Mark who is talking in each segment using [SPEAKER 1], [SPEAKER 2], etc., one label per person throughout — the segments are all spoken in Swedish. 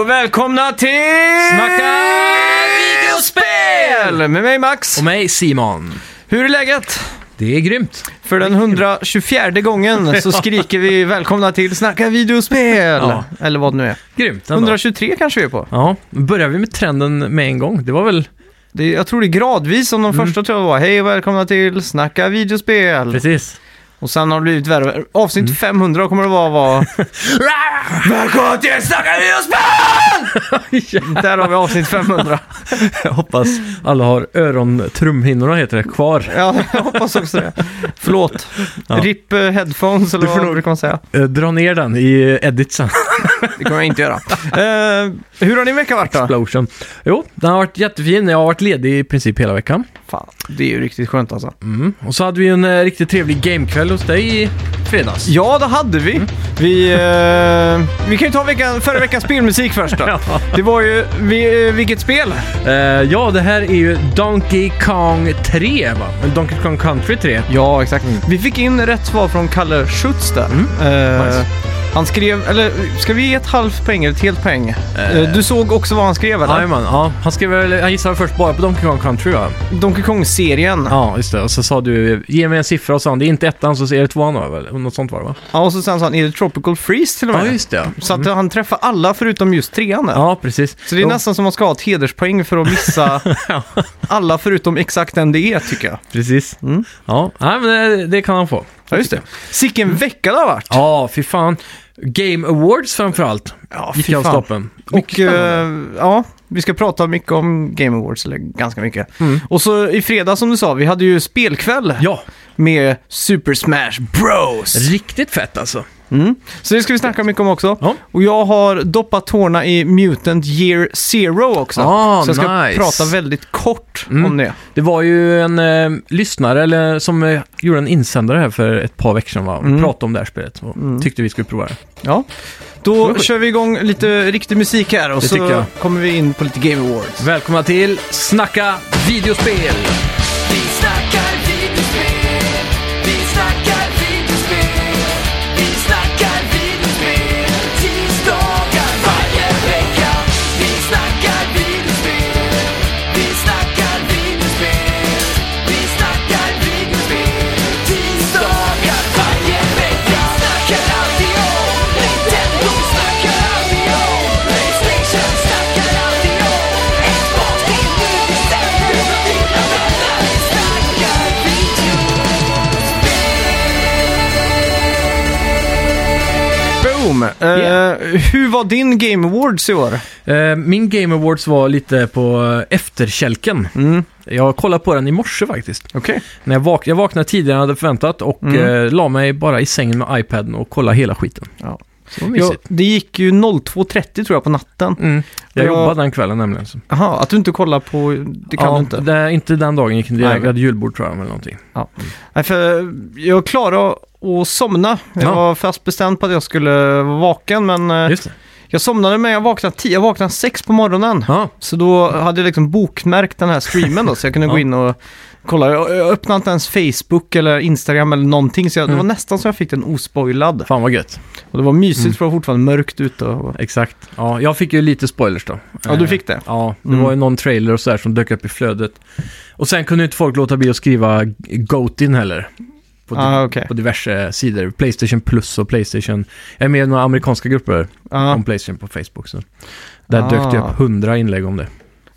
[SPEAKER 1] och välkomna till...
[SPEAKER 2] Snacka
[SPEAKER 1] videospel! Med mig Max.
[SPEAKER 2] Och mig Simon.
[SPEAKER 1] Hur är läget?
[SPEAKER 2] Det är grymt.
[SPEAKER 1] För den 124 gången så skriker vi välkomna till Snacka videospel!
[SPEAKER 2] Ja.
[SPEAKER 1] Eller vad det nu är.
[SPEAKER 2] Grymt ändå.
[SPEAKER 1] 123 kanske vi är på.
[SPEAKER 2] Ja, börjar vi med trenden med en gång? Det var väl...
[SPEAKER 1] Det, är- jag tror det är gradvis som de första tror jag var. Hej och välkomna till Snacka videospel!
[SPEAKER 2] Mm. Precis. Mm.
[SPEAKER 1] Och sen har det blivit värre. Avsnitt 500 kommer det vara. vara Välkomna till Snacka videospel! Där har vi avsnitt 500.
[SPEAKER 2] Jag hoppas alla har örontrumhinnorna heter det, kvar.
[SPEAKER 1] Ja, jag hoppas också det. Förlåt.
[SPEAKER 2] Ja.
[SPEAKER 1] RIP eh, headphones eller
[SPEAKER 2] Du får
[SPEAKER 1] vad
[SPEAKER 2] nog-
[SPEAKER 1] brukar man säga.
[SPEAKER 2] Eh, Dra ner den i edit sen.
[SPEAKER 1] Det kommer jag inte göra. Eh, hur har din vecka varit då?
[SPEAKER 2] Explosion. Jo, den har varit jättefin. Jag har varit ledig i princip hela veckan.
[SPEAKER 1] Fan, det är ju riktigt skönt alltså.
[SPEAKER 2] Mm. Och så hade vi ju en eh, riktigt trevlig gamekväll hos dig i fredags.
[SPEAKER 1] Ja, det hade vi. Vi, eh, vi kan ju ta veckan, förra veckans spelmusik först då. Det var ju, vi, eh, vilket spel?
[SPEAKER 2] Eh, ja, det här är ju Donkey Kong 3 va? Donkey Kong Country 3.
[SPEAKER 1] Ja, exakt. Vi fick in rätt svar från Kalle Schütz där. Eh,
[SPEAKER 2] nice.
[SPEAKER 1] Han skrev, eller ska vi ge ett halvt poäng eller ett helt poäng? Eh, du såg också vad han skrev eller?
[SPEAKER 2] Jajamän, ja. Han, skrev, väl- han gissade först bara på Donkey Kong Country va?
[SPEAKER 1] Donkey Kong-serien.
[SPEAKER 2] Ja, just det. Och så sa du, ge mig en siffra och sa han, det är inte ettan så är det tvåan va? Eller Något sånt var det va?
[SPEAKER 1] Ja, och så sen sa han, är det Tropical Freeze till och med?
[SPEAKER 2] det.
[SPEAKER 1] Så att han träffar alla förutom just trean där.
[SPEAKER 2] Ja, precis.
[SPEAKER 1] Så det är
[SPEAKER 2] Jo,
[SPEAKER 1] nästan som man ska ha ett hederspoäng för att missa alla förutom exakt den det är, tycker jag.
[SPEAKER 2] Precis.
[SPEAKER 1] Mm.
[SPEAKER 2] Ja, nej, men det, det kan han få.
[SPEAKER 1] Ja, just det. Sicken vecka det har varit!
[SPEAKER 2] Ja, fy fan. Game Awards framförallt
[SPEAKER 1] Ja,
[SPEAKER 2] gick av stapeln. Mycket
[SPEAKER 1] Och
[SPEAKER 2] spännande.
[SPEAKER 1] eh, ja, vi ska prata mycket om Game Awards, eller ganska mycket. Och så i fredag som du sa, vi hade ju spelkväll
[SPEAKER 2] Mm. Ja,
[SPEAKER 1] med Super Smash Bros. Mm.
[SPEAKER 2] riktigt fett alltså.
[SPEAKER 1] Så det ska vi snacka mycket om också.
[SPEAKER 2] Ja.
[SPEAKER 1] Och jag har doppat tårna i Mutant Year Zero också.
[SPEAKER 2] Ah,
[SPEAKER 1] så jag ska
[SPEAKER 2] nice. Mm.
[SPEAKER 1] prata väldigt kort om det.
[SPEAKER 2] Det var ju en eh, lyssnare eller, som eh, gjorde en insändare här för ett par veckor sedan va? och
[SPEAKER 1] Mm.
[SPEAKER 2] pratade om det här spelet och tyckte vi skulle prova det.
[SPEAKER 1] Ja. Då kör vi igång lite riktig musik här och
[SPEAKER 2] Det tycker
[SPEAKER 1] så
[SPEAKER 2] jag.
[SPEAKER 1] kommer vi in på lite Game Awards.
[SPEAKER 2] Välkomna till Snacka videospel!
[SPEAKER 3] Vi snackar videospel, vi snackar videospel, vi snackar videospel, tisdagar varje vecka. Vi snackar videospel, vi snackar videospel, vi snackar videospel, tisdagar varje vecka. Snackar alltid om Nintendo, snackar alltid om Playstation, snackar alltid om Xbox, det är nu vi sätter upp dina vänner. Vi snackar videospel.
[SPEAKER 1] Boom! Eh, hur var din Game Awards i år?
[SPEAKER 2] Eh, Min Game Awards var lite på eh, efterkälken.
[SPEAKER 1] Mm.
[SPEAKER 2] Jag kollade på den i morse faktiskt.
[SPEAKER 1] Okej.
[SPEAKER 2] När jag, vak- jag vaknade tidigare än jag hade förväntat och
[SPEAKER 1] Mm.
[SPEAKER 2] eh, la mig bara i sängen med iPaden och kollade hela skiten.
[SPEAKER 1] Ja.
[SPEAKER 2] Så det var
[SPEAKER 1] Ja,
[SPEAKER 2] mysigt.
[SPEAKER 1] det gick ju 02.30 tror jag på natten.
[SPEAKER 2] Mm. Jag
[SPEAKER 1] Ja.
[SPEAKER 2] jobbade den kvällen nämligen. Så.
[SPEAKER 1] Jaha, att du inte kollar på... Det kan
[SPEAKER 2] ja,
[SPEAKER 1] du inte.
[SPEAKER 2] Det, inte den dagen gick inte.
[SPEAKER 1] Nej.
[SPEAKER 2] Jag hade julbord tror jag eller någonting.
[SPEAKER 1] Nej, för jag klarade att somna. Jag
[SPEAKER 2] Ja.
[SPEAKER 1] var fast bestämd på att jag skulle vara vaken, men eh,
[SPEAKER 2] Just det.
[SPEAKER 1] jag somnade men jag vaknade, tio, jag vaknade sex på morgonen.
[SPEAKER 2] Ja.
[SPEAKER 1] Så då hade jag liksom bokmärkt den här streamen då, så jag kunde gå
[SPEAKER 2] Ja.
[SPEAKER 1] in och kolla. Jag, jag öppnade inte ens Facebook eller Instagram eller någonting, så jag,
[SPEAKER 2] Mm.
[SPEAKER 1] det var nästan så jag fick den ospoilad.
[SPEAKER 2] Fan vad gött.
[SPEAKER 1] Och det var mysigt
[SPEAKER 2] Mm.
[SPEAKER 1] för det var fortfarande mörkt ute. Och...
[SPEAKER 2] Exakt. Ja, jag fick ju lite spoilers då.
[SPEAKER 1] Ja, du fick det.
[SPEAKER 2] Ja, det
[SPEAKER 1] Mm.
[SPEAKER 2] var ju någon trailer och sådär som dök upp i flödet. Och sen kunde ju inte folk låta bli att skriva Goatin heller. På, di-
[SPEAKER 1] Ah, okej.
[SPEAKER 2] på diverse sidor. Playstation Plus och Playstation. Jag är med i några amerikanska grupper
[SPEAKER 1] Ja,
[SPEAKER 2] om Playstation på Facebook. Så. Där
[SPEAKER 1] Ah.
[SPEAKER 2] dök det upp hundra inlägg om det.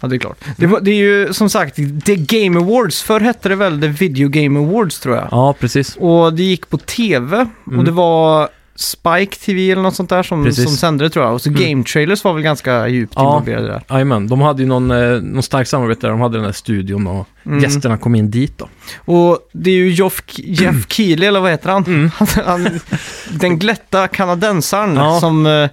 [SPEAKER 1] ja, det är klart. Det, var, det är ju som sagt The Game Awards. Förr hette det väl The Video Game Awards tror jag.
[SPEAKER 2] Ja, precis.
[SPEAKER 1] Och det gick på tv och
[SPEAKER 2] Mm.
[SPEAKER 1] det var Spike TV eller något sånt där som,
[SPEAKER 2] Precis. Mm.
[SPEAKER 1] som sände det tror jag. Och så Game Trailers var väl ganska djupt
[SPEAKER 2] Ja.
[SPEAKER 1] involverade där.
[SPEAKER 2] Jajamän, de hade ju någon, eh, någon stark samarbete där. De hade den där studion och
[SPEAKER 1] Mm.
[SPEAKER 2] gästerna kom in dit då.
[SPEAKER 1] Och det är ju Jeff, Jeff Keely, eller vad heter han?
[SPEAKER 2] Mm.
[SPEAKER 1] han, han den glätta kanadensaren
[SPEAKER 2] Ja.
[SPEAKER 1] som eh,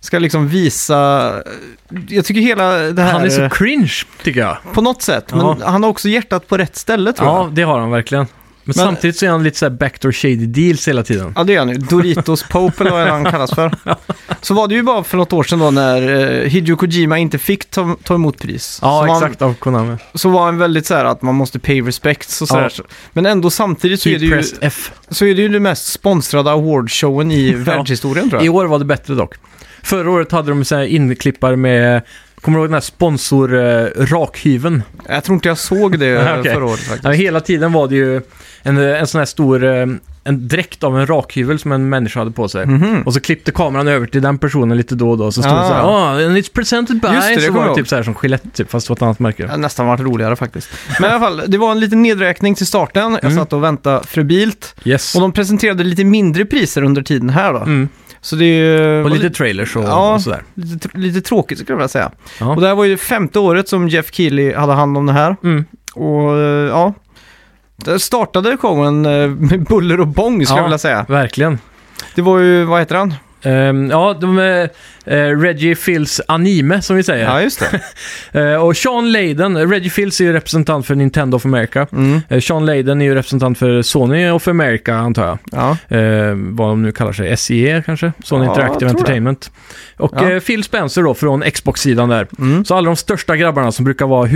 [SPEAKER 1] ska liksom visa... eh, Jag tycker hela det här...
[SPEAKER 2] Han är så cringe, tycker jag.
[SPEAKER 1] På något sätt, men
[SPEAKER 2] Ja.
[SPEAKER 1] han har också hjärtat på rätt ställe tror
[SPEAKER 2] Ja,
[SPEAKER 1] jag.
[SPEAKER 2] det har han verkligen. Men,
[SPEAKER 1] Men-
[SPEAKER 2] samtidigt så är han lite såhär backdoor shady deals hela tiden.
[SPEAKER 1] Ja, det är han ju. Doritos Pope eller vad han kallas för. Så var det ju bara för något år sedan då när eh, Hideo Kojima inte fick ta, ta emot pris. så
[SPEAKER 2] Ja,
[SPEAKER 1] var
[SPEAKER 2] exakt. Av Konami.
[SPEAKER 1] Han, så var han väldigt så här att man måste pay respects och så
[SPEAKER 2] Ja.
[SPEAKER 1] här. Men ändå samtidigt så är,
[SPEAKER 2] Keep
[SPEAKER 1] det ju,
[SPEAKER 2] pressed F.
[SPEAKER 1] så är det ju den mest sponsrade awardshowen i världshistorien tror jag.
[SPEAKER 2] I år var det bättre dock. Förra året hade de så här inklippar med, kommer du ihåg den här eh, sponsor-rakhyven?
[SPEAKER 1] Jag tror inte jag såg det
[SPEAKER 2] Nej, okej.
[SPEAKER 1] förra året faktiskt.
[SPEAKER 2] Ja, hela tiden var det ju en, en sån här stor, eh, en dräkt av en rakhyvel som en människa hade på sig.
[SPEAKER 1] Mm. Mhm.
[SPEAKER 2] Och så klippte kameran över till den personen lite då och då, så stod det
[SPEAKER 1] Ah.
[SPEAKER 2] så här, oh, and it's presented by,
[SPEAKER 1] Just det, det
[SPEAKER 2] så
[SPEAKER 1] kommer
[SPEAKER 2] var
[SPEAKER 1] jag ihåg.
[SPEAKER 2] det typ så här som Gillette typ, fast det var ett annat märke.
[SPEAKER 1] Det hade nästan varit roligare faktiskt. Men i alla fall, det var en liten nedräkning till starten. Jag
[SPEAKER 2] Mm.
[SPEAKER 1] satt och väntade febrilt.
[SPEAKER 2] Yes.
[SPEAKER 1] Och de presenterade lite mindre priser under tiden här då.
[SPEAKER 2] Mm.
[SPEAKER 1] Så det är ju...
[SPEAKER 2] Och lite trailers och,
[SPEAKER 1] Ja.
[SPEAKER 2] och sådär.
[SPEAKER 1] lite, tr- lite tråkigt skulle jag vilja säga.
[SPEAKER 2] Ja.
[SPEAKER 1] Och det här var ju femte året som Jeff Keely hade hand om det här.
[SPEAKER 2] Mm.
[SPEAKER 1] Och eh, ja, där startade showen eh, med buller och bång skulle
[SPEAKER 2] Ja.
[SPEAKER 1] jag vilja säga.
[SPEAKER 2] Verkligen.
[SPEAKER 1] Det var ju, vad heter han?
[SPEAKER 2] Ehm, ja, de är eh, Reggie Fils anime som vi säger.
[SPEAKER 1] Ja, just det.
[SPEAKER 2] Eh, och Sean Layden, Reggie Fils är ju representant för Nintendo of America.
[SPEAKER 1] Mm.
[SPEAKER 2] Eh, Sean Layden är ju representant för Sony of America antar jag.
[SPEAKER 1] Ja.
[SPEAKER 2] Eh, vad de nu kallar sig, SIE kanske? Sony
[SPEAKER 1] Ja, jag tror
[SPEAKER 2] Interactive
[SPEAKER 1] det.
[SPEAKER 2] Entertainment. Och
[SPEAKER 1] Ja.
[SPEAKER 2] eh, Phil Spencer då från Xbox-sidan där.
[SPEAKER 1] Mm.
[SPEAKER 2] Så alla de största grabbarna som brukar vara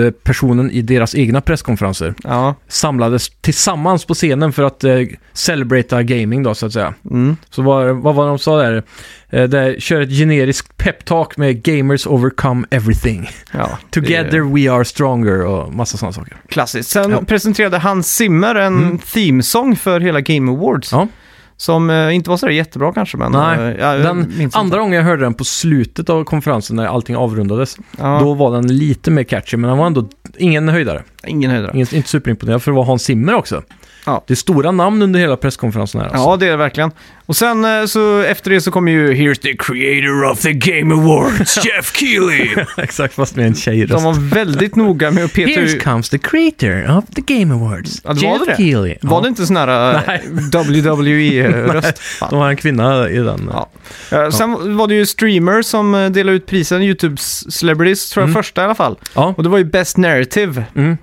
[SPEAKER 2] huvudpersonen i deras egna presskonferenser
[SPEAKER 1] Ja.
[SPEAKER 2] samlades tillsammans på scenen för att eh, celebrata gaming då så att säga.
[SPEAKER 1] Mm.
[SPEAKER 2] Så vad, vad var det de sa där? Eh, där kör ett generiskt peptalk med “Gamers overcome everything”.
[SPEAKER 1] ja. Det
[SPEAKER 2] “Together
[SPEAKER 1] är
[SPEAKER 2] we are stronger” och massa sådana saker.
[SPEAKER 1] Klassiskt. Sen
[SPEAKER 2] Ja.
[SPEAKER 1] presenterade Hans Zimmer en
[SPEAKER 2] Mm.
[SPEAKER 1] themesång för hela Game Awards.
[SPEAKER 2] Ja.
[SPEAKER 1] Som eh, inte var sådär jättebra kanske, men...
[SPEAKER 2] Nej,
[SPEAKER 1] eh, ja, jag
[SPEAKER 2] Den
[SPEAKER 1] minns inte.
[SPEAKER 2] andra gången jag hörde den på slutet av konferensen när allting avrundades,
[SPEAKER 1] Ja,
[SPEAKER 2] då var den lite mer catchy, men den var ändå ingen höjdare.
[SPEAKER 1] Ingen höjdare.
[SPEAKER 2] Ingen, inte superimponerad, för det var Hans Zimmer också.
[SPEAKER 1] Ja.
[SPEAKER 2] Det är stora namn under hela presskonferensen här. Alltså.
[SPEAKER 1] Ja, det är det verkligen. Och sen eh, så efter det så kommer ju Here's the creator of the Game Awards, Jeff Keely.
[SPEAKER 2] Exakt, fast med en
[SPEAKER 1] De
[SPEAKER 2] tjejröst.
[SPEAKER 1] var väldigt noga med att peta
[SPEAKER 2] Here
[SPEAKER 1] ut...
[SPEAKER 2] comes the creator of the Game Awards,
[SPEAKER 1] Ja, det var
[SPEAKER 2] Jeff
[SPEAKER 1] det det?
[SPEAKER 2] Keely.
[SPEAKER 1] Var det inte sån här eh,
[SPEAKER 2] Nej.
[SPEAKER 1] E, WWE-röst?
[SPEAKER 2] De har en kvinna i den.
[SPEAKER 1] Ja. Eh, Sen var det ju streamers som eh, delade ut prisen, YouTube-celebrities tror jag
[SPEAKER 2] Mm.
[SPEAKER 1] första i alla fall.
[SPEAKER 2] Ja.
[SPEAKER 1] Och det var ju Best Narrative.
[SPEAKER 2] Mm.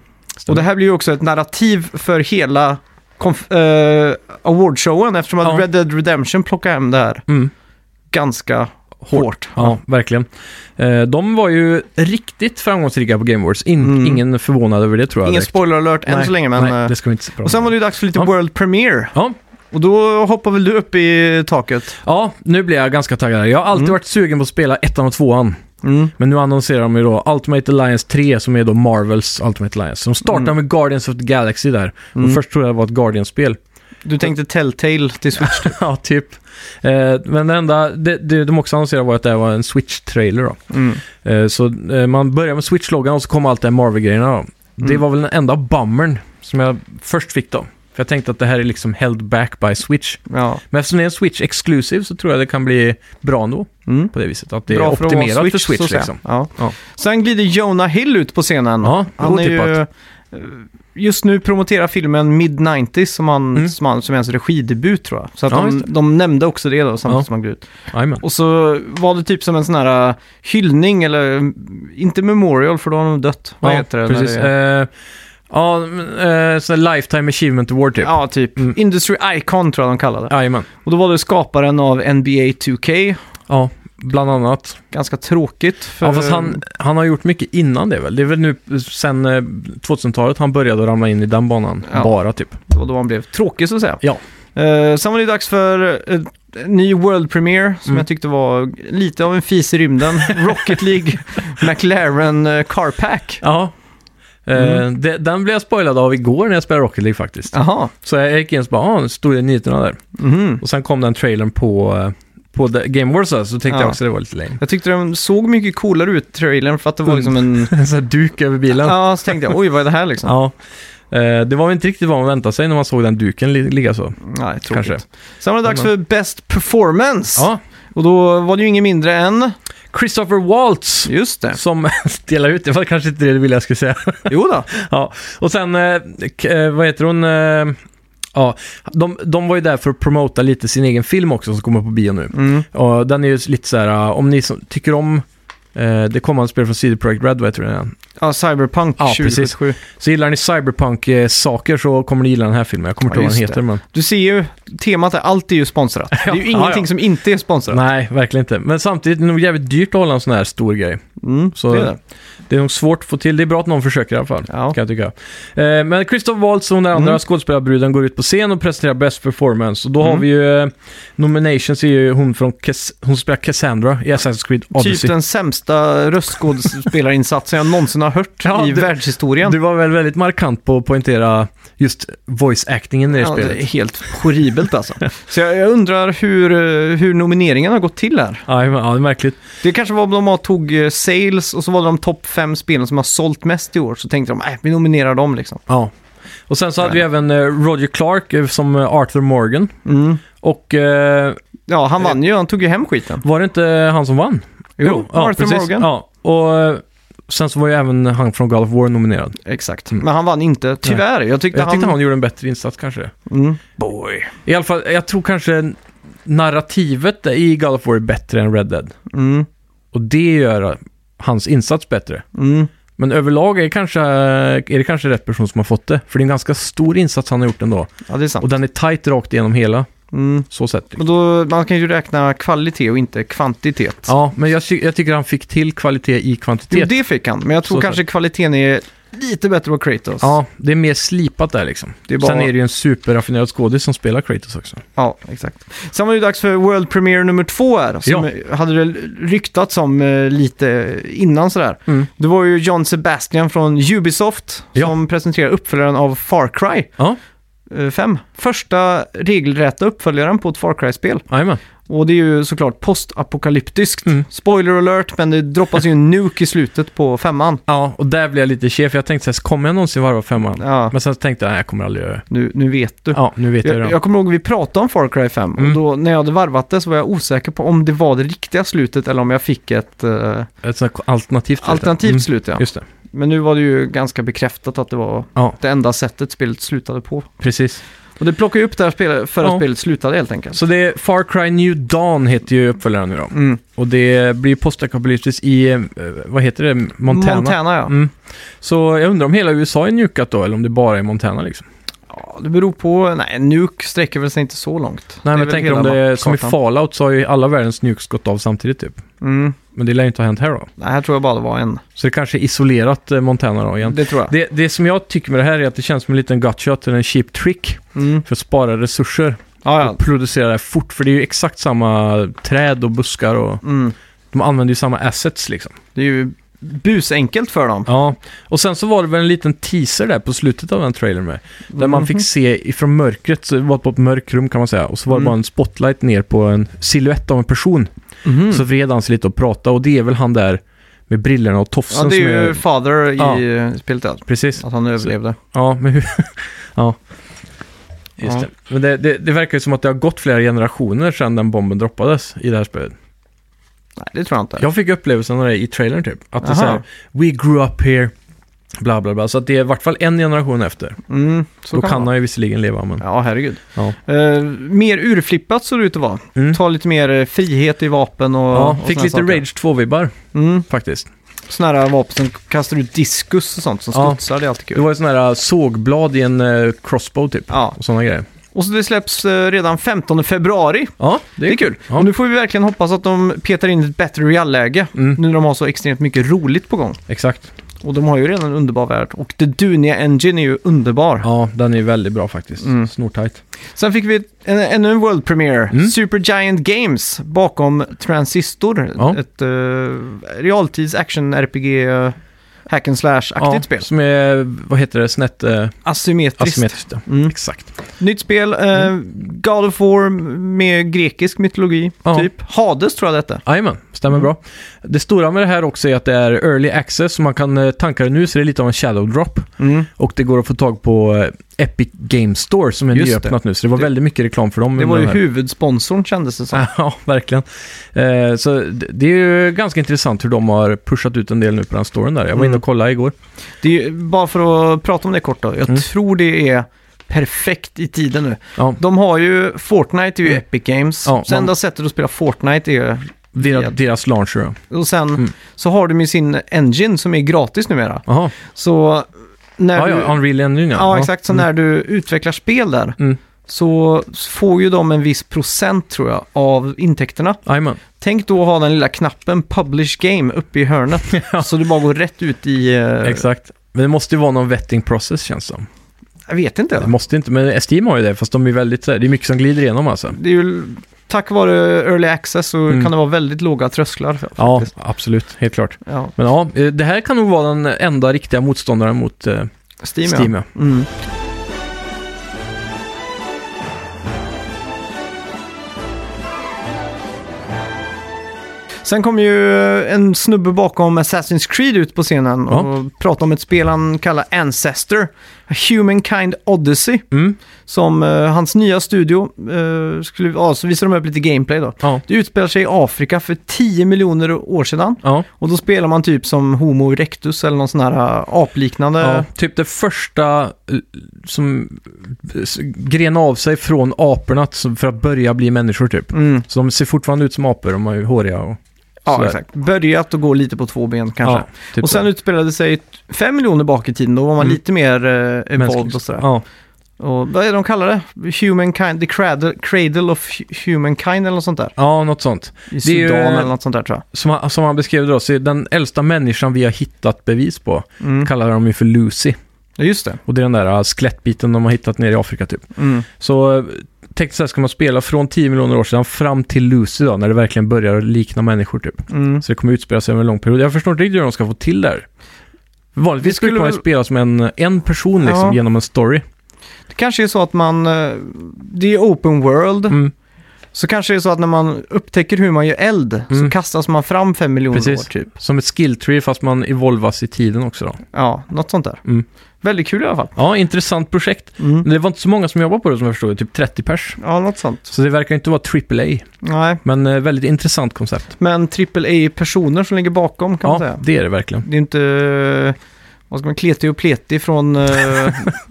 [SPEAKER 1] Och det här blir ju också ett narrativ för hela konf- eh, awardshowen eftersom att
[SPEAKER 2] Ja.
[SPEAKER 1] Red Dead Redemption plockade hem det här
[SPEAKER 2] Mm.
[SPEAKER 1] ganska
[SPEAKER 2] Hårt.
[SPEAKER 1] hårt.
[SPEAKER 2] Ja, verkligen. Eh, De var ju riktigt framgångsrika på Game Awards. In,
[SPEAKER 1] Mm.
[SPEAKER 2] Ingen förvånad över det tror jag.
[SPEAKER 1] Ingen
[SPEAKER 2] direkt.
[SPEAKER 1] spoiler alert än
[SPEAKER 2] Nej,
[SPEAKER 1] så länge, men...
[SPEAKER 2] Nej,
[SPEAKER 1] eh,
[SPEAKER 2] det ska vi inte prata
[SPEAKER 1] Och sen
[SPEAKER 2] om.
[SPEAKER 1] var det ju dags för lite
[SPEAKER 2] Ja.
[SPEAKER 1] World Premiere.
[SPEAKER 2] Ja.
[SPEAKER 1] Och då hoppar väl du upp i taket?
[SPEAKER 2] ja, nu blir jag ganska taggad. här. Jag har alltid
[SPEAKER 1] Mm.
[SPEAKER 2] varit sugen på att spela ettan och tvåan.
[SPEAKER 1] Mm.
[SPEAKER 2] Men nu annonserar de ju då Ultimate Alliance 3 som är då Marvels Ultimate Alliance. Så De startar
[SPEAKER 1] Mm.
[SPEAKER 2] med Guardians of the Galaxy där.
[SPEAKER 1] Mm.
[SPEAKER 2] Och först trodde jag det var ett Guardians-spel.
[SPEAKER 1] Du tänkte Telltale till Switch?
[SPEAKER 2] ja, typ. Eh, Men det enda det, det de också annonserade var att det här var en Switch-trailer då.
[SPEAKER 1] Mm.
[SPEAKER 2] Eh, Så eh, man börjar med Switch-loggan och så kom allt det här Marvel-grejerna. då. Det
[SPEAKER 1] Mm.
[SPEAKER 2] var väl den enda bummern som jag först fick då. För jag tänkte att det här är liksom held back by Switch.
[SPEAKER 1] Ja.
[SPEAKER 2] Men eftersom det är en Switch exclusive så tror jag det kan bli bra ändå
[SPEAKER 1] Mm.
[SPEAKER 2] på det viset. Att det
[SPEAKER 1] Bra
[SPEAKER 2] är
[SPEAKER 1] att vara
[SPEAKER 2] optimerat för Switch
[SPEAKER 1] så att säga.
[SPEAKER 2] liksom.
[SPEAKER 1] Ja.
[SPEAKER 2] Ja.
[SPEAKER 1] Sen glider Jonah Hill ut på scenen.
[SPEAKER 2] Ja, typ
[SPEAKER 1] han är ju,
[SPEAKER 2] otippat.
[SPEAKER 1] eh, just nu promoterar filmen Mid-90s som, han,
[SPEAKER 2] Mm.
[SPEAKER 1] som, han, som är hans regidebut tror jag. Så att
[SPEAKER 2] Ja,
[SPEAKER 1] de,
[SPEAKER 2] just
[SPEAKER 1] de nämnde också det då samtidigt
[SPEAKER 2] Ja.
[SPEAKER 1] som han gled ut.
[SPEAKER 2] Jajamän.
[SPEAKER 1] Och så var det typ som en sån här eh, hyllning eller, mm, inte memorial för då har han nog dött. Vad
[SPEAKER 2] Ja,
[SPEAKER 1] heter det? när
[SPEAKER 2] Precis.
[SPEAKER 1] det är-
[SPEAKER 2] Eh, Ja, men, eh, sån här Lifetime Achievement Award typ.
[SPEAKER 1] Ja, typ.
[SPEAKER 2] Mm.
[SPEAKER 1] Industry Icon tror jag de kallade det.
[SPEAKER 2] Jajamän.
[SPEAKER 1] Och då var det skaparen av NBA 2K.
[SPEAKER 2] Ja, bland annat.
[SPEAKER 1] Ganska tråkigt. För...
[SPEAKER 2] Ja, fast han, han har gjort mycket innan det väl? Det är väl nu eh, sen eh, 2000-talet han började ramla in i den banan.
[SPEAKER 1] Ja.
[SPEAKER 2] Bara typ.
[SPEAKER 1] Det var då han blev tråkig så att säga.
[SPEAKER 2] Ja.
[SPEAKER 1] Eh, sen var det dags för eh, en ny World Premiere som
[SPEAKER 2] Mm.
[SPEAKER 1] jag tyckte var lite av en fis i rymden. Rocket League, McLaren eh, Car Pack.
[SPEAKER 2] Ja.
[SPEAKER 1] Mm.
[SPEAKER 2] Eh, de- den blev jag spoilad av igår när jag spelade Rocket League faktiskt.
[SPEAKER 1] Jaha.
[SPEAKER 2] Så jag gick in och så bara, ah, nu stod det i nyheterna där.
[SPEAKER 1] Mhm.
[SPEAKER 2] Och sen kom den trailern på, eh, på The- Game Wars så tänkte
[SPEAKER 1] Ja.
[SPEAKER 2] jag också det var lite lame.
[SPEAKER 1] Jag tyckte den såg mycket coolare ut, trailern, för att det var
[SPEAKER 2] Mm.
[SPEAKER 1] liksom en...
[SPEAKER 2] En sån här duk över bilen. Ja.
[SPEAKER 1] Ja, så tänkte jag, oj vad är det här liksom?
[SPEAKER 2] Eh, det var väl inte riktigt vad man väntade sig när man såg den duken li- ligga så.
[SPEAKER 1] Nej, tråkigt.
[SPEAKER 2] Kanske.
[SPEAKER 1] Sen var det dags för Best Performance.
[SPEAKER 2] Ja.
[SPEAKER 1] Och då var det ju inget mindre än...
[SPEAKER 2] Christopher Waltz.
[SPEAKER 1] Just det.
[SPEAKER 2] Som delar ut, det var kanske inte det du ville jag skulle säga.
[SPEAKER 1] Jo då.
[SPEAKER 2] ja. Och sen, eh, k- eh, vad heter hon? Eh, ja, de, de var ju där för att promota lite sin egen film också som kommer på bio nu.
[SPEAKER 1] Mm.
[SPEAKER 2] Och den är ju lite så här, uh, om ni som tycker om eh, det kommande spelet från CD Projekt Red, vad heter det?
[SPEAKER 1] Ja, Cyberpunk
[SPEAKER 2] Ja, precis.
[SPEAKER 1] 2077.
[SPEAKER 2] Så gillar ni cyberpunk-saker så kommer ni gilla den här filmen. Jag kommer inte
[SPEAKER 1] Ja,
[SPEAKER 2] ihåg vad den
[SPEAKER 1] just
[SPEAKER 2] heter, men...
[SPEAKER 1] Du ser ju, temat är allt är ju sponsrat. Det är ju
[SPEAKER 2] Ja,
[SPEAKER 1] ingenting
[SPEAKER 2] ja.
[SPEAKER 1] som inte är sponsrat.
[SPEAKER 2] Nej, verkligen inte. Men samtidigt, är det nog jävligt dyrt att hålla en sån här stor grej.
[SPEAKER 1] Mm,
[SPEAKER 2] Så
[SPEAKER 1] det är det.
[SPEAKER 2] det är nog svårt att få till. Det är bra att någon försöker i alla fall.
[SPEAKER 1] Ja.
[SPEAKER 2] Kan jag tycka. Eh, men Christoph Waltz och den andra
[SPEAKER 1] Mm.
[SPEAKER 2] skådespelarbruden går ut på scen och presenterar Best Performance. Och då har
[SPEAKER 1] Mm.
[SPEAKER 2] vi ju... Eh, nominations är ju hon från... Cass- hon spelar Cassandra i Assassin's Creed Odyssey.
[SPEAKER 1] Typ den sämsta röstskådespelarinsatsen jag någonsin har hört
[SPEAKER 2] Ja,
[SPEAKER 1] i
[SPEAKER 2] det-
[SPEAKER 1] världshistorien.
[SPEAKER 2] Du var väl väldigt markant på att poängtera just voice-actingen i det
[SPEAKER 1] Ja, det är
[SPEAKER 2] spelet.
[SPEAKER 1] helt horribelt alltså. Så jag, jag undrar hur, eh, hur nomineringen har gått till här.
[SPEAKER 2] Ja, ja, det är märkligt.
[SPEAKER 1] Det kanske var de har- tog eh, sales och så var det de topp fem spelen som har sålt mest i år. Så tänkte de, nej, vi nominerar dem liksom.
[SPEAKER 2] Ja. Och sen så hade vi även eh, Roger Clark eh, som eh, Arthur Morgan.
[SPEAKER 1] Mm.
[SPEAKER 2] Och eh,
[SPEAKER 1] Ja, han vann ju, han tog ju hem skiten.
[SPEAKER 2] var det inte han som vann? ja,
[SPEAKER 1] Arthur
[SPEAKER 2] precis.
[SPEAKER 1] Morgan.
[SPEAKER 2] Ja, och eh, sen så var ju även han från God of War nominerad.
[SPEAKER 1] Exakt.
[SPEAKER 2] Mm.
[SPEAKER 1] Men han vann inte, tyvärr. Jag tyckte
[SPEAKER 2] Jag
[SPEAKER 1] han...
[SPEAKER 2] tyckte han gjorde en bättre insats kanske.
[SPEAKER 1] Mm.
[SPEAKER 2] Boy. I alla fall, jag tror kanske narrativet i God of War är bättre än Red Dead.
[SPEAKER 1] Mm.
[SPEAKER 2] Och det gör hans insats bättre.
[SPEAKER 1] Mm.
[SPEAKER 2] Men överlag är, kanske, eh, är det kanske rätt person som har fått det. För det är en ganska stor insats han har gjort ändå.
[SPEAKER 1] Ja, det är sant.
[SPEAKER 2] Och den är tight rakt igenom hela.
[SPEAKER 1] Mm.
[SPEAKER 2] Så sett.
[SPEAKER 1] Men då, man kan ju räkna kvalitet och inte kvantitet.
[SPEAKER 2] Ja, men jag, ty- jag tycker han fick till kvalitet i
[SPEAKER 1] Jo,
[SPEAKER 2] kvantitet.
[SPEAKER 1] det fick han, men jag tror
[SPEAKER 2] Så
[SPEAKER 1] kanske kvaliteten är lite bättre på Kratos.
[SPEAKER 2] Ja, det är mer slipat där liksom.
[SPEAKER 1] Det är bara-
[SPEAKER 2] Sen är det ju en superraffinerad skådis som spelar Kratos också.
[SPEAKER 1] Ja, exakt. Sen var det ju dags för World Premiere nummer två här, som hade det ryktats om eh, lite innan sådär.
[SPEAKER 2] Mm.
[SPEAKER 1] Det var ju John Sebastian från Ubisoft
[SPEAKER 2] Ja.
[SPEAKER 1] som presenterade uppföljaren av Far Cry
[SPEAKER 2] Ja,
[SPEAKER 1] 5. Första regelrätta uppföljaren på ett Far Cry-spel.
[SPEAKER 2] jajamän.
[SPEAKER 1] Och det är ju såklart postapokalyptiskt.
[SPEAKER 2] Mm.
[SPEAKER 1] Spoiler alert, men det droppas ju en nuke i slutet på femman.
[SPEAKER 2] Ja, och där blev jag lite chef. Jag tänkte så här, kommer jag någonsin varva femman?
[SPEAKER 1] Ja,
[SPEAKER 2] Men sen tänkte jag, nej jag kommer aldrig göra det.
[SPEAKER 1] nu, nu vet du.
[SPEAKER 2] Ja, nu vet jag,
[SPEAKER 1] Jag,
[SPEAKER 2] det.
[SPEAKER 1] jag kommer ihåg att vi pratade om Far Cry 5
[SPEAKER 2] Mm.
[SPEAKER 1] och då när jag hade varvat det så var jag osäker på om det var det riktiga slutet eller om jag fick ett eh,
[SPEAKER 2] Ett sånt här alternativt. heter det.
[SPEAKER 1] alternativt
[SPEAKER 2] Mm,
[SPEAKER 1] slut. Ja.
[SPEAKER 2] Just det.
[SPEAKER 1] Men nu var det ju ganska bekräftat att det var
[SPEAKER 2] Ja.
[SPEAKER 1] det enda sättet spelet slutade på.
[SPEAKER 2] Precis.
[SPEAKER 1] Och det plockar ju upp det här spelet för att
[SPEAKER 2] Ja.
[SPEAKER 1] spelet slutade helt enkelt.
[SPEAKER 2] Så det är Far Cry New Dawn heter ju uppföljaren nu då.
[SPEAKER 1] Mm.
[SPEAKER 2] Och det blir postapokalyptiskt i, eh, vad heter det, Montana.
[SPEAKER 1] Montana ja.
[SPEAKER 2] Mm. Så jag undrar om hela USA är nukat då, eller om det bara är Montana liksom.
[SPEAKER 1] ja. Det beror på, nej nuke sträcker väl sig inte så långt.
[SPEAKER 2] Nej, men
[SPEAKER 1] är
[SPEAKER 2] jag
[SPEAKER 1] väl
[SPEAKER 2] tänker
[SPEAKER 1] hela
[SPEAKER 2] om det är som i
[SPEAKER 1] kartan.
[SPEAKER 2] Fallout så har ju alla världens nukes gått av samtidigt typ.
[SPEAKER 1] Mm.
[SPEAKER 2] Men det lär ju inte ha hänt här då.
[SPEAKER 1] Nej, här tror jag bara det var en.
[SPEAKER 2] Så det kanske är isolerat eh, Montana då igen.
[SPEAKER 1] Det tror jag.
[SPEAKER 2] Det, det som jag tycker med det här är att det känns som en liten gotcha, att det är en cheap trick
[SPEAKER 1] Mm.
[SPEAKER 2] för att spara resurser.
[SPEAKER 1] Ja, ja.
[SPEAKER 2] Producera det här fort, för det är ju exakt samma träd och buskar och
[SPEAKER 1] Mm.
[SPEAKER 2] de använder ju samma assets liksom.
[SPEAKER 1] Det är ju busenkelt för dem.
[SPEAKER 2] Ja, och sen så var det väl en liten teaser där på slutet av den trailern med. Där man
[SPEAKER 1] Mhm.
[SPEAKER 2] fick se ifrån mörkret, så det var på ett mörkt rum kan man säga. Och så var det
[SPEAKER 1] Mm.
[SPEAKER 2] bara en spotlight ner på en siluett av en person.
[SPEAKER 1] Mhm.
[SPEAKER 2] Så vred han sig lite och pratade och det är väl han där med brillorna och
[SPEAKER 1] Ja,
[SPEAKER 2] tofsen
[SPEAKER 1] det är
[SPEAKER 2] som
[SPEAKER 1] ju
[SPEAKER 2] är...
[SPEAKER 1] Father i
[SPEAKER 2] Ja.
[SPEAKER 1] eh, spelet, där,
[SPEAKER 2] Precis.
[SPEAKER 1] att han överlevde.
[SPEAKER 2] Ja, men hur... ja. Just
[SPEAKER 1] Ja.
[SPEAKER 2] det. Men det, det, det verkar ju som att det har gått flera generationer sedan den bomben droppades i det här spelet.
[SPEAKER 1] Nej, det tror jag inte.
[SPEAKER 2] Jag fick upplevelsen av det i trailern typ. Att det är
[SPEAKER 1] Aha.
[SPEAKER 2] såhär, we grew up here, bla bla bla. Så att det är i vart fall en generation efter.
[SPEAKER 1] Mm, så
[SPEAKER 2] Då
[SPEAKER 1] kan
[SPEAKER 2] kan
[SPEAKER 1] man.
[SPEAKER 2] han ju visserligen leva, men...
[SPEAKER 1] Ja, herregud.
[SPEAKER 2] Ja.
[SPEAKER 1] Eh, mer urflippat såg det ut att vara.
[SPEAKER 2] Mm.
[SPEAKER 1] Ta lite mer eh, frihet i vapen och...
[SPEAKER 2] Ja,
[SPEAKER 1] och
[SPEAKER 2] fick
[SPEAKER 1] såna
[SPEAKER 2] lite
[SPEAKER 1] saker.
[SPEAKER 2] Rage 2-vibbar
[SPEAKER 1] Mm,
[SPEAKER 2] faktiskt.
[SPEAKER 1] sådana här vapen som kastar ut diskus och sånt som
[SPEAKER 2] Ja.
[SPEAKER 1] studsar, det är alltid
[SPEAKER 2] Det
[SPEAKER 1] kul.
[SPEAKER 2] var ju sådana här uh, sågblad i en eh, crossbow typ.
[SPEAKER 1] Ja,
[SPEAKER 2] Och sådana grejer.
[SPEAKER 1] och så det släpps eh, redan 15 februari.
[SPEAKER 2] Ja, det
[SPEAKER 1] Det är
[SPEAKER 2] är kul.
[SPEAKER 1] kul.
[SPEAKER 2] Ja.
[SPEAKER 1] Och nu får vi verkligen hoppas att de petar in ett bättre realläge.
[SPEAKER 2] Mm.
[SPEAKER 1] Nu när de har så extremt mycket roligt på gång.
[SPEAKER 2] Exakt.
[SPEAKER 1] Och de har ju redan en underbar värld. Och The Dunia Engine är ju underbar.
[SPEAKER 2] Ja, den är väldigt bra faktiskt.
[SPEAKER 1] Mm.
[SPEAKER 2] Snortajt.
[SPEAKER 1] Sen fick vi ett- en- ännu en World Premiere.
[SPEAKER 2] Mm.
[SPEAKER 1] Supergiant Games bakom Transistor.
[SPEAKER 2] Ja.
[SPEAKER 1] Ett uh, realtids action-RPG eh, hack and slash-aktigt
[SPEAKER 2] Ja,
[SPEAKER 1] spel.
[SPEAKER 2] Som är, vad heter det, snett eh,
[SPEAKER 1] Asymmetriskt.
[SPEAKER 2] asymmetriskt. Mm. ja.
[SPEAKER 1] Mm.
[SPEAKER 2] Exakt.
[SPEAKER 1] Nytt spel, eh, God of War med grekisk mytologi,
[SPEAKER 2] Ja.
[SPEAKER 1] typ. Hades tror jag detta.
[SPEAKER 2] Jajamän, stämmer
[SPEAKER 1] Mm.
[SPEAKER 2] bra. Det stora med det här också är att det är early access, så man kan eh, tanka det nu, så det är lite av en shadow drop. Och det går att få tag på eh, Epic Game Store som är
[SPEAKER 1] Just det.
[SPEAKER 2] nyöppnat nu, så det var
[SPEAKER 1] Det-
[SPEAKER 2] väldigt mycket reklam för dem.
[SPEAKER 1] Det
[SPEAKER 2] under
[SPEAKER 1] var ju
[SPEAKER 2] den här.
[SPEAKER 1] huvudsponsorn kändes det som.
[SPEAKER 2] Ja, verkligen. Eh, så det, det är ju ganska intressant hur de har pushat ut en del nu på den storyn där. Jag var
[SPEAKER 1] Mm.
[SPEAKER 2] inne och kollade igår.
[SPEAKER 1] Det är ju, bara för att prata om det kort då. Jag
[SPEAKER 2] Mm.
[SPEAKER 1] tror det är perfekt i tiden nu.
[SPEAKER 2] Ja,
[SPEAKER 1] De har ju, Fortnite är ju
[SPEAKER 2] Mm.
[SPEAKER 1] Epic Games.
[SPEAKER 2] Ja,
[SPEAKER 1] så
[SPEAKER 2] man-
[SPEAKER 1] enda sättet att spela Fortnite är
[SPEAKER 2] deras,
[SPEAKER 1] Ja.
[SPEAKER 2] deras launcher ja.
[SPEAKER 1] Och sen
[SPEAKER 2] Mm.
[SPEAKER 1] så har de ju sin engine som är gratis numera.
[SPEAKER 2] Jaha,
[SPEAKER 1] Så när
[SPEAKER 2] ja,
[SPEAKER 1] du...
[SPEAKER 2] ja, Mm. Unreal Engine ja.
[SPEAKER 1] ja, exakt. Så när du utvecklar spel där
[SPEAKER 2] Mm.
[SPEAKER 1] så får ju de en viss procent tror jag av intäkterna.
[SPEAKER 2] Jajamän.
[SPEAKER 1] Tänk då att ha den lilla knappen Publish Game uppe i hörnet. Så du bara går rätt ut i... eh,
[SPEAKER 2] Exakt. Men det måste ju vara någon vetting process känns det som.
[SPEAKER 1] Jag vet
[SPEAKER 2] Det
[SPEAKER 1] inte.
[SPEAKER 2] måste inte, men Steam har ju det, fast de är väldigt så här, det är mycket som glider igenom alltså.
[SPEAKER 1] Det är ju, tack vare Early Access så
[SPEAKER 2] Mm.
[SPEAKER 1] kan det vara väldigt låga trösklar. För,
[SPEAKER 2] Ja,
[SPEAKER 1] faktiskt.
[SPEAKER 2] absolut. Helt klart.
[SPEAKER 1] ja.
[SPEAKER 2] Men ja, eh, det här kan nog vara den enda riktiga motståndaren mot eh,
[SPEAKER 1] Steam,
[SPEAKER 2] Steam.
[SPEAKER 1] ja.
[SPEAKER 2] Ja.
[SPEAKER 1] Mm. Sen kom ju en snubbe bakom Assassin's Creed ut på scenen
[SPEAKER 2] Ja.
[SPEAKER 1] och pratade om ett spel han kallar Ancestor, A Humankind Odyssey,
[SPEAKER 2] Mm.
[SPEAKER 1] som eh, hans nya studio eh, skulle, ja, så visade de upp lite gameplay då.
[SPEAKER 2] Ja.
[SPEAKER 1] Det utspelar sig i Afrika för 10 miljoner år sedan
[SPEAKER 2] Ja.
[SPEAKER 1] och då spelar man typ som Homo erectus eller någon sån här eh, apliknande.
[SPEAKER 2] ja. Typ det första eh, som s- gren av sig från aporna t- för att börja bli människor typ.
[SPEAKER 1] Mm.
[SPEAKER 2] Så de ser fortfarande ut som apor, de har ju håriga och
[SPEAKER 1] Ja,
[SPEAKER 2] sådär.
[SPEAKER 1] exakt. Börjat att gå lite på två ben kanske.
[SPEAKER 2] Ja, typ
[SPEAKER 1] och sen
[SPEAKER 2] så.
[SPEAKER 1] utspelade sig fem miljoner bak i tiden, då var man
[SPEAKER 2] Mm.
[SPEAKER 1] lite mer eh, evolved
[SPEAKER 2] Mänskligt.
[SPEAKER 1] och sådär.
[SPEAKER 2] Ja,
[SPEAKER 1] Och vad är det de kallar det? Humankind, the cradle, cradle of hu- humankind eller något sånt där.
[SPEAKER 2] ja, något sånt.
[SPEAKER 1] I
[SPEAKER 2] Det är ju-
[SPEAKER 1] Sudan eller något sånt där tror
[SPEAKER 2] Som, han- som han beskrev det då, så är den äldsta människan vi har hittat bevis på
[SPEAKER 1] jag. Mm.
[SPEAKER 2] kallar de ju för Lucy.
[SPEAKER 1] Ja, just det.
[SPEAKER 2] Och det är den där äh, skelettbiten de har hittat nere i Afrika typ.
[SPEAKER 1] Mm.
[SPEAKER 2] Så äh, tekniskt sett ska man spela från 10 miljoner år sedan fram till Lucy då, när det verkligen börjar likna människor typ.
[SPEAKER 1] Mm.
[SPEAKER 2] Så det kommer utspela sig över en lång period. Jag förstår inte riktigt hur de ska få till det här. Vanligtvis
[SPEAKER 1] skulle
[SPEAKER 2] brukar man ju
[SPEAKER 1] väl-
[SPEAKER 2] spela som en, en person liksom
[SPEAKER 1] Ja.
[SPEAKER 2] genom en story.
[SPEAKER 1] Det kanske är så att man, eh, det är open world,
[SPEAKER 2] Mm.
[SPEAKER 1] så kanske det är så att när man upptäcker hur man gör eld så
[SPEAKER 2] Mm.
[SPEAKER 1] kastas man fram fem miljoner
[SPEAKER 2] Precis.
[SPEAKER 1] år typ.
[SPEAKER 2] Som ett skill tree fast man evolvas i tiden också då.
[SPEAKER 1] Ja, något sånt där.
[SPEAKER 2] Mm.
[SPEAKER 1] Väldigt kul i alla fall.
[SPEAKER 2] Ja, intressant projekt.
[SPEAKER 1] Mm.
[SPEAKER 2] Men Det var inte så många som jobbade på det som jag förstod, typ 30 pers.
[SPEAKER 1] Ja, något sånt.
[SPEAKER 2] Så det verkar inte vara AAA,
[SPEAKER 1] Nej,
[SPEAKER 2] men eh, väldigt intressant koncept.
[SPEAKER 1] men AAA-personer som ligger bakom kan man
[SPEAKER 2] Ja,
[SPEAKER 1] säga.
[SPEAKER 2] det är det verkligen.
[SPEAKER 1] Det är inte, eh, vad ska man, kletig och pletig från eh,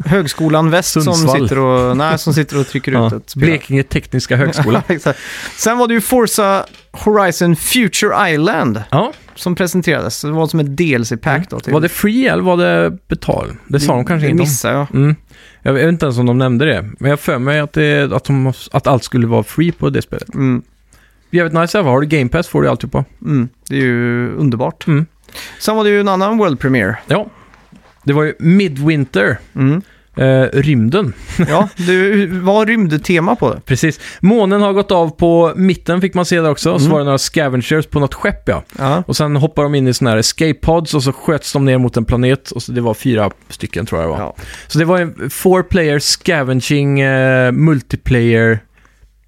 [SPEAKER 1] Högskolan Väst som
[SPEAKER 2] Sundsvall.
[SPEAKER 1] sitter, och, nej, som sitter och trycker ut
[SPEAKER 2] Ja.
[SPEAKER 1] ett spel.
[SPEAKER 2] Blekinge Tekniska Högskola.
[SPEAKER 1] Exakt. Sen var det ju Forza Horizon Future Island
[SPEAKER 2] ja,
[SPEAKER 1] som presenterades. Det var som ett DLC-pack då. till-
[SPEAKER 2] var det free eller var det betal? Det sa de kanske
[SPEAKER 1] det
[SPEAKER 2] inte om.
[SPEAKER 1] missade jag.
[SPEAKER 2] Mm. Jag vet inte ens om de nämnde det, men jag har för mig att, det, att, de, att allt skulle vara free på det spelet.
[SPEAKER 1] Mm,
[SPEAKER 2] Jävligt nice i alla fall. Har du Game Pass får du alltid på.
[SPEAKER 1] mm, det är ju underbart.
[SPEAKER 2] Mm.
[SPEAKER 1] Sen var det ju en annan World Premiere.
[SPEAKER 2] Ja. Det var ju Midwinter,
[SPEAKER 1] Mm.
[SPEAKER 2] eh, rymden.
[SPEAKER 1] Ja, det var rymdtema på det.
[SPEAKER 2] Precis. Månen har gått av på mitten fick man se där också. Så
[SPEAKER 1] Mm.
[SPEAKER 2] var det några scavengers på något skepp ja.
[SPEAKER 1] Ja.
[SPEAKER 2] Och sen hoppar de in i sådana här escape pods och så sköts de ner mot en planet. Och så det var fyra stycken tror jag det var.
[SPEAKER 1] Ja.
[SPEAKER 2] Så det var en four player scavenging eh, multiplayer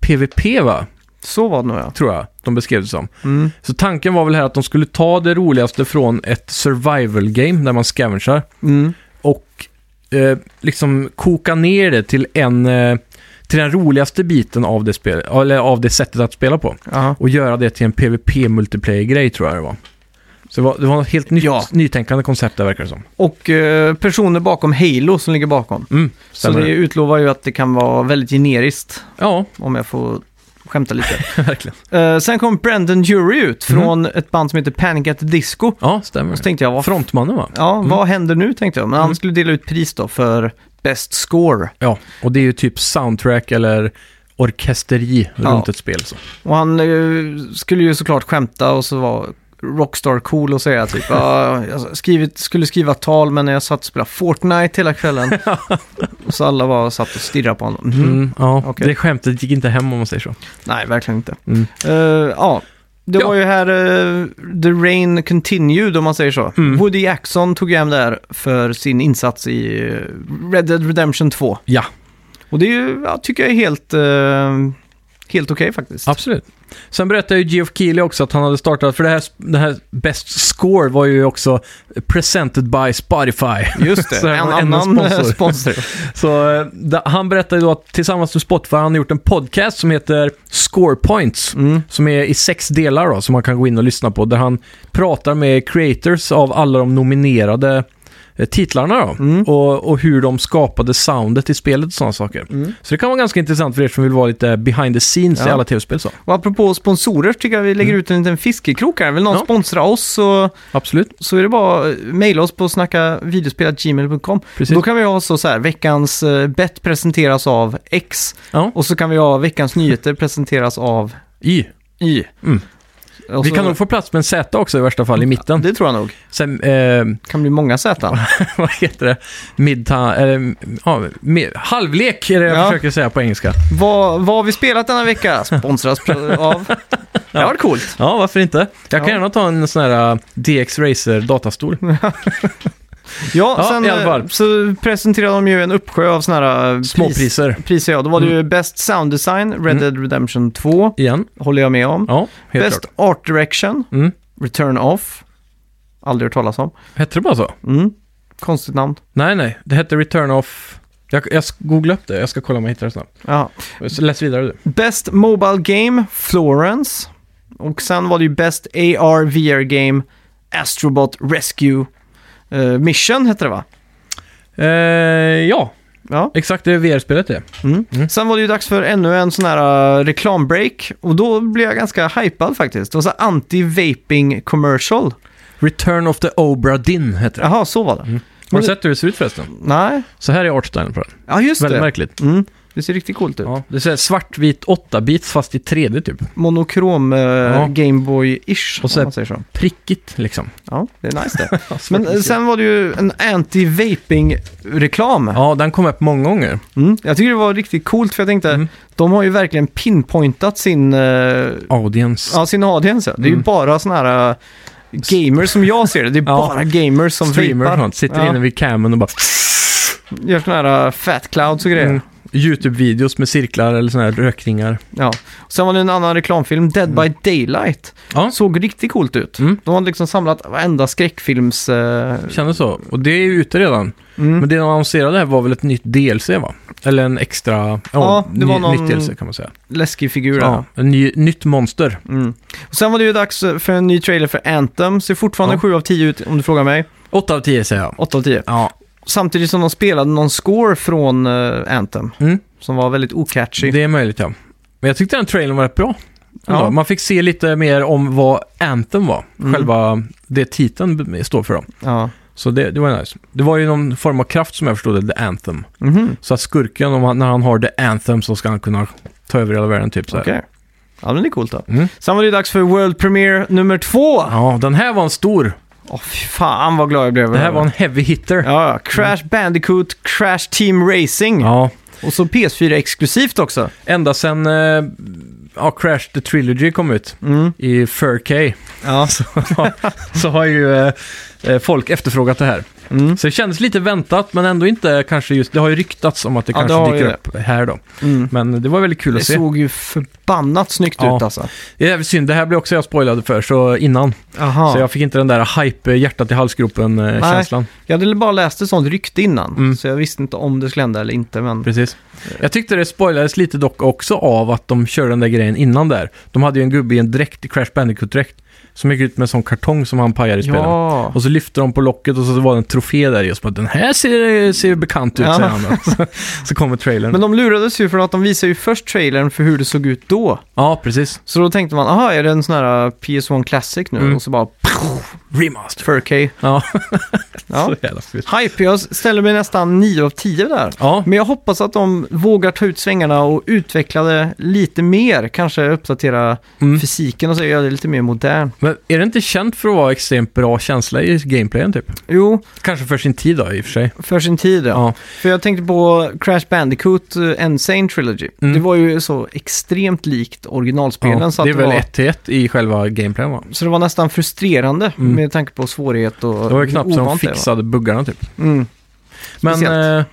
[SPEAKER 2] PVP va?
[SPEAKER 1] Så var det nog ja.
[SPEAKER 2] Tror jag de beskrev det som.
[SPEAKER 1] Mm.
[SPEAKER 2] Så tanken var väl här att de skulle ta det roligaste från ett survival game där man scavengar.
[SPEAKER 1] Mm.
[SPEAKER 2] och eh, liksom koka ner det till en eh, till den roligaste biten av det, spel, eller av det sättet att spela på.
[SPEAKER 1] Ja.
[SPEAKER 2] Och göra det till en PVP-multiplayer-grej tror jag det var. Så det var, det var ett helt nytt,
[SPEAKER 1] Ja.
[SPEAKER 2] nytänkande koncept där verkar det som.
[SPEAKER 1] Och eh, personer bakom Halo som ligger bakom.
[SPEAKER 2] Mm,
[SPEAKER 1] Så det utlovar ju att det kan vara väldigt generiskt,
[SPEAKER 2] Ja,
[SPEAKER 1] om jag får skämta lite.
[SPEAKER 2] verkligen.
[SPEAKER 1] Eh, sen kom Brandon Jury ut från ett band som heter Panic at the Disco.
[SPEAKER 2] Ja, stämmer.
[SPEAKER 1] Så tänkte jag, vad,
[SPEAKER 2] Frontmannen va?
[SPEAKER 1] ja, vad händer nu tänkte jag. Men han skulle dela ut pris då för Best Score.
[SPEAKER 2] Ja, och det är ju typ soundtrack eller orkesteri
[SPEAKER 1] Ja.
[SPEAKER 2] runt ett spel. Så.
[SPEAKER 1] Och han eh, skulle ju såklart skämta och så var Rockstar cool och säga typ, ja, jag skrivit, skulle skriva tal men jag satt och spelade Fortnite hela kvällen. och så alla bara satt och stirrade på honom. Mhm.
[SPEAKER 2] Mm, ja,
[SPEAKER 1] Okej.
[SPEAKER 2] det skämtet gick inte hem om man säger så.
[SPEAKER 1] Nej, verkligen inte.
[SPEAKER 2] Mm.
[SPEAKER 1] Eh, ja, det
[SPEAKER 2] Ja.
[SPEAKER 1] var ju här eh, the rain continued om man säger så.
[SPEAKER 2] Mm.
[SPEAKER 1] Woody Jackson tog hem det här för sin insats i eh, Red Dead Redemption 2.
[SPEAKER 2] Ja,
[SPEAKER 1] Och det är ju, ja, tycker jag är helt, eh, helt okej faktiskt.
[SPEAKER 2] Absolut. Sen berättade ju Geoff Keighley också att han hade startat, för det här, det här Best Score var ju också presented by Spotify.
[SPEAKER 1] Just
[SPEAKER 2] Så
[SPEAKER 1] det,
[SPEAKER 2] här
[SPEAKER 1] en
[SPEAKER 2] var
[SPEAKER 1] annan
[SPEAKER 2] en
[SPEAKER 1] sponsor.
[SPEAKER 2] sponsor.
[SPEAKER 1] sponsor.
[SPEAKER 2] Så eh, da- han berättade då att tillsammans med Spotify har han gjort en podcast som heter Score Points.
[SPEAKER 1] Mm.
[SPEAKER 2] Som är i sex delar då, som man kan gå in och lyssna på. Där han pratar med creators av alla de nominerade eh, titlarna då.
[SPEAKER 1] Mm.
[SPEAKER 2] Och, och hur de skapade soundet i spelet och sådana saker.
[SPEAKER 1] Mm.
[SPEAKER 2] Så det kan vara ganska intressant för er som vill vara lite behind the scenes i
[SPEAKER 1] Ja.
[SPEAKER 2] alla tv-spel. Så.
[SPEAKER 1] Och apropå sponsorer tycker jag vi lägger ut en liten fiskekrok här. Vill någon
[SPEAKER 2] Mm. Ja.
[SPEAKER 1] sponsra oss så,
[SPEAKER 2] Absolut,
[SPEAKER 1] så är det bara att mejla oss på snackavideospel.gmail.com.
[SPEAKER 2] precis.
[SPEAKER 1] Då kan vi ha så, så här, veckans eh, bet presenteras av X
[SPEAKER 2] Ja.
[SPEAKER 1] och så kan vi ha veckans nyheter presenteras av
[SPEAKER 2] Y.
[SPEAKER 1] Y.
[SPEAKER 2] Mm.
[SPEAKER 1] Och
[SPEAKER 2] Vi
[SPEAKER 1] så-
[SPEAKER 2] kan nog få plats med en Z också i värsta fall i mitten.
[SPEAKER 1] Det tror jag nog.
[SPEAKER 2] Sen, eh,
[SPEAKER 1] kan bli många Z.
[SPEAKER 2] vad heter det? Midta, eller, ja, med, halvlek är det jag
[SPEAKER 1] Ja.
[SPEAKER 2] försöker säga på engelska.
[SPEAKER 1] vad, vad har vi spelat denna vecka? Sponsras pr- av... Det har varit coolt.
[SPEAKER 2] Ja, varför inte? Jag kan
[SPEAKER 1] Ja.
[SPEAKER 2] gärna ta en sån här eh, DX Racer datastol.
[SPEAKER 1] Ja,
[SPEAKER 2] Ja,
[SPEAKER 1] sen
[SPEAKER 2] i alla
[SPEAKER 1] eh,
[SPEAKER 2] fall.
[SPEAKER 1] så presenterade de ju en uppsjö av sådana här eh, pris-
[SPEAKER 2] Småpriser.
[SPEAKER 1] priser. Ja. Då var det ju Best Sound Design, Red
[SPEAKER 2] Mm.
[SPEAKER 1] Dead Redemption 2,
[SPEAKER 2] Igen.
[SPEAKER 1] håller jag med om.
[SPEAKER 2] Ja, helt
[SPEAKER 1] Best
[SPEAKER 2] klart.
[SPEAKER 1] Art Direction,
[SPEAKER 2] Mm.
[SPEAKER 1] Return Off, aldrig hört talas om.
[SPEAKER 2] Hette det bara så?
[SPEAKER 1] Mm. Konstigt namn.
[SPEAKER 2] Nej, nej. Det hette Return of... Jag, jag googlade upp det. Jag ska kolla om jag hittar det snabbt.
[SPEAKER 1] Ja.
[SPEAKER 2] Så Läs vidare du.
[SPEAKER 1] Best Mobile Game, Florence. Och sen var det ju Best AR VR Game, Astrobot Rescue eh, Mission hette det va?
[SPEAKER 2] Eh, ja,
[SPEAKER 1] Ja.
[SPEAKER 2] exakt. Det är VR-spelet det.
[SPEAKER 1] Mm.
[SPEAKER 2] Mm.
[SPEAKER 1] Sen var det ju dags för ännu en sån här eh, reklambreak och då blev jag ganska hypad faktiskt. Det var så här anti-vaping commercial.
[SPEAKER 2] Return of the Obra Dinn heter det.
[SPEAKER 1] Jaha, så var det.
[SPEAKER 2] Mm. Har
[SPEAKER 1] men
[SPEAKER 2] du
[SPEAKER 1] det-
[SPEAKER 2] sett hur det ser ut förresten?
[SPEAKER 1] Nej,
[SPEAKER 2] Så här är artstylen på den.
[SPEAKER 1] ja just
[SPEAKER 2] Väldigt
[SPEAKER 1] det.
[SPEAKER 2] märkligt.
[SPEAKER 1] Mm. Det ser riktigt coolt ut.
[SPEAKER 2] Ja, det är så här svartvit 8-bits fast i 3D typ.
[SPEAKER 1] Monokrom eh,
[SPEAKER 2] Ja.
[SPEAKER 1] Gameboy-ish
[SPEAKER 2] Och så
[SPEAKER 1] om
[SPEAKER 2] här-
[SPEAKER 1] man säger så.
[SPEAKER 2] Prickigt liksom.
[SPEAKER 1] Ja, det är nice det.
[SPEAKER 2] Ja, svart
[SPEAKER 1] Men eh,
[SPEAKER 2] visir.
[SPEAKER 1] sen var det ju en anti-vaping-reklam.
[SPEAKER 2] Ja, den kom upp många gånger.
[SPEAKER 1] Mm. Jag tycker det var riktigt coolt för jag tänkte,
[SPEAKER 2] Mm.
[SPEAKER 1] de har ju verkligen pinpointat sin, eh,
[SPEAKER 2] Audience.
[SPEAKER 1] ja, sin audience. Ja. Det är ju
[SPEAKER 2] Mm.
[SPEAKER 1] bara sådana här eh, gamers som jag ser det. Det är
[SPEAKER 2] Ja.
[SPEAKER 1] bara gamers som
[SPEAKER 2] Streamer och
[SPEAKER 1] vapar.
[SPEAKER 2] sånt. Sitter
[SPEAKER 1] Ja.
[SPEAKER 2] inne vid camen och bara...
[SPEAKER 1] Gör sådana här eh, fat clouds och grejer.
[SPEAKER 2] Mm. YouTube-videos med cirklar eller såna här rökringar.
[SPEAKER 1] Ja. Sen var det en annan reklamfilm, Dead by Daylight.
[SPEAKER 2] Ja.
[SPEAKER 1] Såg riktigt coolt ut.
[SPEAKER 2] Mm.
[SPEAKER 1] De har liksom samlat varenda skräckfilms... Eh,
[SPEAKER 2] Kändes så. Och det är ju ute redan.
[SPEAKER 1] mm.
[SPEAKER 2] Men det de annonserade här var väl ett nytt DLC va? Eller en extra... Ja,
[SPEAKER 1] Ja, det
[SPEAKER 2] ny,
[SPEAKER 1] var någon-
[SPEAKER 2] nytt DLC kan man säga.
[SPEAKER 1] Läskig figur. Ja.
[SPEAKER 2] Ja, en ny, nytt monster.
[SPEAKER 1] Mm. Och sen var det ju dags för en ny trailer för Anthem. Ser fortfarande
[SPEAKER 2] Ja.
[SPEAKER 1] 7 av 10 ut om du frågar mig.
[SPEAKER 2] 8 av 10 säger jag.
[SPEAKER 1] 8 av 10.
[SPEAKER 2] Ja,
[SPEAKER 1] Samtidigt som de spelade någon score från eh, Anthem.
[SPEAKER 2] Mm.
[SPEAKER 1] Som var väldigt ocatchy.
[SPEAKER 2] det är möjligt ja. Men jag tyckte den trailern var rätt bra.
[SPEAKER 1] Ja.
[SPEAKER 2] Ja. Man fick se lite mer om vad Anthem var.
[SPEAKER 1] Mm.
[SPEAKER 2] Själva det titeln b- står för då.
[SPEAKER 1] Ja.
[SPEAKER 2] Så det, det var nice. Det var ju någon form av kraft som jag förstod det, The Anthem.
[SPEAKER 1] Mhm.
[SPEAKER 2] Så att skurken, om han, när han har The Anthem så ska han kunna ta över hela världen typ så här.
[SPEAKER 1] Okej. Ja, men det är coolt då.
[SPEAKER 2] Mm.
[SPEAKER 1] Sen var det ju dags för World Premiere nummer två. Åh,
[SPEAKER 2] Ja, den här var en stor.
[SPEAKER 1] fy fan vad glad jag blev.
[SPEAKER 2] Det här var en heavy hitter.
[SPEAKER 1] Ja, ja. Crash Bandicoot, Crash Team Racing.
[SPEAKER 2] ja.
[SPEAKER 1] Och så PS4-exklusivt också.
[SPEAKER 2] Ända sen eh, ja, Crash the Trilogy kom ut
[SPEAKER 1] Mm.
[SPEAKER 2] i 4K
[SPEAKER 1] Ja.
[SPEAKER 2] så har ju eh, eh, folk efterfrågat det här.
[SPEAKER 1] Mm.
[SPEAKER 2] Så det kändes lite väntat men ändå inte kanske just, det har ju ryktats om att det
[SPEAKER 1] Ja,
[SPEAKER 2] kanske
[SPEAKER 1] det har
[SPEAKER 2] dyker
[SPEAKER 1] ju
[SPEAKER 2] upp här då.
[SPEAKER 1] Mm.
[SPEAKER 2] Men det var väldigt kul
[SPEAKER 1] Det
[SPEAKER 2] att se.
[SPEAKER 1] såg ju förbannat snyggt
[SPEAKER 2] Ja.
[SPEAKER 1] ut alltså.
[SPEAKER 2] Det är jävligt synd, det här blev också jag spoilade för så innan.
[SPEAKER 1] Aha.
[SPEAKER 2] Så jag fick inte den där hype, eh, hjärtat i eh,
[SPEAKER 1] Nej.
[SPEAKER 2] halsgropen-känslan.
[SPEAKER 1] Jag hade bara läst ett sånt rykte innan,
[SPEAKER 2] Mm.
[SPEAKER 1] så jag visste inte om det skulle hända eller inte. Men...
[SPEAKER 2] Precis. Jag tyckte det spoilades lite dock också av att de körde den där grejen innan där. De hade ju en gubbe i en dräkt, i Crash Bandicoot-dräkt, som gick ut med en sån kartong som han pajade i spelen.
[SPEAKER 1] Ja,
[SPEAKER 2] Och så lyfte de på locket och så var det en trofé där just på den här ser, eh, ser ju bekant ut,
[SPEAKER 1] Ja.
[SPEAKER 2] säger han. då. Så, så kommer trailern.
[SPEAKER 1] men de lurades ju för att de visade ju först trailern för hur det såg ut då.
[SPEAKER 2] Ja, precis.
[SPEAKER 1] Så då tänkte man, aha, är det en sån här uh, PS1 Classic nu?
[SPEAKER 2] Mm.
[SPEAKER 1] Och så bara
[SPEAKER 2] Remaster.
[SPEAKER 1] 4K.
[SPEAKER 2] Ja,
[SPEAKER 1] Ja.
[SPEAKER 2] så jävla fint.
[SPEAKER 1] Hype, jag ställer mig nästan 9 av 10 där.
[SPEAKER 2] Ja,
[SPEAKER 1] Men jag hoppas att de vågar ta ut svängarna och utveckla det lite mer. Kanske uppdatera
[SPEAKER 2] mm.
[SPEAKER 1] fysiken och så göra det lite mer modern.
[SPEAKER 2] men är det inte känt för att vara extremt bra känsla i gameplayen typ?
[SPEAKER 1] Jo,
[SPEAKER 2] Kanske för sin tid då i och för sig.
[SPEAKER 1] för sin tid ja.
[SPEAKER 2] Ja,
[SPEAKER 1] För jag tänkte på Crash Bandicoot eh, Insane Trilogy.
[SPEAKER 2] Mm.
[SPEAKER 1] Det var ju så extremt likt originalspelen.
[SPEAKER 2] ja.
[SPEAKER 1] så, att
[SPEAKER 2] det är väl
[SPEAKER 1] var,
[SPEAKER 2] ett till ett i själva gameplayen va?
[SPEAKER 1] så det var nästan frustrerande
[SPEAKER 2] Mm.
[SPEAKER 1] med tanke på svårighet och
[SPEAKER 2] Det var ju knappt
[SPEAKER 1] hur
[SPEAKER 2] så de
[SPEAKER 1] ovant det var.
[SPEAKER 2] fixade buggarna typ.
[SPEAKER 1] Mm.
[SPEAKER 2] Men
[SPEAKER 1] Speciellt.
[SPEAKER 2] eh,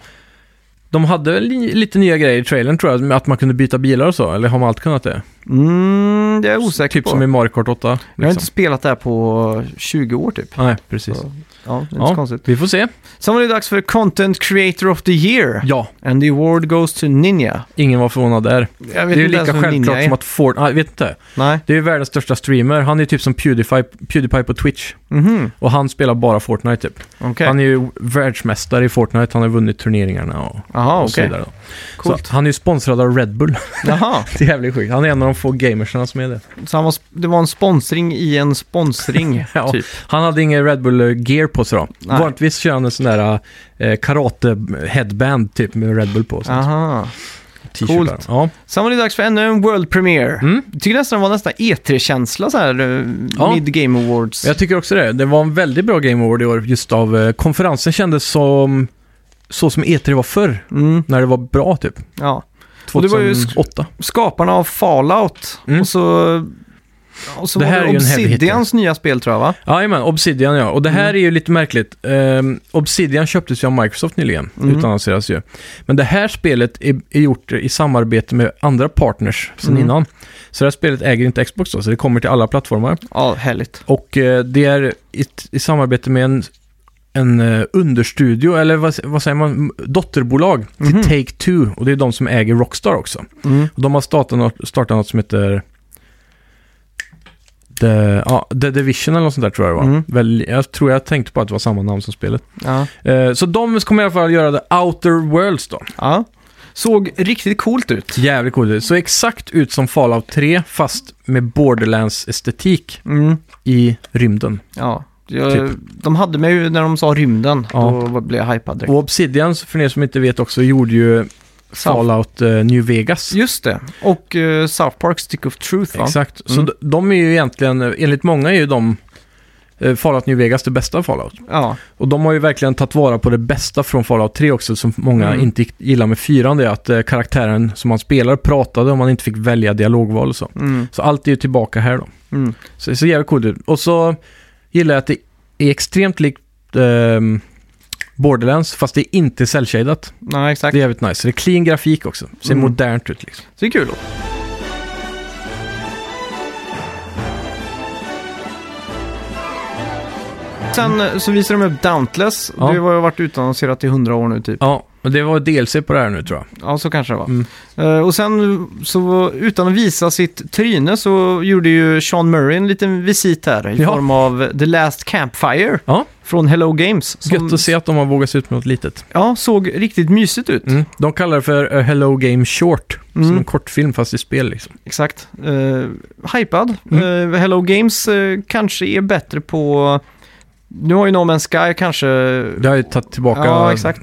[SPEAKER 2] de hade väl li- lite nya grejer i trailern tror jag, med att man kunde byta bilar och så, eller har man alltid kunnat det?
[SPEAKER 1] Mm, det är jag osäker
[SPEAKER 2] typ
[SPEAKER 1] på.
[SPEAKER 2] som i Mario Kart 8.
[SPEAKER 1] Jag har
[SPEAKER 2] liksom.
[SPEAKER 1] inte spelat det här på 20 år typ.
[SPEAKER 2] Nej, precis.
[SPEAKER 1] Så. Ja, det är inte så
[SPEAKER 2] Ja,
[SPEAKER 1] konstigt.
[SPEAKER 2] vi får se.
[SPEAKER 1] Sen var det dags för Content Creator of the Year.
[SPEAKER 2] Ja,
[SPEAKER 1] And the award goes to Ninja.
[SPEAKER 2] ingen var förvånad där.
[SPEAKER 1] Jag
[SPEAKER 2] Det
[SPEAKER 1] vet
[SPEAKER 2] är ju
[SPEAKER 1] inte
[SPEAKER 2] lika
[SPEAKER 1] ens vem
[SPEAKER 2] självklart
[SPEAKER 1] Ninja är.
[SPEAKER 2] som att Fortnite... Ah, jag vet inte.
[SPEAKER 1] Nej.
[SPEAKER 2] Det är ju världens största streamer. Han är typ som Pewdiepie, Pewdiepie på Twitch.
[SPEAKER 1] Mhm,
[SPEAKER 2] Och han spelar bara Fortnite typ.
[SPEAKER 1] okej.
[SPEAKER 2] Han är ju världsmästare i Fortnite. Han har vunnit turneringarna och,
[SPEAKER 1] Jaha,
[SPEAKER 2] och så
[SPEAKER 1] okej.
[SPEAKER 2] vidare. då.
[SPEAKER 1] Coolt.
[SPEAKER 2] Så han är ju sponsrad av Red Bull.
[SPEAKER 1] Jaha,
[SPEAKER 2] det är jävligt sjukt. Han är en av de få gamerserna som är det.
[SPEAKER 1] så han var, sp- det var en sponsring i en sponsring,
[SPEAKER 2] Ja.
[SPEAKER 1] typ.
[SPEAKER 2] Han hade ingen Red Bull-gear på sig då.
[SPEAKER 1] Nej.
[SPEAKER 2] Vanligtvis kör han en sån där eh, karate-headband typ med Red Bull på. Sån
[SPEAKER 1] Aha.
[SPEAKER 2] t-shirt
[SPEAKER 1] coolt.
[SPEAKER 2] där. Ja.
[SPEAKER 1] Sen var det dags för ännu en World Premiere.
[SPEAKER 2] Mm.
[SPEAKER 1] Jag tycker nästan det var nästan E3-känsla så här, eh,
[SPEAKER 2] Ja.
[SPEAKER 1] Mid Game Awards.
[SPEAKER 2] Jag tycker också det. Det var en väldigt bra Game Award i år just av eh, konferensen kändes som så som E3 var förr.
[SPEAKER 1] Mm,
[SPEAKER 2] När det var bra typ.
[SPEAKER 1] ja. Och det var ju sk-
[SPEAKER 2] 2008.
[SPEAKER 1] Skaparna av Fallout
[SPEAKER 2] Mm.
[SPEAKER 1] och så... Och så
[SPEAKER 2] Det
[SPEAKER 1] det
[SPEAKER 2] här
[SPEAKER 1] här
[SPEAKER 2] är
[SPEAKER 1] var
[SPEAKER 2] ju
[SPEAKER 1] det
[SPEAKER 2] en heavy hitter.
[SPEAKER 1] Obsidians nya spel tror jag va?
[SPEAKER 2] Jajamän, Obsidian ja. Och det
[SPEAKER 1] Mm.
[SPEAKER 2] här är ju lite märkligt. Ehm, Obsidian köptes ju av Microsoft nyligen,
[SPEAKER 1] Mm.
[SPEAKER 2] utannonseras ju. Men det här spelet är, är gjort i samarbete med andra partners sedan
[SPEAKER 1] Mm.
[SPEAKER 2] innan. Så det här spelet äger inte Xbox då, så det kommer till alla plattformar.
[SPEAKER 1] Ja, härligt.
[SPEAKER 2] Och eh, det är i, i samarbete med en, en eh, understudio, eller vad, vad säger man, M- dotterbolag till
[SPEAKER 1] Mhm.
[SPEAKER 2] Take-Two. Och det är de som äger Rockstar också.
[SPEAKER 1] Mm.
[SPEAKER 2] Och de har startat något, startat något som heter The, ja, The Division eller något sånt där tror jag det var.
[SPEAKER 1] Mm.
[SPEAKER 2] Väl, jag tror jag tänkte på att det var samma namn som spelet.
[SPEAKER 1] Ja.
[SPEAKER 2] Eh, så de kommer i alla fall göra The Outer Worlds då.
[SPEAKER 1] ja. Såg riktigt coolt ut.
[SPEAKER 2] Jävligt coolt. Det såg exakt ut som Fallout 3 fast med Borderlands-estetik
[SPEAKER 1] Mm.
[SPEAKER 2] i rymden.
[SPEAKER 1] Ja. Jag, De hade mig ju när de sa rymden.
[SPEAKER 2] Typ. Ja.
[SPEAKER 1] Då blev jag hypad direkt.
[SPEAKER 2] Och Obsidian, för er som inte vet också, gjorde ju
[SPEAKER 1] South-
[SPEAKER 2] Fallout eh, New Vegas.
[SPEAKER 1] Just det. Och eh, South Park Stick of Truth va?
[SPEAKER 2] Exakt. Så
[SPEAKER 1] Mm.
[SPEAKER 2] d- de är ju egentligen, eh, enligt många är ju de eh, Fallout New Vegas det bästa Fallout.
[SPEAKER 1] Ja.
[SPEAKER 2] Och de har ju verkligen tagit vara på det bästa från Fallout 3 också, som många
[SPEAKER 1] Mm.
[SPEAKER 2] inte gillar med 4, det är att eh, karaktären som man spelar pratade och man inte fick välja dialogval och så.
[SPEAKER 1] Mm.
[SPEAKER 2] Så allt är ju tillbaka här då.
[SPEAKER 1] Mm.
[SPEAKER 2] Så det ser jävligt coolt ut. Och så gillar jag att det är extremt likt ehm, Borderlands, fast det är inte cellshadat.
[SPEAKER 1] Nej, exakt.
[SPEAKER 2] Det är jävligt nice. Det är clean grafik också. Ser
[SPEAKER 1] Mm.
[SPEAKER 2] modernt ut liksom.
[SPEAKER 1] Det är kul. då. Sen eh, så visar de upp Dauntless.
[SPEAKER 2] Ja.
[SPEAKER 1] Det har ju varit utannonserat i hundra år nu typ.
[SPEAKER 2] Ja, och det var DLC på det här nu tror jag.
[SPEAKER 1] Ja, så kanske det var.
[SPEAKER 2] Mm.
[SPEAKER 1] Eh, och sen så utan att visa sitt tryne så gjorde ju Sean Murray en liten visit här i
[SPEAKER 2] Ja.
[SPEAKER 1] form av The Last Campfire
[SPEAKER 2] Ja.
[SPEAKER 1] från Hello Games. som-
[SPEAKER 2] Gött att se att de har vågat sig ut med något litet.
[SPEAKER 1] Ja, såg riktigt mysigt ut.
[SPEAKER 2] Mm. De kallar det för A Hello Game Short. Som
[SPEAKER 1] Mm.
[SPEAKER 2] en kortfilm fast i spel liksom.
[SPEAKER 1] Exakt. Uh, hypad.
[SPEAKER 2] Mm.
[SPEAKER 1] Eh, Hello Games eh, kanske är bättre på... Nu har ju No Man's Sky kanske...
[SPEAKER 2] Det har ju tagit tillbaka,
[SPEAKER 1] Ja, exakt.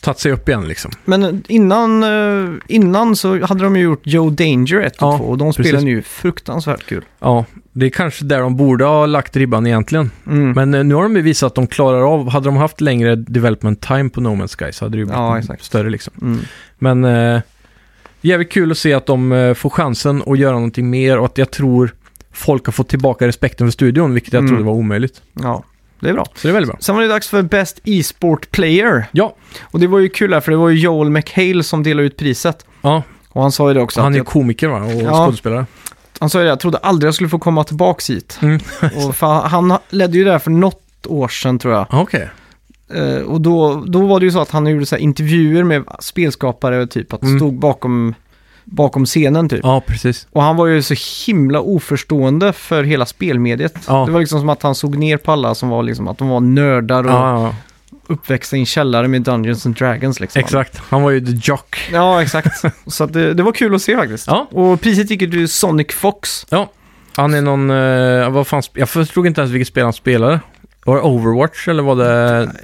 [SPEAKER 2] tagit sig upp igen liksom.
[SPEAKER 1] Men innan, eh, innan så hade de ju gjort Joe Danger 1 och
[SPEAKER 2] Ja,
[SPEAKER 1] 2 och de
[SPEAKER 2] precis.
[SPEAKER 1] spelen är ju fruktansvärt kul.
[SPEAKER 2] Ja, det är kanske där de borde ha lagt ribban egentligen.
[SPEAKER 1] Mm.
[SPEAKER 2] Men eh, nu har de ju visat att de klarar av, hade de haft längre development time på No Man's Sky så hade det ju blivit
[SPEAKER 1] Ja, exakt.
[SPEAKER 2] större liksom.
[SPEAKER 1] Mm.
[SPEAKER 2] Men eh, jävligt kul att se att de eh, får chansen att göra någonting mer och att jag tror folk har fått tillbaka respekten för studion, vilket jag
[SPEAKER 1] Mm.
[SPEAKER 2] trodde var omöjligt.
[SPEAKER 1] Ja, det är bra.
[SPEAKER 2] Så det är väldigt bra.
[SPEAKER 1] Sen var det dags för Best E-sport Player.
[SPEAKER 2] Ja.
[SPEAKER 1] Och det var ju kul här för det var ju Joel McHale som delade ut priset.
[SPEAKER 2] Ja,
[SPEAKER 1] Och han sa ju det också.
[SPEAKER 2] han
[SPEAKER 1] att
[SPEAKER 2] är
[SPEAKER 1] jag,
[SPEAKER 2] komiker va? Och
[SPEAKER 1] Ja.
[SPEAKER 2] skådespelare.
[SPEAKER 1] han sa ju det, jag trodde aldrig jag skulle få komma tillbaks hit.
[SPEAKER 2] Mm.
[SPEAKER 1] och för han han ledde ju det här för något år sedan tror jag.
[SPEAKER 2] Ja, Ah, Okej.
[SPEAKER 1] Eh, och då, då var det ju så att han gjorde så här intervjuer med spelskapare, typ att
[SPEAKER 2] Mm.
[SPEAKER 1] stod bakom, bakom scenen typ.
[SPEAKER 2] Ja, precis.
[SPEAKER 1] Och han var ju så himla oförstående för hela spelmediet.
[SPEAKER 2] Ja.
[SPEAKER 1] Det var liksom som att han såg ner på alla som var liksom, att de var nördar och
[SPEAKER 2] Ja, ja,
[SPEAKER 1] uppväxta i en källare med Dungeons and Dragons liksom.
[SPEAKER 2] exakt. Han var ju the jock.
[SPEAKER 1] Ja, exakt. Så att det, det var kul att se faktiskt.
[SPEAKER 2] Ja.
[SPEAKER 1] Och priset gick ju till Sonic Fox.
[SPEAKER 2] Han är någon, eh, vad fan, sp- jag förstod inte ens vilket spel han spelade. Var det Overwatch eller var det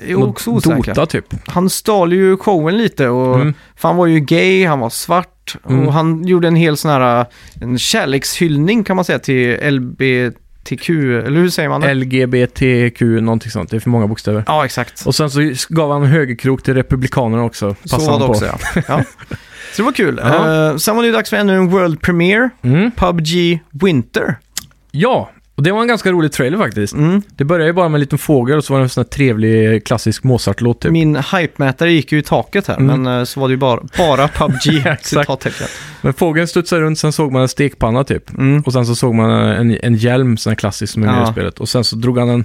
[SPEAKER 1] Jag är
[SPEAKER 2] något
[SPEAKER 1] också osäker.
[SPEAKER 2] Dota typ?
[SPEAKER 1] Han stal ju showen lite och
[SPEAKER 2] Mm.
[SPEAKER 1] för han var ju gay, han var svart
[SPEAKER 2] Mm.
[SPEAKER 1] och han gjorde en hel sån här en kärlekshyllning kan man säga till LBTQ, eller hur säger man det?
[SPEAKER 2] LGBTQ, någonting sånt. Det är för många bokstäver.
[SPEAKER 1] ja, exakt.
[SPEAKER 2] Och sen så gav han högerkrok till Republikanerna också.
[SPEAKER 1] Så var
[SPEAKER 2] passade han
[SPEAKER 1] det
[SPEAKER 2] på.
[SPEAKER 1] också ja. ja. Så det var kul.
[SPEAKER 2] Ja.
[SPEAKER 1] Eh, sen var det ju dags för ännu en World Premiere,
[SPEAKER 2] Mm.
[SPEAKER 1] PubG Winter.
[SPEAKER 2] Ja, och det var en ganska rolig trailer faktiskt.
[SPEAKER 1] Mm.
[SPEAKER 2] Det började ju bara med en liten fågel och så var det en sån här trevlig klassisk Mozart-låt typ.
[SPEAKER 1] Min hype-mätare gick ju i taket här,
[SPEAKER 2] Mm.
[SPEAKER 1] men eh, så var det ju bara, bara PubG,
[SPEAKER 2] Exakt.
[SPEAKER 1] citattecken.
[SPEAKER 2] Men fågeln studsade runt, sen såg man en stekpanna typ.
[SPEAKER 1] Mm.
[SPEAKER 2] Och sen så såg man en, en hjälm, sån här klassisk som är med
[SPEAKER 1] Ja.
[SPEAKER 2] i spelet. Och sen så drog han en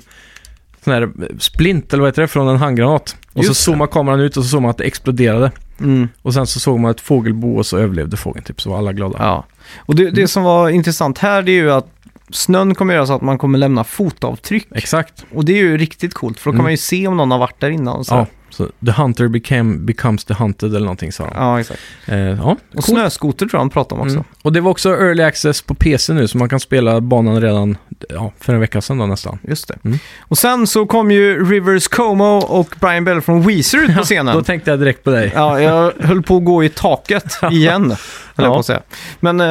[SPEAKER 2] sån här splint, eller vad heter det, från en handgranat. Och så
[SPEAKER 1] Just det.
[SPEAKER 2] zoomade kameran ut och så såg man att det exploderade.
[SPEAKER 1] Mm.
[SPEAKER 2] Och sen så såg man ett fågelbo och så överlevde fågeln typ, så var alla glada.
[SPEAKER 1] Ja. Och det,
[SPEAKER 2] Mm.
[SPEAKER 1] det som var intressant här det är ju att snön kommer göra så att man kommer lämna fotavtryck.
[SPEAKER 2] Exakt.
[SPEAKER 1] Och det är ju riktigt coolt för då kan
[SPEAKER 2] Mm.
[SPEAKER 1] man ju se om någon har varit där innan. och Så.
[SPEAKER 2] Ja, så the hunter became, becomes the hunted eller någonting sa de.
[SPEAKER 1] ja, exakt.
[SPEAKER 2] Eh, ja,
[SPEAKER 1] Och
[SPEAKER 2] coolt.
[SPEAKER 1] snöskoter tror jag han pratade om också.
[SPEAKER 2] Mm. Och det var också early access på PC nu, så man kan spela banan redan ja, för en vecka sedan då nästan.
[SPEAKER 1] Just det.
[SPEAKER 2] Mm.
[SPEAKER 1] Och sen så kom ju Rivers Como och Brian Bell från Weezer ut på
[SPEAKER 2] Då
[SPEAKER 1] scenen.
[SPEAKER 2] tänkte jag direkt på dig.
[SPEAKER 1] Ja, jag höll på att gå i taket igen, höll jag på att säga. Men eh,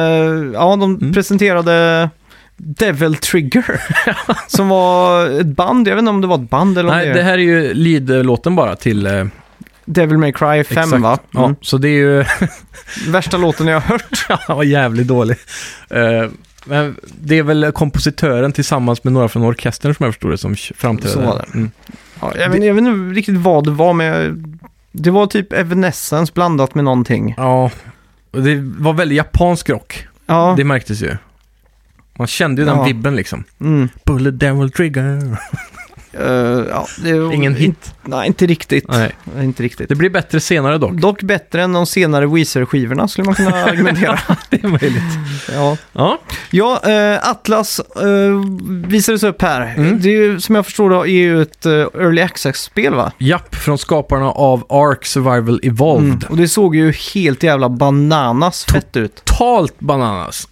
[SPEAKER 1] ja, de
[SPEAKER 2] Mm.
[SPEAKER 1] presenterade Devil Trigger, som var ett band. Jag vet inte om det var ett band eller om
[SPEAKER 2] Nej,
[SPEAKER 1] det
[SPEAKER 2] det
[SPEAKER 1] är
[SPEAKER 2] här är ju lead-låten bara till... Eh,
[SPEAKER 1] Devil May Cry 5,
[SPEAKER 2] exakt.
[SPEAKER 1] va?
[SPEAKER 2] Ja,
[SPEAKER 1] Mm.
[SPEAKER 2] så det är ju...
[SPEAKER 1] Värsta låten jag har hört.
[SPEAKER 2] Han var jävligt dålig. Eh, men det är väl kompositören tillsammans med några från orkestern som jag förstod det som framträdde.
[SPEAKER 1] Så var det.
[SPEAKER 2] Mm.
[SPEAKER 1] Ja, jag, vet, jag vet inte riktigt vad det var, men jag- det var typ Evanescence blandat med någonting.
[SPEAKER 2] Ja, och det var väldigt japansk rock.
[SPEAKER 1] Ja,
[SPEAKER 2] Det märktes ju. Man kände ju den
[SPEAKER 1] Ja.
[SPEAKER 2] vibben liksom.
[SPEAKER 1] mm.
[SPEAKER 2] Bullet Devil Trigger.
[SPEAKER 1] Eh, ja det,
[SPEAKER 2] Ingen hit.
[SPEAKER 1] Inte, nej, inte riktigt.
[SPEAKER 2] Nej,
[SPEAKER 1] Inte riktigt.
[SPEAKER 2] det blir bättre senare dock.
[SPEAKER 1] Dock bättre än de senare Weezer-skivorna skulle man kunna argumentera.
[SPEAKER 2] Det är möjligt.
[SPEAKER 1] ja, ja
[SPEAKER 2] Ja,
[SPEAKER 1] eh, Atlas eh, visades upp här.
[SPEAKER 2] Mm.
[SPEAKER 1] Det är ju, som jag förstår då, är ju ett eh, Early Access-spel va?
[SPEAKER 2] japp, från skaparna av Ark Survival Evolved.
[SPEAKER 1] Mm. Och det såg ju helt jävla bananas fett ut.
[SPEAKER 2] Totalt bananas.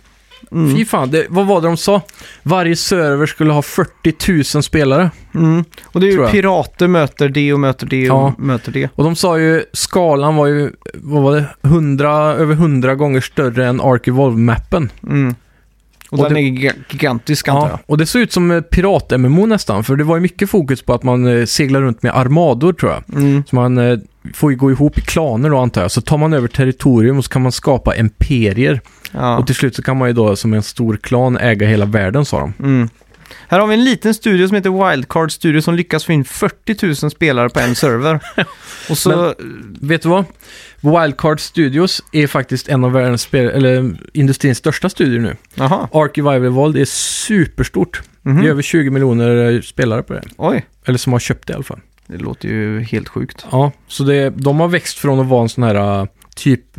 [SPEAKER 1] Mm.
[SPEAKER 2] Fy fan, det, vad var det de sa? Varje server skulle ha 40 000 spelare.
[SPEAKER 1] Mm. Och det är
[SPEAKER 2] Tror
[SPEAKER 1] ju
[SPEAKER 2] jag.
[SPEAKER 1] pirater möter det och möter det och
[SPEAKER 2] Ja.
[SPEAKER 1] möter det.
[SPEAKER 2] Och de sa ju, skalan var ju, vad var det, 100, över 100 gånger större än Ark Evolve-mappen.
[SPEAKER 1] Mm. Och,
[SPEAKER 2] Och
[SPEAKER 1] den
[SPEAKER 2] det-
[SPEAKER 1] är giga- gigantisk antar
[SPEAKER 2] Ja,
[SPEAKER 1] jag.
[SPEAKER 2] och det såg ut som eh, pirat-MMO nästan, för det var ju mycket fokus på att man eh, seglar runt med armador tror jag.
[SPEAKER 1] Mm.
[SPEAKER 2] Så man eh, får ju gå ihop i klaner då antar jag, så tar man över territorium och så kan man skapa imperier.
[SPEAKER 1] Ja.
[SPEAKER 2] Och till slut så kan man ju då som en stor klan äga hela världen sa de.
[SPEAKER 1] Mm. Här har vi en liten studio som heter Wildcard Studio som lyckas få in 40 000 spelare på en server. Och så,
[SPEAKER 2] Vet du vad? Wildcard Studios är faktiskt en av världens spel- eller eh, industrins största studier nu.
[SPEAKER 1] jaha,
[SPEAKER 2] Archivival Evolved är superstort. Det är
[SPEAKER 1] Mhm.
[SPEAKER 2] över 20 miljoner eh, spelare på det.
[SPEAKER 1] oj,
[SPEAKER 2] Eller som har köpt det i alla fall.
[SPEAKER 1] det låter ju helt sjukt.
[SPEAKER 2] Ja, så det, de har växt från att vara en sån här eh, typ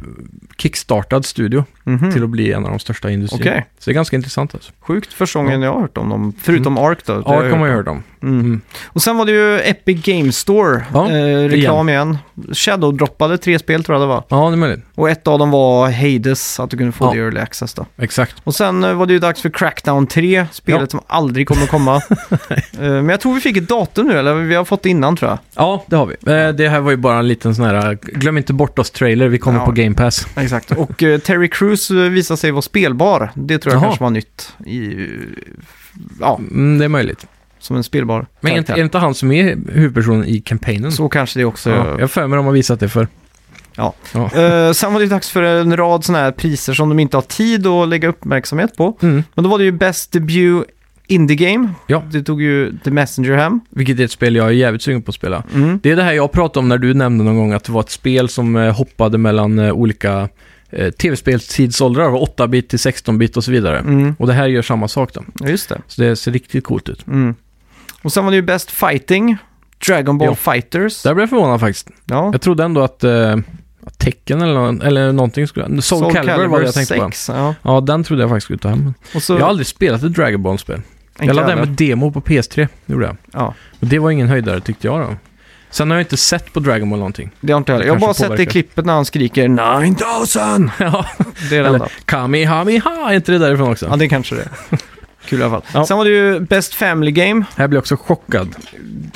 [SPEAKER 2] kickstartad studio
[SPEAKER 1] Mhm.
[SPEAKER 2] till att bli en av de största i industrin.
[SPEAKER 1] Okej.
[SPEAKER 2] Så det är ganska intressant alltså.
[SPEAKER 1] Sjukt första gången jag har hört om dem, förutom Ark då. det har
[SPEAKER 2] Mm. Ja,
[SPEAKER 1] jag
[SPEAKER 2] det kan man ju
[SPEAKER 1] hört.
[SPEAKER 2] höra dem.
[SPEAKER 1] Mm.
[SPEAKER 2] Mm.
[SPEAKER 1] Och sen var det ju Epic Games Store,
[SPEAKER 2] Ja,
[SPEAKER 1] eh, reklam igen. Shadow droppade tre spel tror jag det var.
[SPEAKER 2] Ja, det är möjligt.
[SPEAKER 1] Och ett av dem var Hades, att du kunde få
[SPEAKER 2] Ja.
[SPEAKER 1] det i Early Access då.
[SPEAKER 2] Exakt.
[SPEAKER 1] Och sen eh, var det ju dags för Crackdown 3, spelet
[SPEAKER 2] Ja.
[SPEAKER 1] som aldrig kommer att komma. Eh, Men jag tror vi fick ett datum nu, eller vi har fått det innan tror jag.
[SPEAKER 2] Ja, det har vi. Eh, Det här var ju bara en liten sån här, eh, glöm inte bort oss-trailer, vi kommer
[SPEAKER 1] Ja.
[SPEAKER 2] på Game Pass.
[SPEAKER 1] Exakt. Och eh, Terry Crews eh, visade sig vara spelbar. Det tror jag
[SPEAKER 2] Jaha.
[SPEAKER 1] kanske var nytt. I, eh, ja,
[SPEAKER 2] Mm, det är möjligt.
[SPEAKER 1] som en spelbar
[SPEAKER 2] Men är inte, är
[SPEAKER 1] karaktär.
[SPEAKER 2] inte han som är huvudpersonen i kampanjen?
[SPEAKER 1] Så kanske det också.
[SPEAKER 2] Ja, jag har för mig de har visat det för.
[SPEAKER 1] Eh, sen var det ju dags för en rad sådana här priser som de inte har tid att lägga uppmärksamhet på.
[SPEAKER 2] Mm.
[SPEAKER 1] Men då var det ju Best Debut Indie Game.
[SPEAKER 2] Ja.
[SPEAKER 1] Det tog ju The Messenger hem.
[SPEAKER 2] Vilket är ett spel jag är jävligt sugen på att spela.
[SPEAKER 1] Mm.
[SPEAKER 2] Det är det här jag pratade om när du nämnde någon gång att det var ett spel som eh, hoppade mellan eh, olika eh, tv-spelstidsåldrar, Det var 8-bit till 16-bit och så vidare.
[SPEAKER 1] Mm.
[SPEAKER 2] Och det här gör samma sak då.
[SPEAKER 1] Ja, just det.
[SPEAKER 2] Så det ser riktigt coolt ut.
[SPEAKER 1] Mm. Och sen var det ju Best Fighting, Dragon Ball
[SPEAKER 2] Ja.
[SPEAKER 1] Fighters.
[SPEAKER 2] Där blev jag förvånad faktiskt.
[SPEAKER 1] Ja.
[SPEAKER 2] Jag trodde ändå att eh, att tecken eller, någon- eller någonting skulle... Soul, Soul Calibur, var det jag tänkte på.
[SPEAKER 1] 6, ja.
[SPEAKER 2] Ja, den trodde jag faktiskt skulle ta hem.
[SPEAKER 1] Och så,
[SPEAKER 2] Jag har aldrig spelat ett Dragon Ball-spel.
[SPEAKER 1] Mm. Inte
[SPEAKER 2] Jag laddade hem
[SPEAKER 1] heller.
[SPEAKER 2] ett demo på PS3, gjorde jag.
[SPEAKER 1] Ja,
[SPEAKER 2] Och det var ingen höjdare tyckte jag då. Sen har jag inte sett på Dragon Ball någonting.
[SPEAKER 1] det har inte jag heller. Jag har
[SPEAKER 2] Kanske
[SPEAKER 1] bara sett det
[SPEAKER 2] påverkar.
[SPEAKER 1] klippet när han skriker nej.
[SPEAKER 2] 9000! ja,
[SPEAKER 1] Det är det enda.
[SPEAKER 2] eller Kamihamiha, är inte det därifrån också?
[SPEAKER 1] Ja, det kanske det är. Kul i alla fall.
[SPEAKER 2] Ja.
[SPEAKER 1] Sen var det ju Best Family Game.
[SPEAKER 2] Här blir jag också chockad.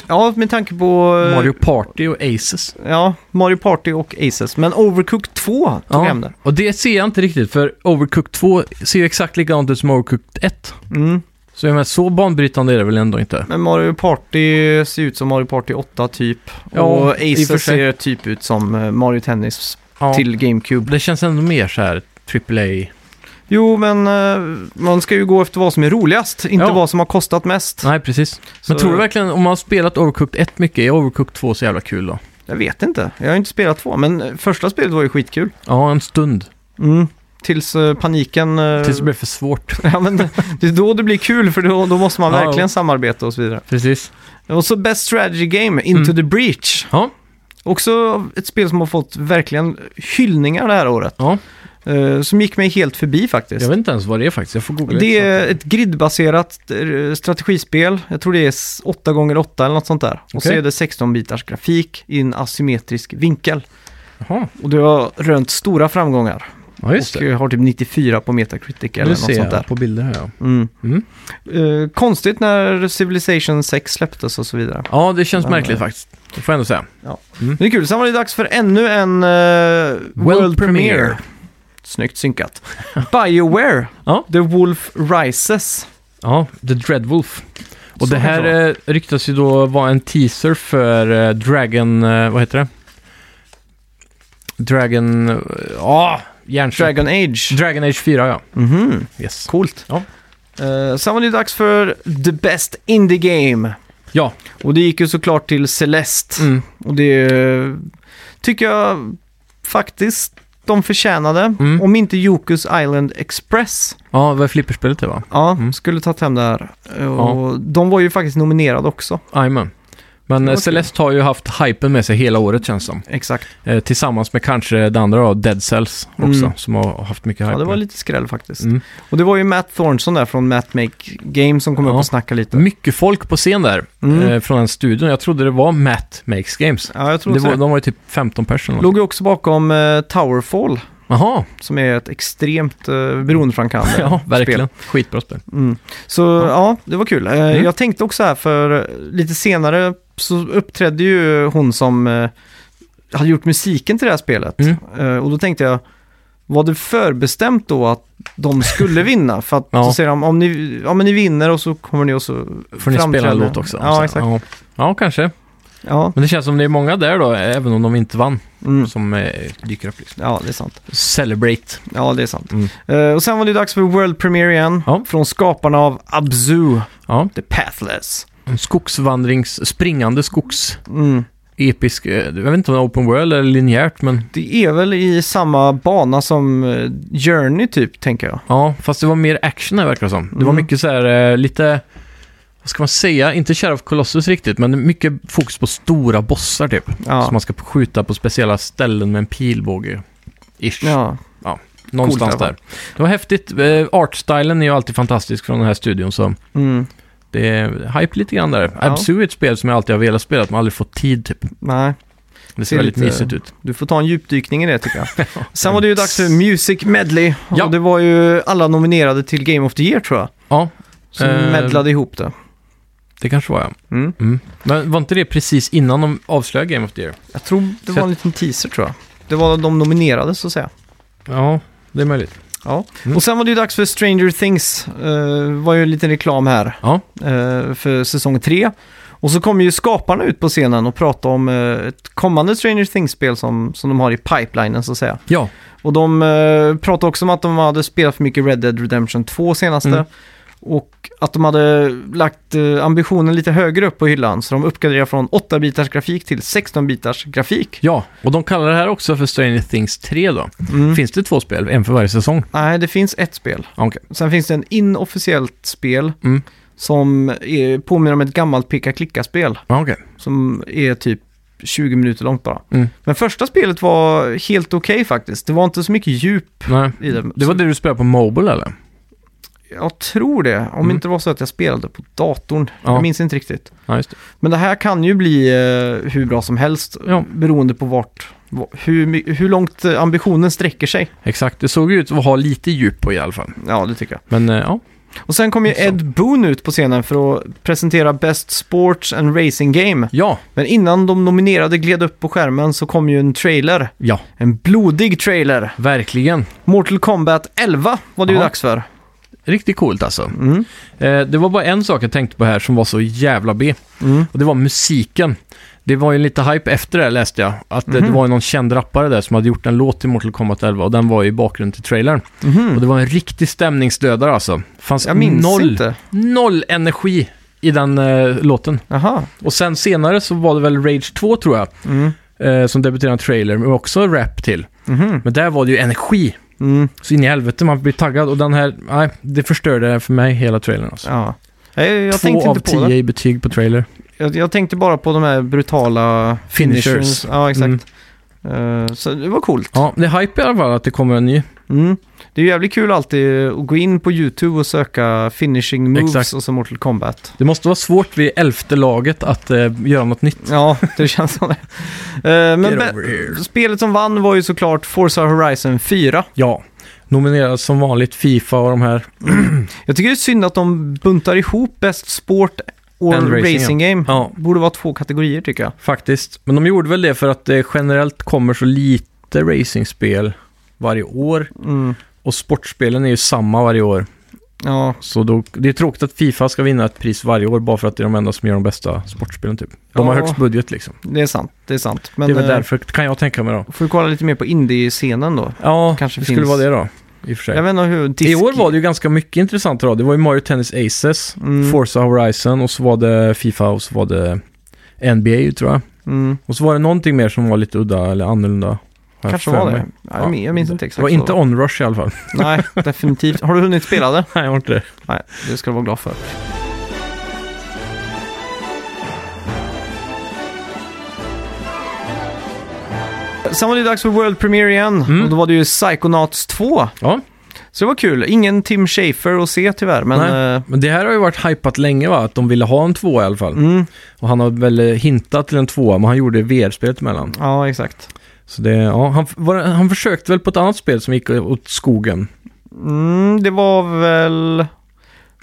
[SPEAKER 1] Ja, med tanke på... eh,
[SPEAKER 2] Mario Party och Aces.
[SPEAKER 1] Ja, Mario Party och Aces. Men Overcooked 2 tog hem det.
[SPEAKER 2] och det ser jag inte riktigt för Overcooked 2 ser ju exakt likadant ut som Overcooked 1.
[SPEAKER 1] Mm.
[SPEAKER 2] Så jag menar, så banbrytande är det väl ändå inte?
[SPEAKER 1] Men Mario Party ser ut som Mario Party 8 typ.
[SPEAKER 2] Ja,
[SPEAKER 1] och
[SPEAKER 2] i och för
[SPEAKER 1] Aces
[SPEAKER 2] sig.
[SPEAKER 1] ser typ ut som eh, Mario Tennis
[SPEAKER 2] Ja.
[SPEAKER 1] till GameCube.
[SPEAKER 2] Det känns ändå mer så här AAA.
[SPEAKER 1] Jo, men eh, man ska ju gå efter vad som är roligast, inte
[SPEAKER 2] Ja.
[SPEAKER 1] vad som har kostat mest.
[SPEAKER 2] Nej, precis. Men
[SPEAKER 1] Så-
[SPEAKER 2] tror du verkligen, om man har spelat Overcooked 1 mycket, är Overcooked 2 så jävla kul då?
[SPEAKER 1] Jag vet inte. Jag har inte spelat två, men eh, första spelet var ju skitkul.
[SPEAKER 2] Ja, en stund.
[SPEAKER 1] Mm. tills eh, paniken... eh,
[SPEAKER 2] Tills det blir för svårt.
[SPEAKER 1] ja, men det det är då det blir kul, för då, då måste man
[SPEAKER 2] Ja,
[SPEAKER 1] verkligen
[SPEAKER 2] jo.
[SPEAKER 1] samarbeta och så vidare.
[SPEAKER 2] Precis.
[SPEAKER 1] Och så Best Strategy Game, Into
[SPEAKER 2] Mm.
[SPEAKER 1] the Breach.
[SPEAKER 2] Ja.
[SPEAKER 1] Också ett spel som har fått verkligen hyllningar det här året.
[SPEAKER 2] Ja.
[SPEAKER 1] Eh, som gick mig helt förbi faktiskt.
[SPEAKER 2] Jag vet inte ens vad det är faktiskt. Jag får googla
[SPEAKER 1] Det
[SPEAKER 2] lite
[SPEAKER 1] är
[SPEAKER 2] snabbt.
[SPEAKER 1] ett gridbaserat eh, strategispel. Jag tror det är s- 8x8 eller något sånt där. Och så
[SPEAKER 2] Okej.
[SPEAKER 1] är det 16-bitars grafik i en asymmetrisk vinkel.
[SPEAKER 2] Jaha,
[SPEAKER 1] Och det har rönt stora framgångar.
[SPEAKER 2] ja just
[SPEAKER 1] och
[SPEAKER 2] det.
[SPEAKER 1] eh, har typ 94 på Metacritic eller
[SPEAKER 2] Nu
[SPEAKER 1] något
[SPEAKER 2] ser
[SPEAKER 1] sånt
[SPEAKER 2] jag
[SPEAKER 1] där.
[SPEAKER 2] på bilder här ja.
[SPEAKER 1] Mm.
[SPEAKER 2] Mm.
[SPEAKER 1] Eh, konstigt när Civilization 6 släpptes och så vidare.
[SPEAKER 2] Ja, det känns
[SPEAKER 1] Men,
[SPEAKER 2] märkligt
[SPEAKER 1] eh,
[SPEAKER 2] faktiskt. Det får jag ändå säga.
[SPEAKER 1] Men det är kul, sen var det dags för ännu en eh, World Premiere.
[SPEAKER 2] Premiere.
[SPEAKER 1] Snyggt synkat. Bioware,
[SPEAKER 2] Ja.
[SPEAKER 1] The Wolf Rises.
[SPEAKER 2] Ja, The Dreadwolf. Och
[SPEAKER 1] Så
[SPEAKER 2] det
[SPEAKER 1] kanske
[SPEAKER 2] här eh, ryktas ju då vara en teaser för eh, Dragon... Eh, vad heter det? Dragon... eh, Ja, järnsvamp.
[SPEAKER 1] Dragon Age.
[SPEAKER 2] Dragon Age 4, ja.
[SPEAKER 1] Mhm.
[SPEAKER 2] Yes.
[SPEAKER 1] Coolt.
[SPEAKER 2] Ja.
[SPEAKER 1] Eh, sen var det dags för The Best Indie Game.
[SPEAKER 2] Ja.
[SPEAKER 1] Och det gick ju såklart till Celeste.
[SPEAKER 2] Mm.
[SPEAKER 1] Och det eh, tycker jag faktiskt de förtjänade.
[SPEAKER 2] Mm.
[SPEAKER 1] Om inte Jokus Island Express
[SPEAKER 2] Ja, det var flipperspelet det va?
[SPEAKER 1] ja,
[SPEAKER 2] Mm.
[SPEAKER 1] skulle tagit hem det här. Eh, Och De var ju faktiskt nominerade också.
[SPEAKER 2] Jajamän. Men
[SPEAKER 1] Det
[SPEAKER 2] eh,
[SPEAKER 1] var kul.
[SPEAKER 2] Celeste har ju haft hypen med sig hela året känns som.
[SPEAKER 1] Exakt.
[SPEAKER 2] Eh, tillsammans med kanske det andra då, Dead Cells också,
[SPEAKER 1] Mm.
[SPEAKER 2] som har haft mycket hype.
[SPEAKER 1] Ja, det var
[SPEAKER 2] med.
[SPEAKER 1] lite skräll faktiskt.
[SPEAKER 2] Mm.
[SPEAKER 1] Och det var ju Matt Thornton där från Matt Make Game som kom
[SPEAKER 2] Ja.
[SPEAKER 1] upp och snackade lite.
[SPEAKER 2] Mycket folk på scen där,
[SPEAKER 1] Mm.
[SPEAKER 2] eh, från den studion. Jag trodde det var Matt Makes Games.
[SPEAKER 1] Ja, jag tror
[SPEAKER 2] Det
[SPEAKER 1] också
[SPEAKER 2] var,
[SPEAKER 1] det.
[SPEAKER 2] de var ju typ 15 personer.
[SPEAKER 1] Låg ju också bakom eh, Towerfall,
[SPEAKER 2] Jaha,
[SPEAKER 1] som är ett extremt uh, beroendeframkallande
[SPEAKER 2] ja,
[SPEAKER 1] spel.
[SPEAKER 2] verkligen. Skitbra spel.
[SPEAKER 1] Mm. Så ja. det var kul. Eh,
[SPEAKER 2] Mm.
[SPEAKER 1] Jag tänkte också här för eh, lite senare så uppträdde ju hon som eh, hade gjort musiken till det här spelet.
[SPEAKER 2] Mm.
[SPEAKER 1] Eh, och då tänkte jag, var det förbestämt då att de skulle vinna? För att
[SPEAKER 2] Ja.
[SPEAKER 1] så säger de, om ni, ja, men ni vinner och så kommer ni och så
[SPEAKER 2] Får ni spela en
[SPEAKER 1] framträder-
[SPEAKER 2] låt också?
[SPEAKER 1] Ja, exakt.
[SPEAKER 2] Ja. ja, kanske.
[SPEAKER 1] Ja,
[SPEAKER 2] Men det känns som det är många där då, även om de inte vann,
[SPEAKER 1] mm.
[SPEAKER 2] som eh, dyker upp. Liksom.
[SPEAKER 1] ja det är sant.
[SPEAKER 2] Celebrate.
[SPEAKER 1] Ja, det är sant.
[SPEAKER 2] Mm.
[SPEAKER 1] Eh, och sen var det dags för World Premiere igen.
[SPEAKER 2] Ja.
[SPEAKER 1] Från skaparna av Abzu,
[SPEAKER 2] Ja,
[SPEAKER 1] The Pathless.
[SPEAKER 2] en skogsvandrings... Springande skogs...
[SPEAKER 1] Mm.
[SPEAKER 2] Episk... eh, Jag vet inte om det är open world eller linjärt, men...
[SPEAKER 1] Det är väl i samma bana som eh, Journey typ, tänker jag.
[SPEAKER 2] Ja, fast det var mer action här verkar det som. Det var
[SPEAKER 1] Mm.
[SPEAKER 2] mycket så här eh, lite... Vad ska man säga? Inte Sheriff Colossus riktigt, men mycket fokus på stora bossar typ.
[SPEAKER 1] Ja,
[SPEAKER 2] Som man ska skjuta på speciella ställen med en pilbåge. Ish.
[SPEAKER 1] ja.
[SPEAKER 2] Någonstans
[SPEAKER 1] Coolt i alla
[SPEAKER 2] där. Det var häftigt. Eh, Artstylen är ju alltid fantastisk från den här studion, så
[SPEAKER 1] Mm.
[SPEAKER 2] det är hype lite grann där.
[SPEAKER 1] Ja.
[SPEAKER 2] Absu är ett spel som jag alltid har velat spela, men aldrig fått tid typ.
[SPEAKER 1] nej.
[SPEAKER 2] Det ser
[SPEAKER 1] är
[SPEAKER 2] väldigt
[SPEAKER 1] lite-
[SPEAKER 2] mysigt ut.
[SPEAKER 1] Du får ta en djupdykning i det tycker jag. Sen var det ju dags för Music Medley.
[SPEAKER 2] Ja.
[SPEAKER 1] Och det var ju alla nominerade till Game of the Year tror jag.
[SPEAKER 2] Ja,
[SPEAKER 1] Som
[SPEAKER 2] Eh.
[SPEAKER 1] medlade ihop det.
[SPEAKER 2] det kanske var jag.
[SPEAKER 1] Mm.
[SPEAKER 2] Mm. Men var inte det precis innan de avslöjade Game of the Year?
[SPEAKER 1] Jag tror det
[SPEAKER 2] Så
[SPEAKER 1] var
[SPEAKER 2] jag-
[SPEAKER 1] en liten teaser tror jag. Det var de nominerade så att säga.
[SPEAKER 2] Ja, det är möjligt.
[SPEAKER 1] Ja.
[SPEAKER 2] Mm.
[SPEAKER 1] Och sen var det ju dags för Stranger Things. Eh, var ju en liten reklam här
[SPEAKER 2] Ja.
[SPEAKER 1] eh, för säsong tre. Och så kommer ju skaparna ut på scenen och pratar om eh, ett kommande Stranger Things-spel som, som de har i pipelinen så att säga.
[SPEAKER 2] Ja,
[SPEAKER 1] Och de eh, pratade också om att de hade spelat för mycket Red Dead Redemption 2 senaste.
[SPEAKER 2] Mm.
[SPEAKER 1] Och att de hade lagt eh, ambitionen lite högre upp på hyllan. Så de uppgraderade från 8-bitars grafik till 16-bitars grafik.
[SPEAKER 2] Ja, och de kallar det här också för Stranger Things 3 då.
[SPEAKER 1] Mm.
[SPEAKER 2] Finns det två spel, en för varje säsong?
[SPEAKER 1] Nej, det finns ett spel.
[SPEAKER 2] Ja, Okej.
[SPEAKER 1] Sen finns det en inofficiellt spel
[SPEAKER 2] Mm.
[SPEAKER 1] som är, påminner om ett gammalt peka-klicka-spel.
[SPEAKER 2] Ja, okej.
[SPEAKER 1] Som är typ 20 minuter långt bara.
[SPEAKER 2] Mm.
[SPEAKER 1] Men första spelet var helt okej faktiskt. Det var inte så mycket djup
[SPEAKER 2] Nej.
[SPEAKER 1] i det.
[SPEAKER 2] Det var det du spelade på Mobile eller?
[SPEAKER 1] Jag tror det, om
[SPEAKER 2] Mm.
[SPEAKER 1] inte det var så att jag spelade på datorn.
[SPEAKER 2] Ja.
[SPEAKER 1] Jag minns inte riktigt.
[SPEAKER 2] Ja, just det.
[SPEAKER 1] Men det här kan ju bli eh, hur bra som helst
[SPEAKER 2] Ja.
[SPEAKER 1] beroende på vart, va- hur, my- hur långt eh, ambitionen sträcker sig.
[SPEAKER 2] Exakt, det såg ju ut att ha lite djup på i alla fall.
[SPEAKER 1] Ja, det tycker jag.
[SPEAKER 2] Men eh, ja,
[SPEAKER 1] Och sen kom ju
[SPEAKER 2] Intressant.
[SPEAKER 1] Ed Boon ut på scenen för att presentera Best Sports and Racing Game.
[SPEAKER 2] ja,
[SPEAKER 1] Men innan de nominerade gled upp på skärmen så kom ju en trailer.
[SPEAKER 2] ja,
[SPEAKER 1] En blodig trailer.
[SPEAKER 2] verkligen.
[SPEAKER 1] Mortal Kombat 11 var det ju
[SPEAKER 2] Ja.
[SPEAKER 1] dags för.
[SPEAKER 2] Riktigt coolt alltså.
[SPEAKER 1] Mm.
[SPEAKER 2] Eh, det var bara en sak jag tänkte på här som var så jävla B.
[SPEAKER 1] Mm.
[SPEAKER 2] Och det var musiken. Det var ju lite hype efter det här, läste jag. Att eh, det
[SPEAKER 1] Mhm.
[SPEAKER 2] var ju någon känd rappare där som hade gjort en låt till Mortal Kombat 11 och den var ju i bakgrunden till trailern. Och
[SPEAKER 1] Mhm.
[SPEAKER 2] det var en riktig stämningsdödare alltså. Fanns
[SPEAKER 1] Jag minns
[SPEAKER 2] noll
[SPEAKER 1] inte.
[SPEAKER 2] noll energi i den eh, låten.
[SPEAKER 1] Jaha.
[SPEAKER 2] Och sen senare så var det väl Rage 2 tror jag,
[SPEAKER 1] Mm.
[SPEAKER 2] eh, som debuterade en trailer med också rap till.
[SPEAKER 1] Mhm.
[SPEAKER 2] Men där var det ju energi.
[SPEAKER 1] Mm.
[SPEAKER 2] Så in i helvete, man blir taggad. Och den här, nej, det förstörde för mig hela trailern alltså.
[SPEAKER 1] Ja. Nej, jag tänkte
[SPEAKER 2] Två av
[SPEAKER 1] inte på
[SPEAKER 2] tio
[SPEAKER 1] det.
[SPEAKER 2] i betyg på trailer.
[SPEAKER 1] Jag, jag tänkte bara på de här brutala
[SPEAKER 2] Finishers.
[SPEAKER 1] finishers. Ja, exakt.
[SPEAKER 2] Mm.
[SPEAKER 1] Eh, så det var coolt.
[SPEAKER 2] Ja, det är hype i alla fall att det kommer en ny.
[SPEAKER 1] Mm. Det är ju jävligt kul alltid att gå in på YouTube och söka finishing moves
[SPEAKER 2] Exakt.
[SPEAKER 1] och så Mortal Kombat.
[SPEAKER 2] Det måste vara svårt vid elfte laget att eh, göra något nytt.
[SPEAKER 1] Ja, det känns som det. Eh, men
[SPEAKER 2] Get
[SPEAKER 1] be-
[SPEAKER 2] over here.
[SPEAKER 1] spelet som vann var ju såklart Forza Horizon 4.
[SPEAKER 2] Ja, nomineras som vanligt Fifa och de här.
[SPEAKER 1] Jag tycker det är synd att de buntar ihop Best Sport och
[SPEAKER 2] And
[SPEAKER 1] Racing,
[SPEAKER 2] Racing,
[SPEAKER 1] Game.
[SPEAKER 2] Ja,
[SPEAKER 1] Borde vara två kategorier tycker jag.
[SPEAKER 2] faktiskt. Men de gjorde väl det för att det generellt kommer så lite racingspel varje år.
[SPEAKER 1] Mm.
[SPEAKER 2] Och sportspelen är ju samma varje år.
[SPEAKER 1] Ja,
[SPEAKER 2] Så då, det är tråkigt att Fifa ska vinna ett pris varje år bara för att det är de enda som gör de bästa sportspelen typ. De har
[SPEAKER 1] Ja.
[SPEAKER 2] högst budget liksom.
[SPEAKER 1] det är sant. Det är sant. Men
[SPEAKER 2] det är väl
[SPEAKER 1] eh,
[SPEAKER 2] därför, kan jag tänka mig då.
[SPEAKER 1] får vi kolla lite mer på indie-scenen då.
[SPEAKER 2] Ja,
[SPEAKER 1] kanske
[SPEAKER 2] det skulle
[SPEAKER 1] finns-
[SPEAKER 2] vara det då. I och för sig.
[SPEAKER 1] Jag vet inte hur... Disk...
[SPEAKER 2] I år var det ju ganska mycket intressant då. Det var ju Mario Tennis Aces,
[SPEAKER 1] Mm.
[SPEAKER 2] Forza Horizon och så var det Fifa och så var det NBA tror jag.
[SPEAKER 1] Mm.
[SPEAKER 2] Och så var det någonting mer som var lite udda eller annorlunda. har jag
[SPEAKER 1] Kanske
[SPEAKER 2] för
[SPEAKER 1] var
[SPEAKER 2] mig.
[SPEAKER 1] det. Ja, jag minns- jag minns inte exakt.
[SPEAKER 2] Det var
[SPEAKER 1] så.
[SPEAKER 2] inte Onrush i alla fall.
[SPEAKER 1] Nej, definitivt. Har du hunnit spela det?
[SPEAKER 2] Nej, jag var inte det.
[SPEAKER 1] Nej, det ska du vara glad för. Sen var det dags för World Premiere igen
[SPEAKER 2] Mm.
[SPEAKER 1] och då var det ju Psychonauts 2.
[SPEAKER 2] Ja,
[SPEAKER 1] Så det var kul. Ingen Tim Schafer att se tyvärr, men... eh,
[SPEAKER 2] men det här har ju varit hypat länge va? Att de ville ha en tvåa i alla fall.
[SPEAKER 1] mm,
[SPEAKER 2] Och han har väl eh, hintat till en tvåa, men han gjorde VR-spelet emellan.
[SPEAKER 1] ja, exakt.
[SPEAKER 2] Så det, ja, han, var, han försökte väl på ett annat spel som gick åt skogen.
[SPEAKER 1] Mm, det var väl...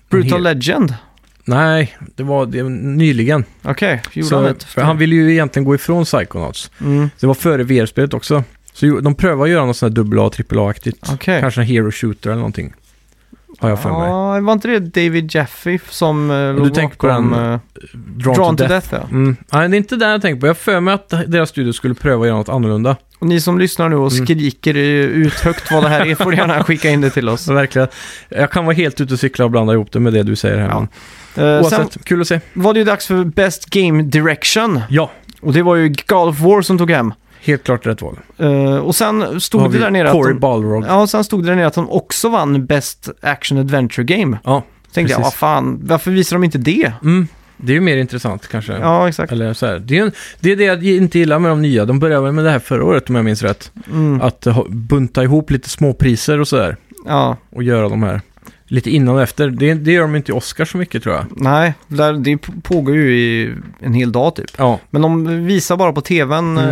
[SPEAKER 1] Brutal
[SPEAKER 2] hel-
[SPEAKER 1] Legend?
[SPEAKER 2] Nej, det var det, var nyligen.
[SPEAKER 1] Okej, gjorde
[SPEAKER 2] Så,
[SPEAKER 1] han ett?
[SPEAKER 2] för han ville ju egentligen gå ifrån Psychonauts.
[SPEAKER 1] Mm,
[SPEAKER 2] Det var före VR-spelet också. Så ju- de prövade att göra något sånt här dubbel A, trippel A-aktigt.
[SPEAKER 1] Okej.
[SPEAKER 2] Kanske en Hero Shooter eller någonting. Har jag för mig.
[SPEAKER 1] Ja, var inte det David Jaffe som eh, låg
[SPEAKER 2] tänker på
[SPEAKER 1] bakom,
[SPEAKER 2] den
[SPEAKER 1] eh,
[SPEAKER 2] Drawn,
[SPEAKER 1] Drawn to Death, ja.
[SPEAKER 2] Mm. Nej, det är inte det jag tänker på. Jag har för mig att deras studio skulle pröva att göra något annorlunda.
[SPEAKER 1] Och ni som lyssnar nu och
[SPEAKER 2] Mm.
[SPEAKER 1] skriker eh, ut högt vad det här är får gärna skicka in det till oss.
[SPEAKER 2] Så verkligen. Jag kan vara helt ute och cykla och blanda ihop det med det du säger här.
[SPEAKER 1] Ja.
[SPEAKER 2] men
[SPEAKER 1] Eh, sen
[SPEAKER 2] Oavsett, kul att se.
[SPEAKER 1] var det ju dags för Best Game Direction.
[SPEAKER 2] Ja,
[SPEAKER 1] Och det var ju God of War som tog hem.
[SPEAKER 2] helt klart rätt val.
[SPEAKER 1] Eh, och sen
[SPEAKER 2] Då har
[SPEAKER 1] stod det
[SPEAKER 2] vi
[SPEAKER 1] där nere
[SPEAKER 2] Corey
[SPEAKER 1] att de,
[SPEAKER 2] Balrog.
[SPEAKER 1] Ja, och sen stod det där nere att de också vann Best Action Adventure Game.
[SPEAKER 2] Ja,
[SPEAKER 1] Tänkte jag, vad
[SPEAKER 2] precis.
[SPEAKER 1] fan, varför visar de inte det?
[SPEAKER 2] Mm. Det är ju mer intressant kanske.
[SPEAKER 1] Ja, exakt.
[SPEAKER 2] Eller så här. Det, är ju en, det är det jag inte gillar med de nya. De började väl med det här förra året om jag minns rätt.
[SPEAKER 1] Mm,
[SPEAKER 2] Att ha- bunta ihop lite småpriser och sådär.
[SPEAKER 1] ja,
[SPEAKER 2] Och göra de här lite innan och efter. Det, det gör de inte i Oscar så mycket tror jag.
[SPEAKER 1] nej, där, det p- pågår ju i en hel dag typ.
[SPEAKER 2] Ja.
[SPEAKER 1] Men de visar bara på
[SPEAKER 2] Mm.
[SPEAKER 1] tvn eh,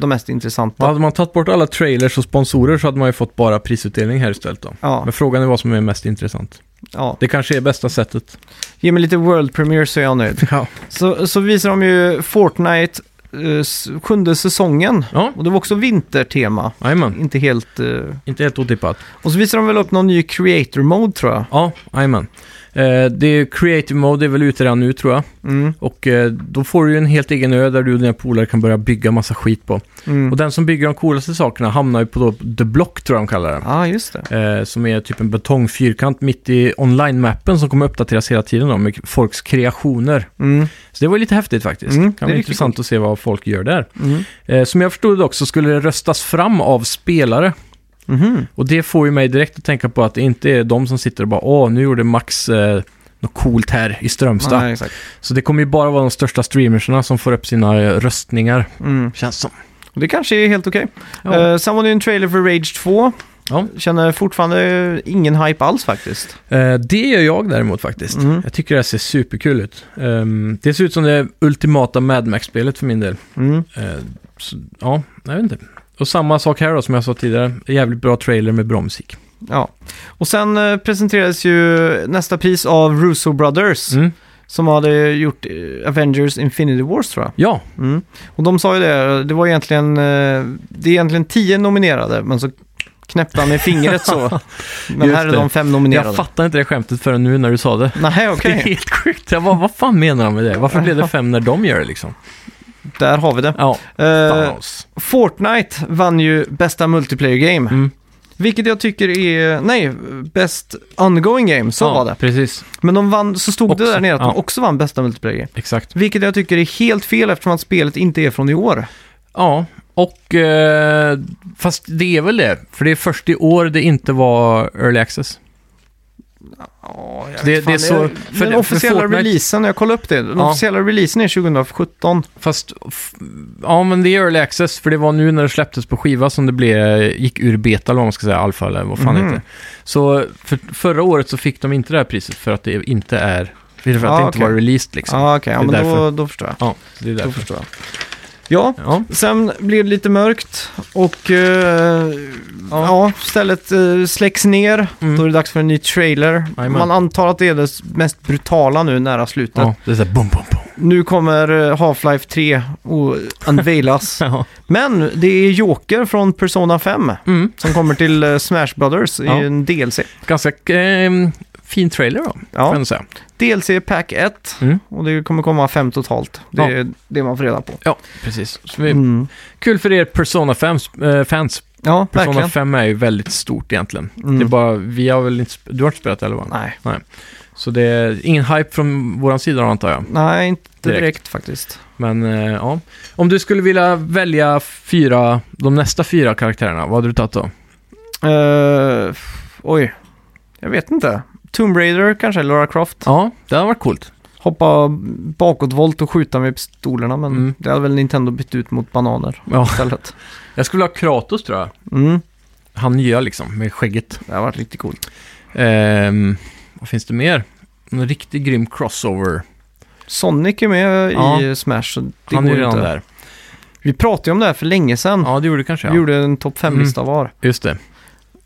[SPEAKER 1] de mest intressanta.
[SPEAKER 2] Och hade man tagit bort alla trailers och sponsorer så hade man ju fått bara prisutdelning här istället då.
[SPEAKER 1] Ja,
[SPEAKER 2] Men frågan är vad som är mest intressant.
[SPEAKER 1] ja.
[SPEAKER 2] Det kanske är bästa sättet.
[SPEAKER 1] Ge mig lite World Premiere så är jag nöjd.
[SPEAKER 2] Ja.
[SPEAKER 1] Så, så visar de ju Fortnite, eh, s- sjunde säsongen.
[SPEAKER 2] Ja,
[SPEAKER 1] Och det var också vintertema.
[SPEAKER 2] jajamän.
[SPEAKER 1] Inte helt... eh,
[SPEAKER 2] Inte helt otippat.
[SPEAKER 1] Och så visar de väl upp någon ny creator mode tror jag.
[SPEAKER 2] Ja, jajamän. Eh, det är creative mode, det är väl ute redan nu tror jag.
[SPEAKER 1] Mm,
[SPEAKER 2] Och eh, då får du ju en helt egen ö där du och dina polare kan börja bygga massa skit på.
[SPEAKER 1] mm.
[SPEAKER 2] Och den som bygger de coolaste sakerna hamnar ju på då, The Block tror jag de kallar det.
[SPEAKER 1] Ja, ah, just det.
[SPEAKER 2] Eh, som är typ en betongfyrkant mitt i online-mappen som kommer uppdateras hela tiden då, med folks kreationer.
[SPEAKER 1] Mm,
[SPEAKER 2] Så det var ju lite häftigt faktiskt.
[SPEAKER 1] Mm, det
[SPEAKER 2] det
[SPEAKER 1] är
[SPEAKER 2] kan vara
[SPEAKER 1] riktigt
[SPEAKER 2] intressant att se vad folk gör där.
[SPEAKER 1] mm.
[SPEAKER 2] Eh, som jag förstod det också skulle det röstas fram av spelare.
[SPEAKER 1] Mhm.
[SPEAKER 2] Och det får ju mig direkt att tänka på att det inte är de som sitter och bara åh, nu gjorde Max eh, något coolt här i Strömstad.
[SPEAKER 1] Nej, exakt.
[SPEAKER 2] Så det kommer ju bara vara de största streamersarna som får upp sina eh, röstningar.
[SPEAKER 1] Mm.
[SPEAKER 2] Känns som.
[SPEAKER 1] Och Det kanske är helt okej.
[SPEAKER 2] Ja.
[SPEAKER 1] Eh, sen var det ju en trailer för Rage 2.
[SPEAKER 2] Ja.
[SPEAKER 1] Känner fortfarande ingen hype alls faktiskt.
[SPEAKER 2] Eh, det gör jag däremot faktiskt.
[SPEAKER 1] Mm.
[SPEAKER 2] Jag tycker det här ser superkul ut. Ehm, det ser ut som det ultimata Mad Max-spelet för min del.
[SPEAKER 1] Mm.
[SPEAKER 2] Eh, så, ja, jag vet inte. Och samma sak här då som jag sa tidigare. Jävligt bra trailer med bra musik.
[SPEAKER 1] Ja. Och sen eh, presenterades ju nästa pris av Russo Brothers.
[SPEAKER 2] Mm.
[SPEAKER 1] Som hade gjort eh, Avengers Infinity Wars tror jag.
[SPEAKER 2] Ja,
[SPEAKER 1] Mm. Och de sa ju det, det var egentligen, eh, det är egentligen tio nominerade, men så knäppte han med fingret så. Men
[SPEAKER 2] Just
[SPEAKER 1] här är
[SPEAKER 2] det.
[SPEAKER 1] de fem
[SPEAKER 2] jag
[SPEAKER 1] nominerade.
[SPEAKER 2] fattar inte det skämtet förrän nu när du sa det.
[SPEAKER 1] Nej,
[SPEAKER 2] Det
[SPEAKER 1] okej.
[SPEAKER 2] är helt sjukt. Jag bara, vad fan menar de med det? Varför blev det fem när de gör det liksom?
[SPEAKER 1] Där har vi det.
[SPEAKER 2] Ja, alltså.
[SPEAKER 1] Eh,
[SPEAKER 2] Thanos.
[SPEAKER 1] Fortnite vann ju bästa multiplayer game.
[SPEAKER 2] Mm.
[SPEAKER 1] Vilket jag tycker är, nej, bäst ongoing game, så
[SPEAKER 2] ja,
[SPEAKER 1] var det.
[SPEAKER 2] Precis,
[SPEAKER 1] Men de vann, så stod det
[SPEAKER 2] Också,
[SPEAKER 1] där nere att de
[SPEAKER 2] ja.
[SPEAKER 1] också vann bästa multiplayer game.
[SPEAKER 2] exakt.
[SPEAKER 1] Vilket jag tycker är helt fel eftersom att spelet inte är från i år.
[SPEAKER 2] Ja, Och... Eh, fast det är väl det. För det är först i år det inte var Early Access.
[SPEAKER 1] Ja, jag
[SPEAKER 2] Det-
[SPEAKER 1] vet fan,
[SPEAKER 2] det är så-
[SPEAKER 1] jag-
[SPEAKER 2] för-
[SPEAKER 1] den
[SPEAKER 2] för
[SPEAKER 1] officiella
[SPEAKER 2] Fortnite-
[SPEAKER 1] releasen, jag kollade upp det, den
[SPEAKER 2] Ja.
[SPEAKER 1] officiella releasen är 2017.
[SPEAKER 2] Fast... f- Ja, men det är Early Access. För det var nu när det släpptes på skiva som det blev, gick ur beta, eller vad man ska säga, alfa eller vad fan det
[SPEAKER 1] Mhm.
[SPEAKER 2] heter. Så för, förra året så fick de inte det här priset för att det inte är... För att
[SPEAKER 1] Ja,
[SPEAKER 2] det inte
[SPEAKER 1] Ah, okej.
[SPEAKER 2] var released liksom.
[SPEAKER 1] Ja, okej,
[SPEAKER 2] Det är
[SPEAKER 1] ja, men
[SPEAKER 2] därför.
[SPEAKER 1] då, då förstår jag.
[SPEAKER 2] Ja, det är
[SPEAKER 1] Då
[SPEAKER 2] därför.
[SPEAKER 1] förstår jag. Ja,
[SPEAKER 2] Ja.
[SPEAKER 1] sen blir det lite mörkt och eh, ja. stället eh, släcks ner.
[SPEAKER 2] Mm.
[SPEAKER 1] Då är det dags för en ny trailer.
[SPEAKER 2] Jajamän.
[SPEAKER 1] Man antar att det är det mest brutala nu nära slutet.
[SPEAKER 2] ja, det är såhär bum, bum, bum.
[SPEAKER 1] Nu kommer eh, Half-Life 3 och unveilas.
[SPEAKER 2] Ja.
[SPEAKER 1] men det är Joker från Persona 5
[SPEAKER 2] Mm.
[SPEAKER 1] som kommer till eh, Smash Brothers i
[SPEAKER 2] Ja.
[SPEAKER 1] en DLC.
[SPEAKER 2] Ganska eh, fin trailer då, får jag
[SPEAKER 1] Ja.
[SPEAKER 2] ändå säga.
[SPEAKER 1] DLC Pack 1
[SPEAKER 2] Mm.
[SPEAKER 1] och det kommer komma fem totalt. Det
[SPEAKER 2] Ja.
[SPEAKER 1] är det man får reda på.
[SPEAKER 2] Ja, precis. Så vi,
[SPEAKER 1] Mm.
[SPEAKER 2] Kul för er Persona-fans. eh, fans.
[SPEAKER 1] Ja,
[SPEAKER 2] Persona
[SPEAKER 1] verkligen.
[SPEAKER 2] 5 är ju väldigt stort egentligen.
[SPEAKER 1] Mm.
[SPEAKER 2] Det är bara, vi har väl inte, sp- du har inte spelat det, eller vad?
[SPEAKER 1] Nej.
[SPEAKER 2] Så det är ingen hype från våran sida då, antar jag.
[SPEAKER 1] Nej, inte
[SPEAKER 2] Direkt.
[SPEAKER 1] direkt, faktiskt.
[SPEAKER 2] Men eh, ja. Om du skulle vilja välja fyra, de nästa fyra karaktärerna, vad hade du tagit då?
[SPEAKER 1] Eh, oj, jag vet inte. Tomb Raider kanske, Lara Croft.
[SPEAKER 2] Ja, det hade varit coolt.
[SPEAKER 1] Hoppa bakåtvolt och skjuta med pistolerna, men
[SPEAKER 2] Mm.
[SPEAKER 1] det hade väl Nintendo bytt ut mot bananer
[SPEAKER 2] Ja.
[SPEAKER 1] istället.
[SPEAKER 2] Jag skulle vilja ha Kratos tror jag.
[SPEAKER 1] Mm.
[SPEAKER 2] Han nya liksom, med skägget.
[SPEAKER 1] Det hade varit riktigt coolt.
[SPEAKER 2] Ehm, vad finns det mer? En riktigt grym crossover.
[SPEAKER 1] Sonic är med
[SPEAKER 2] Ja.
[SPEAKER 1] i Smash, så det
[SPEAKER 2] Han är
[SPEAKER 1] går
[SPEAKER 2] ju
[SPEAKER 1] ju
[SPEAKER 2] redan
[SPEAKER 1] inte.
[SPEAKER 2] där.
[SPEAKER 1] Vi pratade ju om det här för länge sedan.
[SPEAKER 2] Ja, det gjorde du kanske.
[SPEAKER 1] Vi
[SPEAKER 2] Ja.
[SPEAKER 1] gjorde en topp 5-lista var.
[SPEAKER 2] Just det.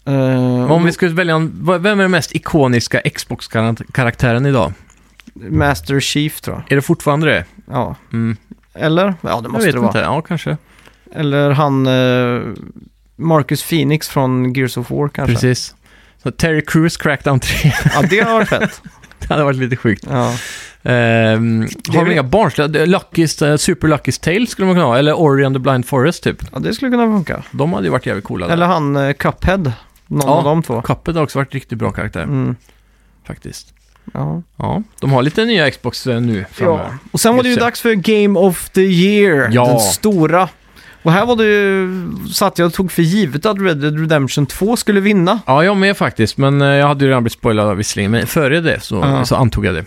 [SPEAKER 1] Eh,
[SPEAKER 2] Om vi skulle välja en, vad- vem är den mest ikoniska Xbox-karaktären idag?
[SPEAKER 1] Master Chief tror jag.
[SPEAKER 2] Är det fortfarande det?
[SPEAKER 1] Ja.
[SPEAKER 2] Mm.
[SPEAKER 1] Eller? Ja, det
[SPEAKER 2] Jag
[SPEAKER 1] måste
[SPEAKER 2] vet
[SPEAKER 1] det vara.
[SPEAKER 2] inte. Ja, kanske.
[SPEAKER 1] Eller han eh, Marcus Phoenix från Gears of War kanske.
[SPEAKER 2] Precis. Så Terry Crews Crackdown 3.
[SPEAKER 1] Ja, det har varit fett.
[SPEAKER 2] det hade varit lite sjukt.
[SPEAKER 1] Ja.
[SPEAKER 2] Ehm, har vi
[SPEAKER 1] väl-
[SPEAKER 2] inga barnsliga? Det- Lucky's, eh, Super Lucky's Tale skulle man kunna ha. Eller Ori and the Blind Forest typ.
[SPEAKER 1] ja, det skulle kunna funka.
[SPEAKER 2] De hade ju varit jävligt coola.
[SPEAKER 1] Eller han eh, Cuphead. Någon
[SPEAKER 2] Ja.
[SPEAKER 1] av de två.
[SPEAKER 2] Cuphead har också varit riktigt bra karaktär
[SPEAKER 1] Mm.
[SPEAKER 2] faktiskt.
[SPEAKER 1] Ja.
[SPEAKER 2] Ja, de har lite nya Xbox eh, nu framöver.
[SPEAKER 1] Och sen var det ju
[SPEAKER 2] Just det.
[SPEAKER 1] dags för Game of the Year.
[SPEAKER 2] Ja.
[SPEAKER 1] Den stora. Och här var det ju, satt jag och tog för givet att Red Dead Redemption 2 skulle vinna.
[SPEAKER 2] Ja, jag med faktiskt, men eh, jag hade ju redan blivit spoilad visserligen, men före det så,
[SPEAKER 1] Ja.
[SPEAKER 2] så antog jag det. Eh,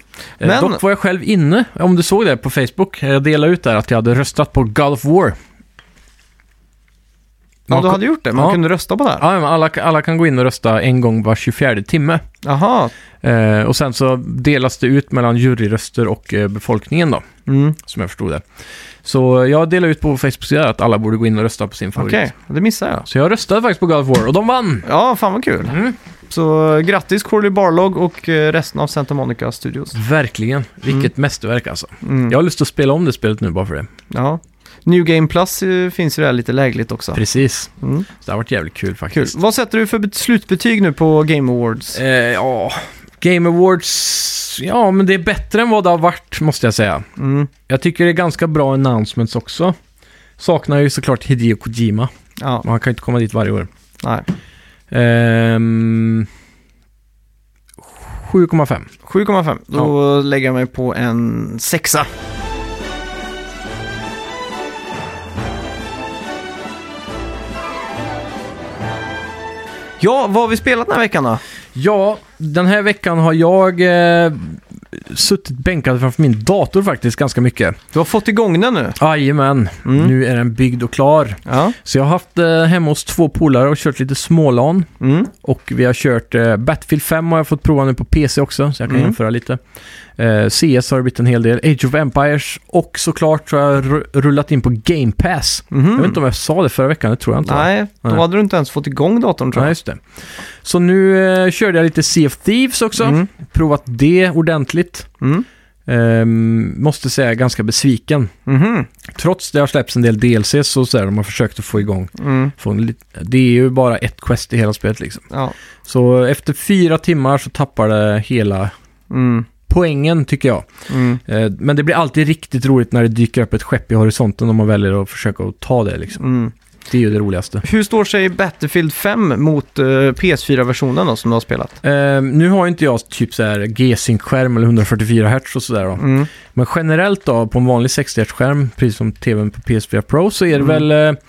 [SPEAKER 1] Men-
[SPEAKER 2] Dock var jag själv inne, om du såg det på Facebook, eh, jag delade ut där att jag hade röstat på God of War.
[SPEAKER 1] Ja,
[SPEAKER 2] Man
[SPEAKER 1] du
[SPEAKER 2] ko-
[SPEAKER 1] hade gjort det. Man
[SPEAKER 2] Ja.
[SPEAKER 1] kunde rösta på det här.
[SPEAKER 2] Ja, men alla, alla kan gå in och rösta en gång var 24 timme.
[SPEAKER 1] Jaha.
[SPEAKER 2] Eh, och sen så delas det ut mellan juryröster och eh, befolkningen då,
[SPEAKER 1] Mm.
[SPEAKER 2] som jag förstod det. Så jag delade ut på Facebook-sidan att alla borde gå in och rösta på sin favorit.
[SPEAKER 1] Okej, det missade jag.
[SPEAKER 2] Så jag röstade faktiskt på God of War och de vann!
[SPEAKER 1] Ja, fan vad kul.
[SPEAKER 2] Mm.
[SPEAKER 1] Så eh, grattis Corley Barlog och eh, resten av Santa Monica Studios.
[SPEAKER 2] Verkligen, vilket mästerverk alltså.
[SPEAKER 1] Mm.
[SPEAKER 2] Jag har lust att spela om det spelet nu bara för det.
[SPEAKER 1] Ja. New Game Plus eh, finns ju där lite lägligt också.
[SPEAKER 2] Precis.
[SPEAKER 1] Mm.
[SPEAKER 2] Så det har varit jävligt kul
[SPEAKER 1] Kul.
[SPEAKER 2] faktiskt.
[SPEAKER 1] Vad sätter du för bet- slutbetyg nu på Game Awards?
[SPEAKER 2] Eh, ja, Game Awards... Ja, men det är bättre än vad det har varit, måste jag säga.
[SPEAKER 1] Mm.
[SPEAKER 2] Jag tycker det är ganska bra announcements också. Saknar ju såklart Hideo Kojima.
[SPEAKER 1] Ja,
[SPEAKER 2] men Han kan ju inte komma dit varje år.
[SPEAKER 1] nej.
[SPEAKER 2] Ehm, 7,5.
[SPEAKER 1] 7,5. Då lägger jag mig på en sexa. Ja, vad har vi spelat den här veckan då?
[SPEAKER 2] Ja, den här veckan har jag eh, suttit bänkad framför min dator faktiskt ganska mycket.
[SPEAKER 1] Du har fått igång den nu.
[SPEAKER 2] Jajamän,
[SPEAKER 1] Mm.
[SPEAKER 2] nu är den byggd och klar.
[SPEAKER 1] Ja.
[SPEAKER 2] Så jag har haft eh, hemma hos två polare och kört lite smålan.
[SPEAKER 1] Mm.
[SPEAKER 2] Och vi har kört eh, Battlefield 5 har jag fått prova nu på PC också, så jag kan
[SPEAKER 1] Mm.
[SPEAKER 2] jämföra lite. Eh, CS har det blivit en hel del, Age of Empires och såklart så har jag ru- rullat in på Game Pass.
[SPEAKER 1] Mhm.
[SPEAKER 2] Jag vet inte om jag sa det förra veckan, det tror jag inte. va?
[SPEAKER 1] Nej, då
[SPEAKER 2] Nej.
[SPEAKER 1] hade du inte ens fått igång datorn tror
[SPEAKER 2] Nej,
[SPEAKER 1] jag.
[SPEAKER 2] just det. Så nu eh, körde jag lite Sea of Thieves också,
[SPEAKER 1] Mm.
[SPEAKER 2] provat det ordentligt.
[SPEAKER 1] Mm.
[SPEAKER 2] Ehm, måste säga jag är ganska besviken.
[SPEAKER 1] Mhm.
[SPEAKER 2] Trots det har släppts en del DLC så, så här, de har försökt att få igång.
[SPEAKER 1] Mm.
[SPEAKER 2] Få en lit- det är ju bara ett quest i hela spelet liksom.
[SPEAKER 1] Ja.
[SPEAKER 2] Så efter fyra timmar så tappar det hela
[SPEAKER 1] Mm.
[SPEAKER 2] poängen tycker jag.
[SPEAKER 1] Mm.
[SPEAKER 2] Eh, Men det blir alltid riktigt roligt när det dyker upp ett skepp i horisonten om man väljer att försöka att ta det liksom.
[SPEAKER 1] Mm.
[SPEAKER 2] Det är ju det roligaste.
[SPEAKER 1] Hur står sig Battlefield 5 mot eh, PS4-versionen då som du har spelat?
[SPEAKER 2] Eh, nu har ju inte jag typ så här G-Sync-skärm eller 144 Hz och sådär då.
[SPEAKER 1] Mm.
[SPEAKER 2] Men generellt då, på en vanlig 60 Hz-skärm, precis som tvn på PS4 Pro, så är det
[SPEAKER 1] Mm.
[SPEAKER 2] väl eh,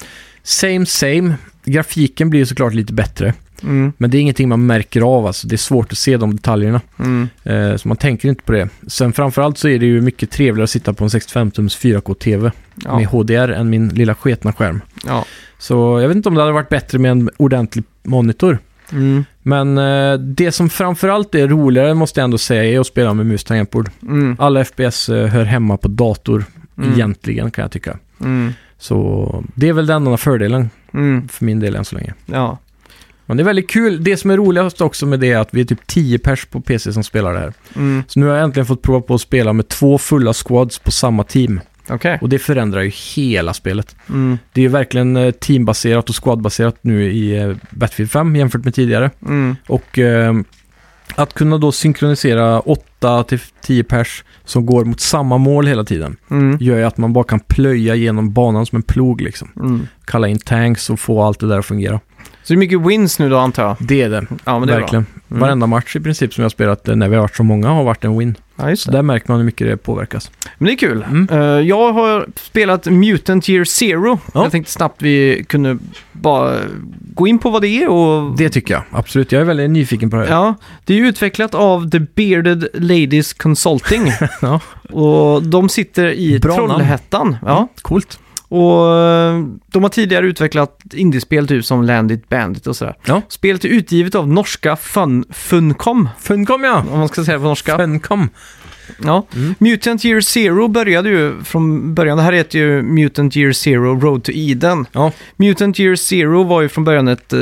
[SPEAKER 2] same same. Grafiken blir ju såklart lite bättre,
[SPEAKER 1] Mm.
[SPEAKER 2] men det är ingenting man märker av alltså. Det är svårt att se de detaljerna,
[SPEAKER 1] Mm.
[SPEAKER 2] eh, så man tänker inte på det. Sen framförallt så är det ju mycket trevligare att sitta på en 65-tums 4K-TV
[SPEAKER 1] Ja.
[SPEAKER 2] med HDR än min lilla sketna skärm.
[SPEAKER 1] Ja.
[SPEAKER 2] Så jag vet inte om det hade varit bättre med en ordentlig monitor.
[SPEAKER 1] Mm.
[SPEAKER 2] Men eh, det som framförallt är roligare måste jag ändå säga är att spela med mus och tangentbord.
[SPEAKER 1] Mm.
[SPEAKER 2] Alla FPS eh, hör hemma på dator
[SPEAKER 1] Mm.
[SPEAKER 2] egentligen kan jag tycka.
[SPEAKER 1] Mm.
[SPEAKER 2] Så det är väl den enda fördelen
[SPEAKER 1] Mm.
[SPEAKER 2] för min del än så länge.
[SPEAKER 1] Ja.
[SPEAKER 2] Men det är väldigt kul. Det som är roligast också med det är att vi är typ 10 pers på PC som spelar det här.
[SPEAKER 1] Mm.
[SPEAKER 2] Så nu har jag äntligen fått prova på att spela med två fulla squads på samma team.
[SPEAKER 1] Okej.
[SPEAKER 2] Och det förändrar ju hela spelet.
[SPEAKER 1] Mm.
[SPEAKER 2] Det är ju verkligen eh, teambaserat och squadbaserat nu i eh, Battlefield 5 jämfört med tidigare.
[SPEAKER 1] Mm.
[SPEAKER 2] Och eh, att kunna då synkronisera 8-10 pers som går mot samma mål hela tiden
[SPEAKER 1] Mm.
[SPEAKER 2] gör ju att man bara kan plöja genom banan som en plog liksom.
[SPEAKER 1] Mm.
[SPEAKER 2] Kalla in tanks och få allt det där att fungera.
[SPEAKER 1] Så det är mycket wins nu då antar jag?
[SPEAKER 2] Det är det,
[SPEAKER 1] Ja, men det är bra.
[SPEAKER 2] verkligen.
[SPEAKER 1] Mm.
[SPEAKER 2] Varenda match i princip som jag har spelat eh, när vi har varit så många har varit en win.
[SPEAKER 1] Ja, just
[SPEAKER 2] Så
[SPEAKER 1] det.
[SPEAKER 2] där märker man hur mycket det påverkas.
[SPEAKER 1] Men det är kul.
[SPEAKER 2] Mm.
[SPEAKER 1] Eh, jag har spelat Mutant Year Zero.
[SPEAKER 2] Ja.
[SPEAKER 1] Jag tänkte snabbt vi kunde bara gå in på vad det är och...
[SPEAKER 2] Det tycker jag, absolut. Jag är väldigt nyfiken på det här.
[SPEAKER 1] Ja, det är ju utvecklat av The Bearded Ladies Consulting.
[SPEAKER 2] Ja.
[SPEAKER 1] Och de sitter i
[SPEAKER 2] Bra namn. Mm.
[SPEAKER 1] Trollhättan. Ja.
[SPEAKER 2] Coolt.
[SPEAKER 1] Och eh, de har tidigare utvecklat indiespel typ som Landit Bandit och sådär.
[SPEAKER 2] Ja.
[SPEAKER 1] Spelet är utgivet av norska Fun Funcom,
[SPEAKER 2] Funcom ja!
[SPEAKER 1] om man ska säga det på norska.
[SPEAKER 2] Funcom.
[SPEAKER 1] Ja.
[SPEAKER 2] Mm.
[SPEAKER 1] Mutant Year Zero började ju från början. Det här heter ju Mutant Year Zero Road to Eden.
[SPEAKER 2] Ja.
[SPEAKER 1] Mutant Year Zero var ju från början ett, eh,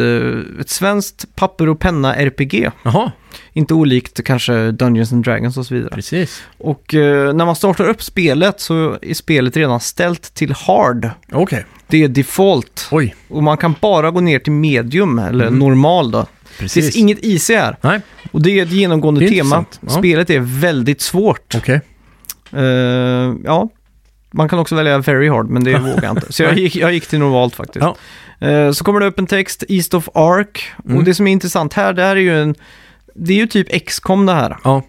[SPEAKER 1] ett svenskt papper och penna RPG.
[SPEAKER 2] Jaha,
[SPEAKER 1] Inte olikt kanske Dungeons and Dragons och så vidare.
[SPEAKER 2] precis.
[SPEAKER 1] Och eh, när man startar upp spelet så är spelet redan ställt till hard.
[SPEAKER 2] Okej.
[SPEAKER 1] Det är default.
[SPEAKER 2] Oj,
[SPEAKER 1] Och man kan bara gå ner till medium, eller
[SPEAKER 2] Mm.
[SPEAKER 1] normal då. Det
[SPEAKER 2] precis.
[SPEAKER 1] finns inget IC här.
[SPEAKER 2] Nej,
[SPEAKER 1] Och det är ett genomgående
[SPEAKER 2] Det är
[SPEAKER 1] tema.
[SPEAKER 2] intressant. Ja.
[SPEAKER 1] Spelet är väldigt svårt.
[SPEAKER 2] okej.
[SPEAKER 1] Eh, ja, man kan också välja very hard, men det vågar jag inte. Så jag gick, jag gick till normalt faktiskt.
[SPEAKER 2] Ja.
[SPEAKER 1] Eh, så kommer det upp en text, East of Ark.
[SPEAKER 2] Mm.
[SPEAKER 1] Och det som är intressant här, det här är ju en... Det är ju typ XCOM det här.
[SPEAKER 2] Ja,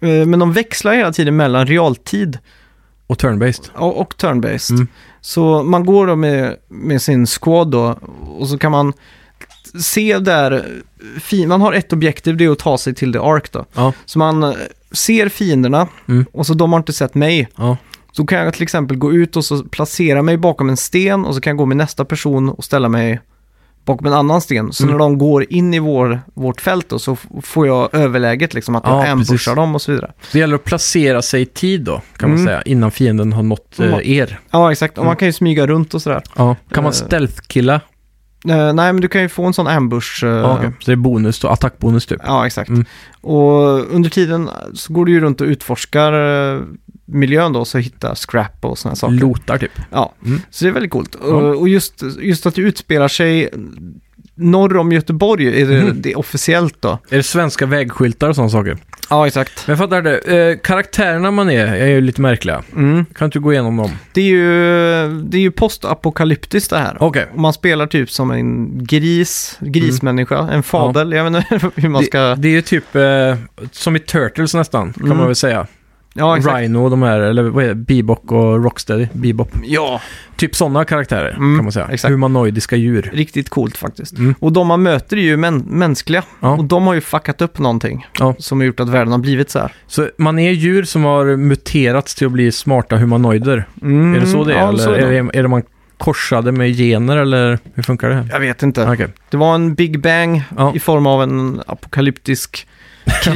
[SPEAKER 1] Eh, men de växlar hela tiden mellan realtid
[SPEAKER 2] och turn-based.
[SPEAKER 1] Ja, och turn-based.
[SPEAKER 2] Mm.
[SPEAKER 1] Så man går då med, med sin squad då och så kan man se där, fi- man har ett objektiv, det är att ta sig till the ark då.
[SPEAKER 2] Ja.
[SPEAKER 1] Så man eh, ser fienderna
[SPEAKER 2] Mm.
[SPEAKER 1] och så de har inte sett mig.
[SPEAKER 2] Ja.
[SPEAKER 1] Så kan jag till exempel gå ut och så placera mig bakom en sten och så kan jag gå med nästa person och ställa mig bakom en annan sten. Så
[SPEAKER 2] Mm.
[SPEAKER 1] när de går in i vår, vårt fält då, så f- får jag överläget liksom att
[SPEAKER 2] Ja,
[SPEAKER 1] jag ambushar
[SPEAKER 2] precis. Mm.
[SPEAKER 1] dem och så vidare.
[SPEAKER 2] Det gäller att placera sig i tid då, kan man
[SPEAKER 1] Mm.
[SPEAKER 2] säga, innan fienden har nått
[SPEAKER 1] Ja.
[SPEAKER 2] eh, er.
[SPEAKER 1] Ja, exakt. Och
[SPEAKER 2] Mm.
[SPEAKER 1] man kan ju smyga runt och sådär.
[SPEAKER 2] Ja. Kan man
[SPEAKER 1] Eh.
[SPEAKER 2] stealth-killa?
[SPEAKER 1] Eh, nej, men du kan ju få en sån ambush. eh,
[SPEAKER 2] Ja, okej. Så det är bonus då, attackbonus typ.
[SPEAKER 1] Ja, exakt.
[SPEAKER 2] Mm.
[SPEAKER 1] Och under tiden så går du ju runt och utforskar eh, miljön då, så hittar scrap och sådana saker.
[SPEAKER 2] Lotar typ.
[SPEAKER 1] Ja,
[SPEAKER 2] Mm.
[SPEAKER 1] så det är väldigt coolt.
[SPEAKER 2] Ja.
[SPEAKER 1] Och- Och just, just att det utspelar sig norr om Göteborg, är det,
[SPEAKER 2] Mm.
[SPEAKER 1] det är officiellt då.
[SPEAKER 2] Är det svenska vägskyltar och sådana saker?
[SPEAKER 1] Ja, exakt.
[SPEAKER 2] Men jag fattar det. Eh, karaktärerna man är, är ju lite märkliga.
[SPEAKER 1] Mm.
[SPEAKER 2] Kan inte du gå igenom dem?
[SPEAKER 1] Det, är ju, det är ju postapokalyptiskt det här.
[SPEAKER 2] Okej.
[SPEAKER 1] Och man spelar typ som en gris, grismänniska, en fadel, jag vet inte hur man ska...
[SPEAKER 2] Mm. Det, det är ju typ eh, som i Turtles nästan, kan
[SPEAKER 1] Mm.
[SPEAKER 2] man väl säga.
[SPEAKER 1] ja, exakt.
[SPEAKER 2] Rhino och de här, eller vad är det? Bebop och Rocksteady. Bebop.
[SPEAKER 1] Ja,
[SPEAKER 2] Typ sådana karaktärer,
[SPEAKER 1] Mm,
[SPEAKER 2] kan man säga.
[SPEAKER 1] exakt.
[SPEAKER 2] Humanoidiska djur.
[SPEAKER 1] riktigt coolt faktiskt.
[SPEAKER 2] Mm.
[SPEAKER 1] Och de man möter är ju män- mänskliga.
[SPEAKER 2] Ja.
[SPEAKER 1] Och de har ju fuckat upp någonting
[SPEAKER 2] Ja.
[SPEAKER 1] som har gjort att världen har blivit så här.
[SPEAKER 2] Så man är djur som har muterats till att bli smarta humanoider.
[SPEAKER 1] Mm,
[SPEAKER 2] Är det så det är?
[SPEAKER 1] ja,
[SPEAKER 2] eller
[SPEAKER 1] så är det.
[SPEAKER 2] Är, det, är det man korsade med gener eller hur funkar det?
[SPEAKER 1] Jag vet inte.
[SPEAKER 2] Okej.
[SPEAKER 1] Det var en Big Bang
[SPEAKER 2] Ja.
[SPEAKER 1] i form av en apokalyptisk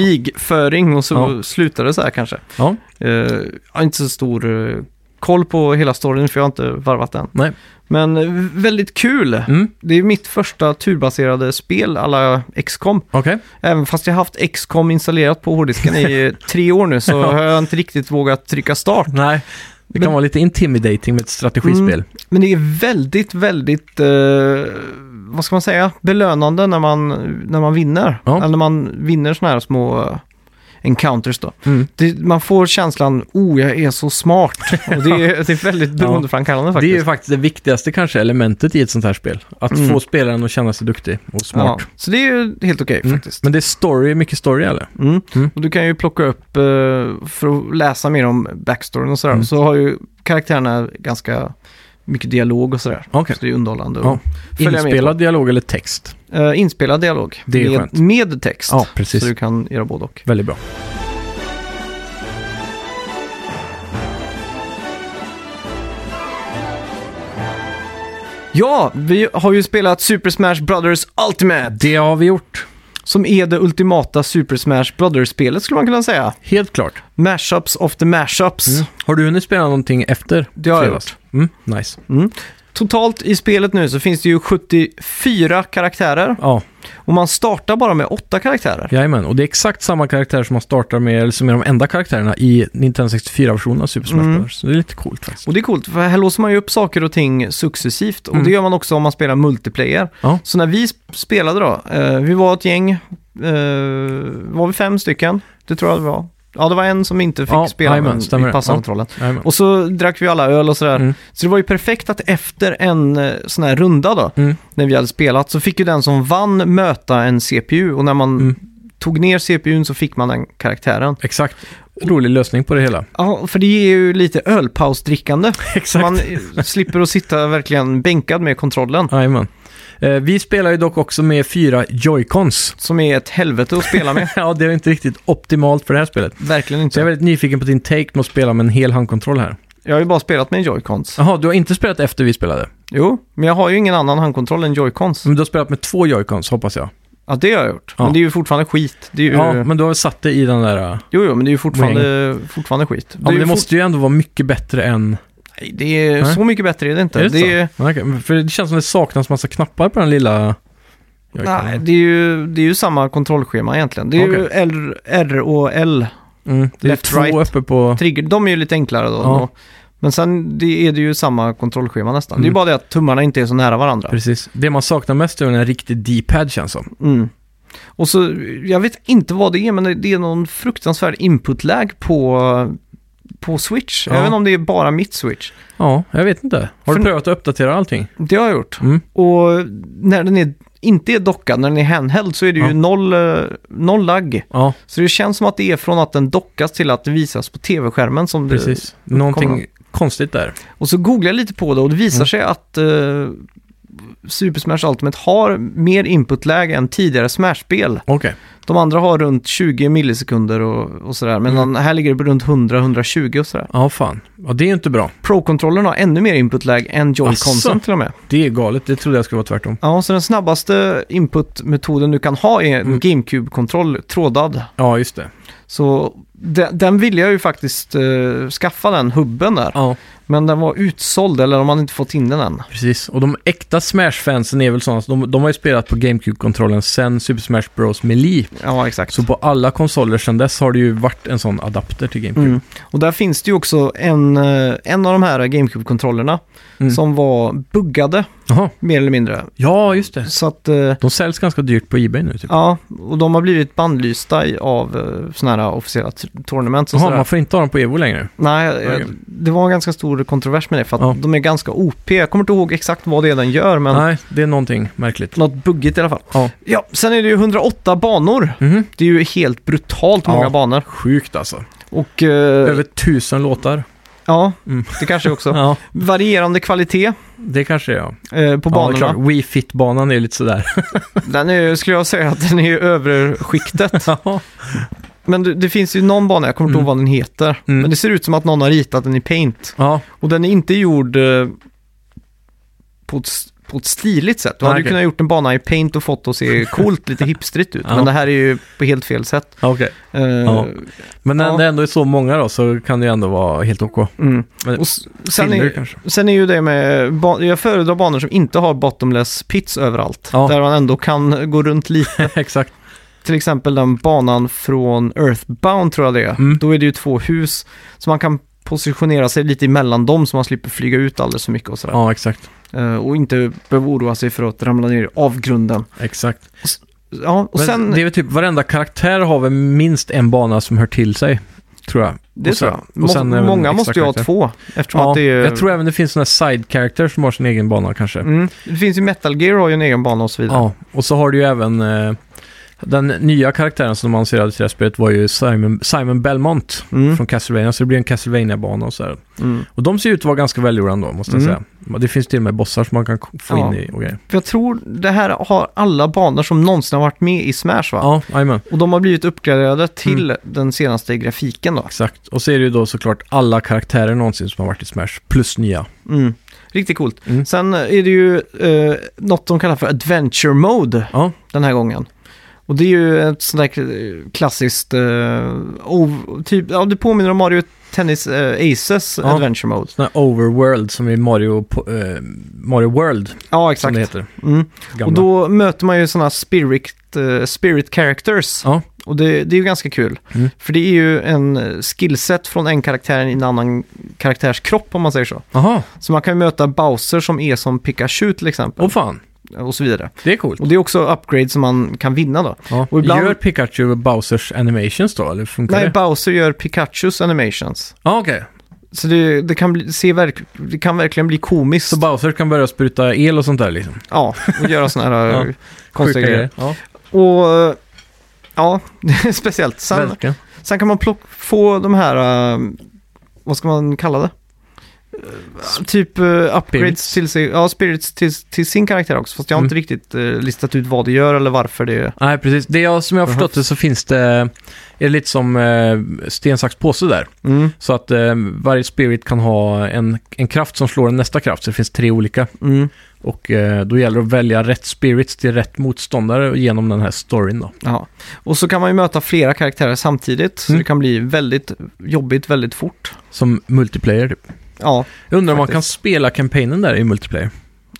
[SPEAKER 1] krigföring och så
[SPEAKER 2] Ja.
[SPEAKER 1] slutade det så här kanske.
[SPEAKER 2] Ja.
[SPEAKER 1] Eh, jag har inte så stor eh, koll på hela storyn för jag har inte varvat den.
[SPEAKER 2] Nej.
[SPEAKER 1] Men eh, väldigt kul.
[SPEAKER 2] Mm.
[SPEAKER 1] Det är mitt första turbaserade spel alla XCOM.
[SPEAKER 2] Okej.
[SPEAKER 1] Även fast jag har haft XCOM installerat på hårddisken i eh, tre år nu så
[SPEAKER 2] Ja.
[SPEAKER 1] har jag inte riktigt vågat trycka start.
[SPEAKER 2] Nej. Det kan
[SPEAKER 1] Men- Mm.
[SPEAKER 2] vara lite intimidating med ett strategispel.
[SPEAKER 1] Men det är väldigt, väldigt, eh, vad ska man säga, belönande när man, när man vinner.
[SPEAKER 2] Ja.
[SPEAKER 1] Eller när man vinner sådana här små eh, encounters då.
[SPEAKER 2] Mm.
[SPEAKER 1] Det, man får känslan, oh jag är så smart. Och det, är, det är väldigt beroendeframkallande
[SPEAKER 2] Det är
[SPEAKER 1] faktiskt. Mm.
[SPEAKER 2] ju faktiskt det viktigaste kanske elementet i ett sånt här spel. Att få spelaren att känna sig duktig och smart.
[SPEAKER 1] Ja, så det är ju helt okej
[SPEAKER 2] Mm.
[SPEAKER 1] faktiskt.
[SPEAKER 2] Men det är story, mycket story eller?
[SPEAKER 1] Mm.
[SPEAKER 2] Mm.
[SPEAKER 1] Och du kan ju plocka upp, eh, för att läsa mer om backstoryn och sådär,
[SPEAKER 2] Mm.
[SPEAKER 1] så har ju karaktärerna ganska mycket dialog och sådär.
[SPEAKER 2] Okej.
[SPEAKER 1] Så det är ju underhållande att
[SPEAKER 2] Ja.
[SPEAKER 1] följa med på.
[SPEAKER 2] Inspelad dialog eller text?
[SPEAKER 1] Eh, inspelad dialog.
[SPEAKER 2] Det är skönt.
[SPEAKER 1] med, med text.
[SPEAKER 2] Ja, precis.
[SPEAKER 1] Så du kan göra både och.
[SPEAKER 2] Väldigt bra.
[SPEAKER 1] Ja, vi har ju spelat Super Smash Brothers Ultimate.
[SPEAKER 2] Det har vi gjort.
[SPEAKER 1] Som är det ultimata Super Smash Brothers-spelet skulle man kunna säga.
[SPEAKER 2] Helt klart.
[SPEAKER 1] Mashups of the mashups.
[SPEAKER 2] Har du hunnit spela någonting efter
[SPEAKER 1] Det har Mm. jag
[SPEAKER 2] Mm. fredags? Mm, nice.
[SPEAKER 1] Totalt i spelet nu så finns det ju 74 karaktärer.
[SPEAKER 2] Ja,
[SPEAKER 1] Och man startar bara med 8 karaktärer.
[SPEAKER 2] jajamän. Och det är exakt samma karaktär som man startar med, eller som är de enda karaktärerna i Nintendo 64-versionen av Super Smash
[SPEAKER 1] Mm.
[SPEAKER 2] Bros. Så det är lite coolt faktiskt.
[SPEAKER 1] Och det är coolt, för här låser man ju upp saker och ting successivt. Och
[SPEAKER 2] Mm.
[SPEAKER 1] det gör man också om man spelar multiplayer.
[SPEAKER 2] Ja.
[SPEAKER 1] Så när vi sp- spelade då, eh, vi var ett gäng, eh, var vi fem stycken? Det tror jag det var. Ja, det var en som inte fick
[SPEAKER 2] Ja,
[SPEAKER 1] spela,
[SPEAKER 2] jajamän,
[SPEAKER 1] men
[SPEAKER 2] stämmer
[SPEAKER 1] vi
[SPEAKER 2] det.
[SPEAKER 1] passade
[SPEAKER 2] Ja.
[SPEAKER 1] kontrollen.
[SPEAKER 2] Jajamän.
[SPEAKER 1] Och så drack vi alla öl och sådär.
[SPEAKER 2] Mm.
[SPEAKER 1] Så det var ju perfekt att efter en eh, sån här runda då,
[SPEAKER 2] Mm.
[SPEAKER 1] när vi hade spelat, så fick ju den som vann möta en CPU. Och när man
[SPEAKER 2] Mm.
[SPEAKER 1] tog ner CPUn så fick man den karaktären.
[SPEAKER 2] Exakt. Rolig lösning på det hela.
[SPEAKER 1] Ja, för det är ju lite ölpausdrickande.
[SPEAKER 2] Exakt.
[SPEAKER 1] Man eh, slipper att sitta verkligen bänkad med kontrollen.
[SPEAKER 2] Jajamän. Eh, vi spelar ju dock också med fyra joycons.
[SPEAKER 1] Som är ett helvete att spela med.
[SPEAKER 2] ja, det är inte riktigt optimalt för det här spelet.
[SPEAKER 1] Verkligen
[SPEAKER 2] Så jag är
[SPEAKER 1] inte.
[SPEAKER 2] väldigt nyfiken på din take med att spela med en hel handkontroll här.
[SPEAKER 1] Jag har ju bara spelat med joycons.
[SPEAKER 2] Jaha, du har inte spelat efter vi spelade?
[SPEAKER 1] Jo, men jag har ju ingen annan handkontroll än joycons.
[SPEAKER 2] Men du har spelat med två joycons, hoppas jag.
[SPEAKER 1] Ja, det har jag gjort.
[SPEAKER 2] Mm. Ja.
[SPEAKER 1] Men det är ju fortfarande skit. Det är ju...
[SPEAKER 2] Ja, men du har satt det i den där... eh,
[SPEAKER 1] Jo, jo, men det är ju fortfarande, fortfarande skit.
[SPEAKER 2] Ja, men
[SPEAKER 1] är
[SPEAKER 2] det
[SPEAKER 1] ju
[SPEAKER 2] måste ju ändå vara mycket bättre än...
[SPEAKER 1] fort- Nej, det är...
[SPEAKER 2] Nej.
[SPEAKER 1] Så mycket bättre är det inte.
[SPEAKER 2] Är det,
[SPEAKER 1] det är...
[SPEAKER 2] så? Ja, okej, men För det känns som det saknas massa knappar på den lilla... joyconen.
[SPEAKER 1] Nej, det är, ju, det är ju samma kontrollschema egentligen. Det är ju R, R och L.
[SPEAKER 2] Mm, det är
[SPEAKER 1] left,
[SPEAKER 2] två
[SPEAKER 1] right.
[SPEAKER 2] uppe på...
[SPEAKER 1] Trigger, de är ju lite enklare då.
[SPEAKER 2] Ja.
[SPEAKER 1] Men sen det är det ju samma kontrollschema nästan. Det är
[SPEAKER 2] Mm.
[SPEAKER 1] ju bara det att tummarna inte är så nära varandra.
[SPEAKER 2] Precis. Det man saknar mest är en riktig D-pad känns som.
[SPEAKER 1] Mm. Och så, jag vet inte vad det är, men det- det är någon fruktansvärd input-lag på, på Switch.
[SPEAKER 2] Ja.
[SPEAKER 1] Även om det är bara mitt Switch.
[SPEAKER 2] Ja, jag vet inte. Har du
[SPEAKER 1] För-
[SPEAKER 2] prövat att uppdatera allting?
[SPEAKER 1] Det har jag gjort.
[SPEAKER 2] Mm.
[SPEAKER 1] Och när den är, inte är dockad, när den är handheld, så är det
[SPEAKER 2] Ja.
[SPEAKER 1] ju noll, eh, noll lagg.
[SPEAKER 2] Ja,
[SPEAKER 1] Så det känns som att det är från att den dockas till att det visas på tv-skärmen. Som det,
[SPEAKER 2] precis. Någonting konstigt där.
[SPEAKER 1] och så googlar jag lite på det och det visar
[SPEAKER 2] Mm.
[SPEAKER 1] sig att eh, Super Smash Ultimate har mer input-lag än tidigare Smash-spel.
[SPEAKER 2] Okej.
[SPEAKER 1] De andra har runt 20 millisekunder och, och sådär, men
[SPEAKER 2] Mm.
[SPEAKER 1] den här ligger det på runt 100-120 och sådär.
[SPEAKER 2] Ja, fan. Ja, det är ju inte bra.
[SPEAKER 1] Pro-kontrollern har ännu mer input-lag än
[SPEAKER 2] Asså?
[SPEAKER 1] Joy-Consen till och med.
[SPEAKER 2] Det är galet. Det trodde jag skulle vara tvärtom.
[SPEAKER 1] Ja, så den snabbaste input-metoden du kan ha är en
[SPEAKER 2] Mm.
[SPEAKER 1] GameCube-kontroll, trådad.
[SPEAKER 2] Ja, just det.
[SPEAKER 1] Så de, den ville jag ju faktiskt eh, skaffa den hubben där,
[SPEAKER 2] Ja,
[SPEAKER 1] men den var utsåld eller de hade inte fått in den än.
[SPEAKER 2] precis. Och de äkta Smash-fansen är väl sådana som de, de har ju spelat på GameCube-kontrollen sen Super Smash Bros. Melee.
[SPEAKER 1] Ja, exakt.
[SPEAKER 2] Så på alla konsoler sedan dess har det ju varit en sån adapter till GameCube.
[SPEAKER 1] Mm. Och där finns det ju också en, eh, en av de här GameCube-kontrollerna
[SPEAKER 2] Mm.
[SPEAKER 1] som var buggade,
[SPEAKER 2] Jaha.
[SPEAKER 1] mer eller mindre.
[SPEAKER 2] Ja, just det.
[SPEAKER 1] Så att... eh,
[SPEAKER 2] De säljs ganska dyrt på Ebay nu typ.
[SPEAKER 1] Ja, och de har blivit bandlysta i- av eh, såna här officiella t- tournaments och
[SPEAKER 2] Jaha,
[SPEAKER 1] sådär.
[SPEAKER 2] man får inte ha dem på Evo längre.
[SPEAKER 1] Nej, eh,
[SPEAKER 2] Okej.
[SPEAKER 1] det var en ganska stor kontrovers med det för att
[SPEAKER 2] Ja.
[SPEAKER 1] de är ganska OP. Jag kommer inte ihåg exakt vad det är den gör, men
[SPEAKER 2] Nej, det är någonting märkligt.
[SPEAKER 1] något buggigt i alla fall.
[SPEAKER 2] Ja.
[SPEAKER 1] Ja, sen är det ju 108 banor.
[SPEAKER 2] Mhm.
[SPEAKER 1] Det är ju helt brutalt
[SPEAKER 2] Ja.
[SPEAKER 1] många banor.
[SPEAKER 2] Sjukt alltså.
[SPEAKER 1] Och eh,
[SPEAKER 2] Över tusen låtar.
[SPEAKER 1] ja,
[SPEAKER 2] Mm.
[SPEAKER 1] det kanske är också.
[SPEAKER 2] Ja,
[SPEAKER 1] Varierande kvalitet
[SPEAKER 2] det kanske är ja.
[SPEAKER 1] eh, på
[SPEAKER 2] Ja, det är klart.
[SPEAKER 1] banorna.
[SPEAKER 2] Wii Fit-banan är lite sådär.
[SPEAKER 1] den är, ju- skulle jag säga att den är i övre skiktet.
[SPEAKER 2] Ja.
[SPEAKER 1] Men det, det finns ju någon bana, jag kommer inte ihåg
[SPEAKER 2] Mm.
[SPEAKER 1] vad den heter.
[SPEAKER 2] Mm.
[SPEAKER 1] Men det ser ut som att någon har ritat den i paint.
[SPEAKER 2] ja,
[SPEAKER 1] Och den är inte gjord eh, på ett, s- på ett stiligt sätt. Du
[SPEAKER 2] Nej,
[SPEAKER 1] hade ju
[SPEAKER 2] okej.
[SPEAKER 1] kunnat gjort en bana i paint och fått det att se coolt, lite hipstrigt ut.
[SPEAKER 2] Ja.
[SPEAKER 1] Men det här är ju på helt fel sätt.
[SPEAKER 2] okej.
[SPEAKER 1] Eh,
[SPEAKER 2] Ja. Men när
[SPEAKER 1] Ja.
[SPEAKER 2] det ändå är så många då så kan det ju ändå vara helt OK.
[SPEAKER 1] mm.
[SPEAKER 2] Men-
[SPEAKER 1] och s- sen,
[SPEAKER 2] Silver
[SPEAKER 1] är,
[SPEAKER 2] kanske.
[SPEAKER 1] sen är ju det med, ba- jag föredrar banor som inte har bottomless pits överallt.
[SPEAKER 2] Ja.
[SPEAKER 1] Där man ändå kan gå runt lite.
[SPEAKER 2] Exakt.
[SPEAKER 1] Till exempel den banan från Earthbound tror jag det är.
[SPEAKER 2] Mm.
[SPEAKER 1] Då är det ju två hus. Så man kan positionera sig lite emellan dem så man slipper flyga ut alldeles för mycket och sådär.
[SPEAKER 2] Ja, exakt.
[SPEAKER 1] Eh, och inte behöva oroa sig för att ramla ner i avgrunden.
[SPEAKER 2] Exakt.
[SPEAKER 1] Ja, och
[SPEAKER 2] Men
[SPEAKER 1] sen...
[SPEAKER 2] det är väl typ varenda karaktär har väl minst en bana som hör till sig. Tror jag.
[SPEAKER 1] Det
[SPEAKER 2] Och sen-
[SPEAKER 1] tror jag.
[SPEAKER 2] och sen
[SPEAKER 1] Må-
[SPEAKER 2] även
[SPEAKER 1] många
[SPEAKER 2] extra
[SPEAKER 1] måste ju ha
[SPEAKER 2] karaktär.
[SPEAKER 1] två. Eftersom
[SPEAKER 2] Ja,
[SPEAKER 1] att det är...
[SPEAKER 2] Jag tror även det finns sådana side characters som har sin egen bana kanske.
[SPEAKER 1] mm, det finns ju Metal Gear har ju en egen bana och så vidare.
[SPEAKER 2] Ja, och så har du ju även eh, den nya karaktären som de annonserade till det här spelet var ju Simon, Simon Belmont
[SPEAKER 1] Mm,
[SPEAKER 2] från Castlevania. Så det blir en Castlevania-bana och sådär.
[SPEAKER 1] mm.
[SPEAKER 2] Och de ser ut att vara ganska välgjorda ändå, måste jag
[SPEAKER 1] Mm.
[SPEAKER 2] säga. Det finns till och med bossar som man kan k- få
[SPEAKER 1] Ja.
[SPEAKER 2] in i och grejer.
[SPEAKER 1] För jag tror det här har alla banor som någonsin har varit med i Smash va?
[SPEAKER 2] Ja, Mm. jajamän.
[SPEAKER 1] Och de har blivit uppgraderade till den senaste grafiken då.
[SPEAKER 2] Exakt. Och så är det ju då såklart alla karaktärer någonsin som har varit i Smash, plus nya.
[SPEAKER 1] Mm. Riktigt coolt.
[SPEAKER 2] Mm.
[SPEAKER 1] Sen är det ju eh, något de kallar för Adventure Mode
[SPEAKER 2] Ja,
[SPEAKER 1] den här gången. Och det är ju ett sånt där k- klassiskt, eh, ov- typ, ja det påminner om Mario Tennis eh, Aces
[SPEAKER 2] Ja.
[SPEAKER 1] Adventure Mode.
[SPEAKER 2] sån här Overworld som i Mario, po- eh, Mario World,
[SPEAKER 1] Ja,
[SPEAKER 2] som det
[SPEAKER 1] exakt.
[SPEAKER 2] heter.
[SPEAKER 1] Mm. Och
[SPEAKER 2] Gamla.
[SPEAKER 1] då möter man ju sådana spirit, eh, spirit characters.
[SPEAKER 2] Ja.
[SPEAKER 1] Och det, det är ju ganska kul.
[SPEAKER 2] Mm.
[SPEAKER 1] För det är ju en eh, skillset från en karaktär i en annan karaktärs kropp om man säger så.
[SPEAKER 2] Aha,
[SPEAKER 1] Så man kan ju möta Bowser som är som Pikachu till exempel.
[SPEAKER 2] åh fan.
[SPEAKER 1] Och så vidare.
[SPEAKER 2] Det är coolt.
[SPEAKER 1] Och det är också upgrade som man kan vinna då.
[SPEAKER 2] Ja.
[SPEAKER 1] och ibland-
[SPEAKER 2] Gör Pikachu och Bowsers animations då, eller funkar
[SPEAKER 1] Nej,
[SPEAKER 2] det?
[SPEAKER 1] Bowser gör Pikachus animations.
[SPEAKER 2] Ja, okej.
[SPEAKER 1] Så det, det, kan, bli, se verk, det kan verkligen bli komiskt.
[SPEAKER 2] Så Bowser kan börja spruta el och sånt där liksom?
[SPEAKER 1] ja, och göra sådana här
[SPEAKER 2] Ja.
[SPEAKER 1] eh, konstiga grejer.
[SPEAKER 2] Ja,
[SPEAKER 1] Och eh, ja, det är speciellt. Sen,
[SPEAKER 2] verkligen.
[SPEAKER 1] sen kan man plock, få de här, eh, vad ska man kalla det? Eh, Typ eh, upgrades
[SPEAKER 2] Spirits. Mm.
[SPEAKER 1] till, sig, ja, spirits till, till sin karaktär också. Fast jag har inte riktigt eh, listat ut vad det gör eller varför det
[SPEAKER 2] Nej, precis. Det jag, som jag har
[SPEAKER 1] Mhm.
[SPEAKER 2] förstått det så finns det, är det lite som eh, sten, sax, påse där.
[SPEAKER 1] Mm,
[SPEAKER 2] Så att eh, varje spirit kan ha en, en kraft som slår nästa kraft, så det finns tre olika.
[SPEAKER 1] mm.
[SPEAKER 2] Och eh, då gäller det att välja rätt spirits till rätt motståndare genom den här storyn då.
[SPEAKER 1] Ja, och så kan man ju möta flera karaktärer samtidigt, så
[SPEAKER 2] Mm.
[SPEAKER 1] det kan bli väldigt jobbigt väldigt fort.
[SPEAKER 2] Som multiplayer typ.
[SPEAKER 1] Ja,
[SPEAKER 2] Jag undrar om man
[SPEAKER 1] Faktiskt.
[SPEAKER 2] kan spela kampanjen där i multiplayer.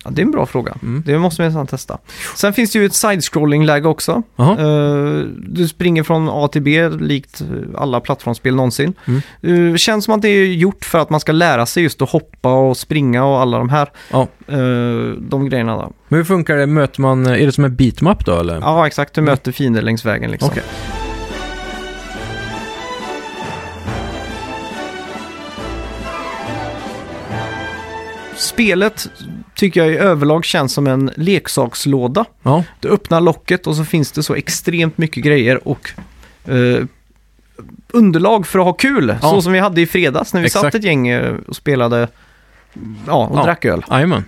[SPEAKER 1] ja, det är en bra fråga.
[SPEAKER 2] Mm.
[SPEAKER 1] Det måste vi nästan testa. Sen finns det ju ett side-scrolling-läge också.
[SPEAKER 2] Jaha,
[SPEAKER 1] Eh, du springer från A till B, likt eh, alla plattformsspel någonsin.
[SPEAKER 2] Mm.
[SPEAKER 1] Eh, känns som att det är gjort för att man ska lära sig just att hoppa och springa och alla de här
[SPEAKER 2] ja.
[SPEAKER 1] eh, de grejerna. Då.
[SPEAKER 2] Men hur funkar det? Möter man, eh, är det som en beatmap då eller?
[SPEAKER 1] Ja, exakt. Du möter fiender längs vägen liksom.
[SPEAKER 2] Okej.
[SPEAKER 1] Spelet tycker jag i överlag känns som en leksakslåda.
[SPEAKER 2] Ja.
[SPEAKER 1] Du öppnar locket och så finns det så extremt mycket grejer och eh, underlag för att ha kul.
[SPEAKER 2] Ja.
[SPEAKER 1] Så som vi hade i fredags när vi
[SPEAKER 2] Exakt.
[SPEAKER 1] satt ett gäng eh, och spelade ja, och
[SPEAKER 2] Ja.
[SPEAKER 1] drack öl.
[SPEAKER 2] Jajamän.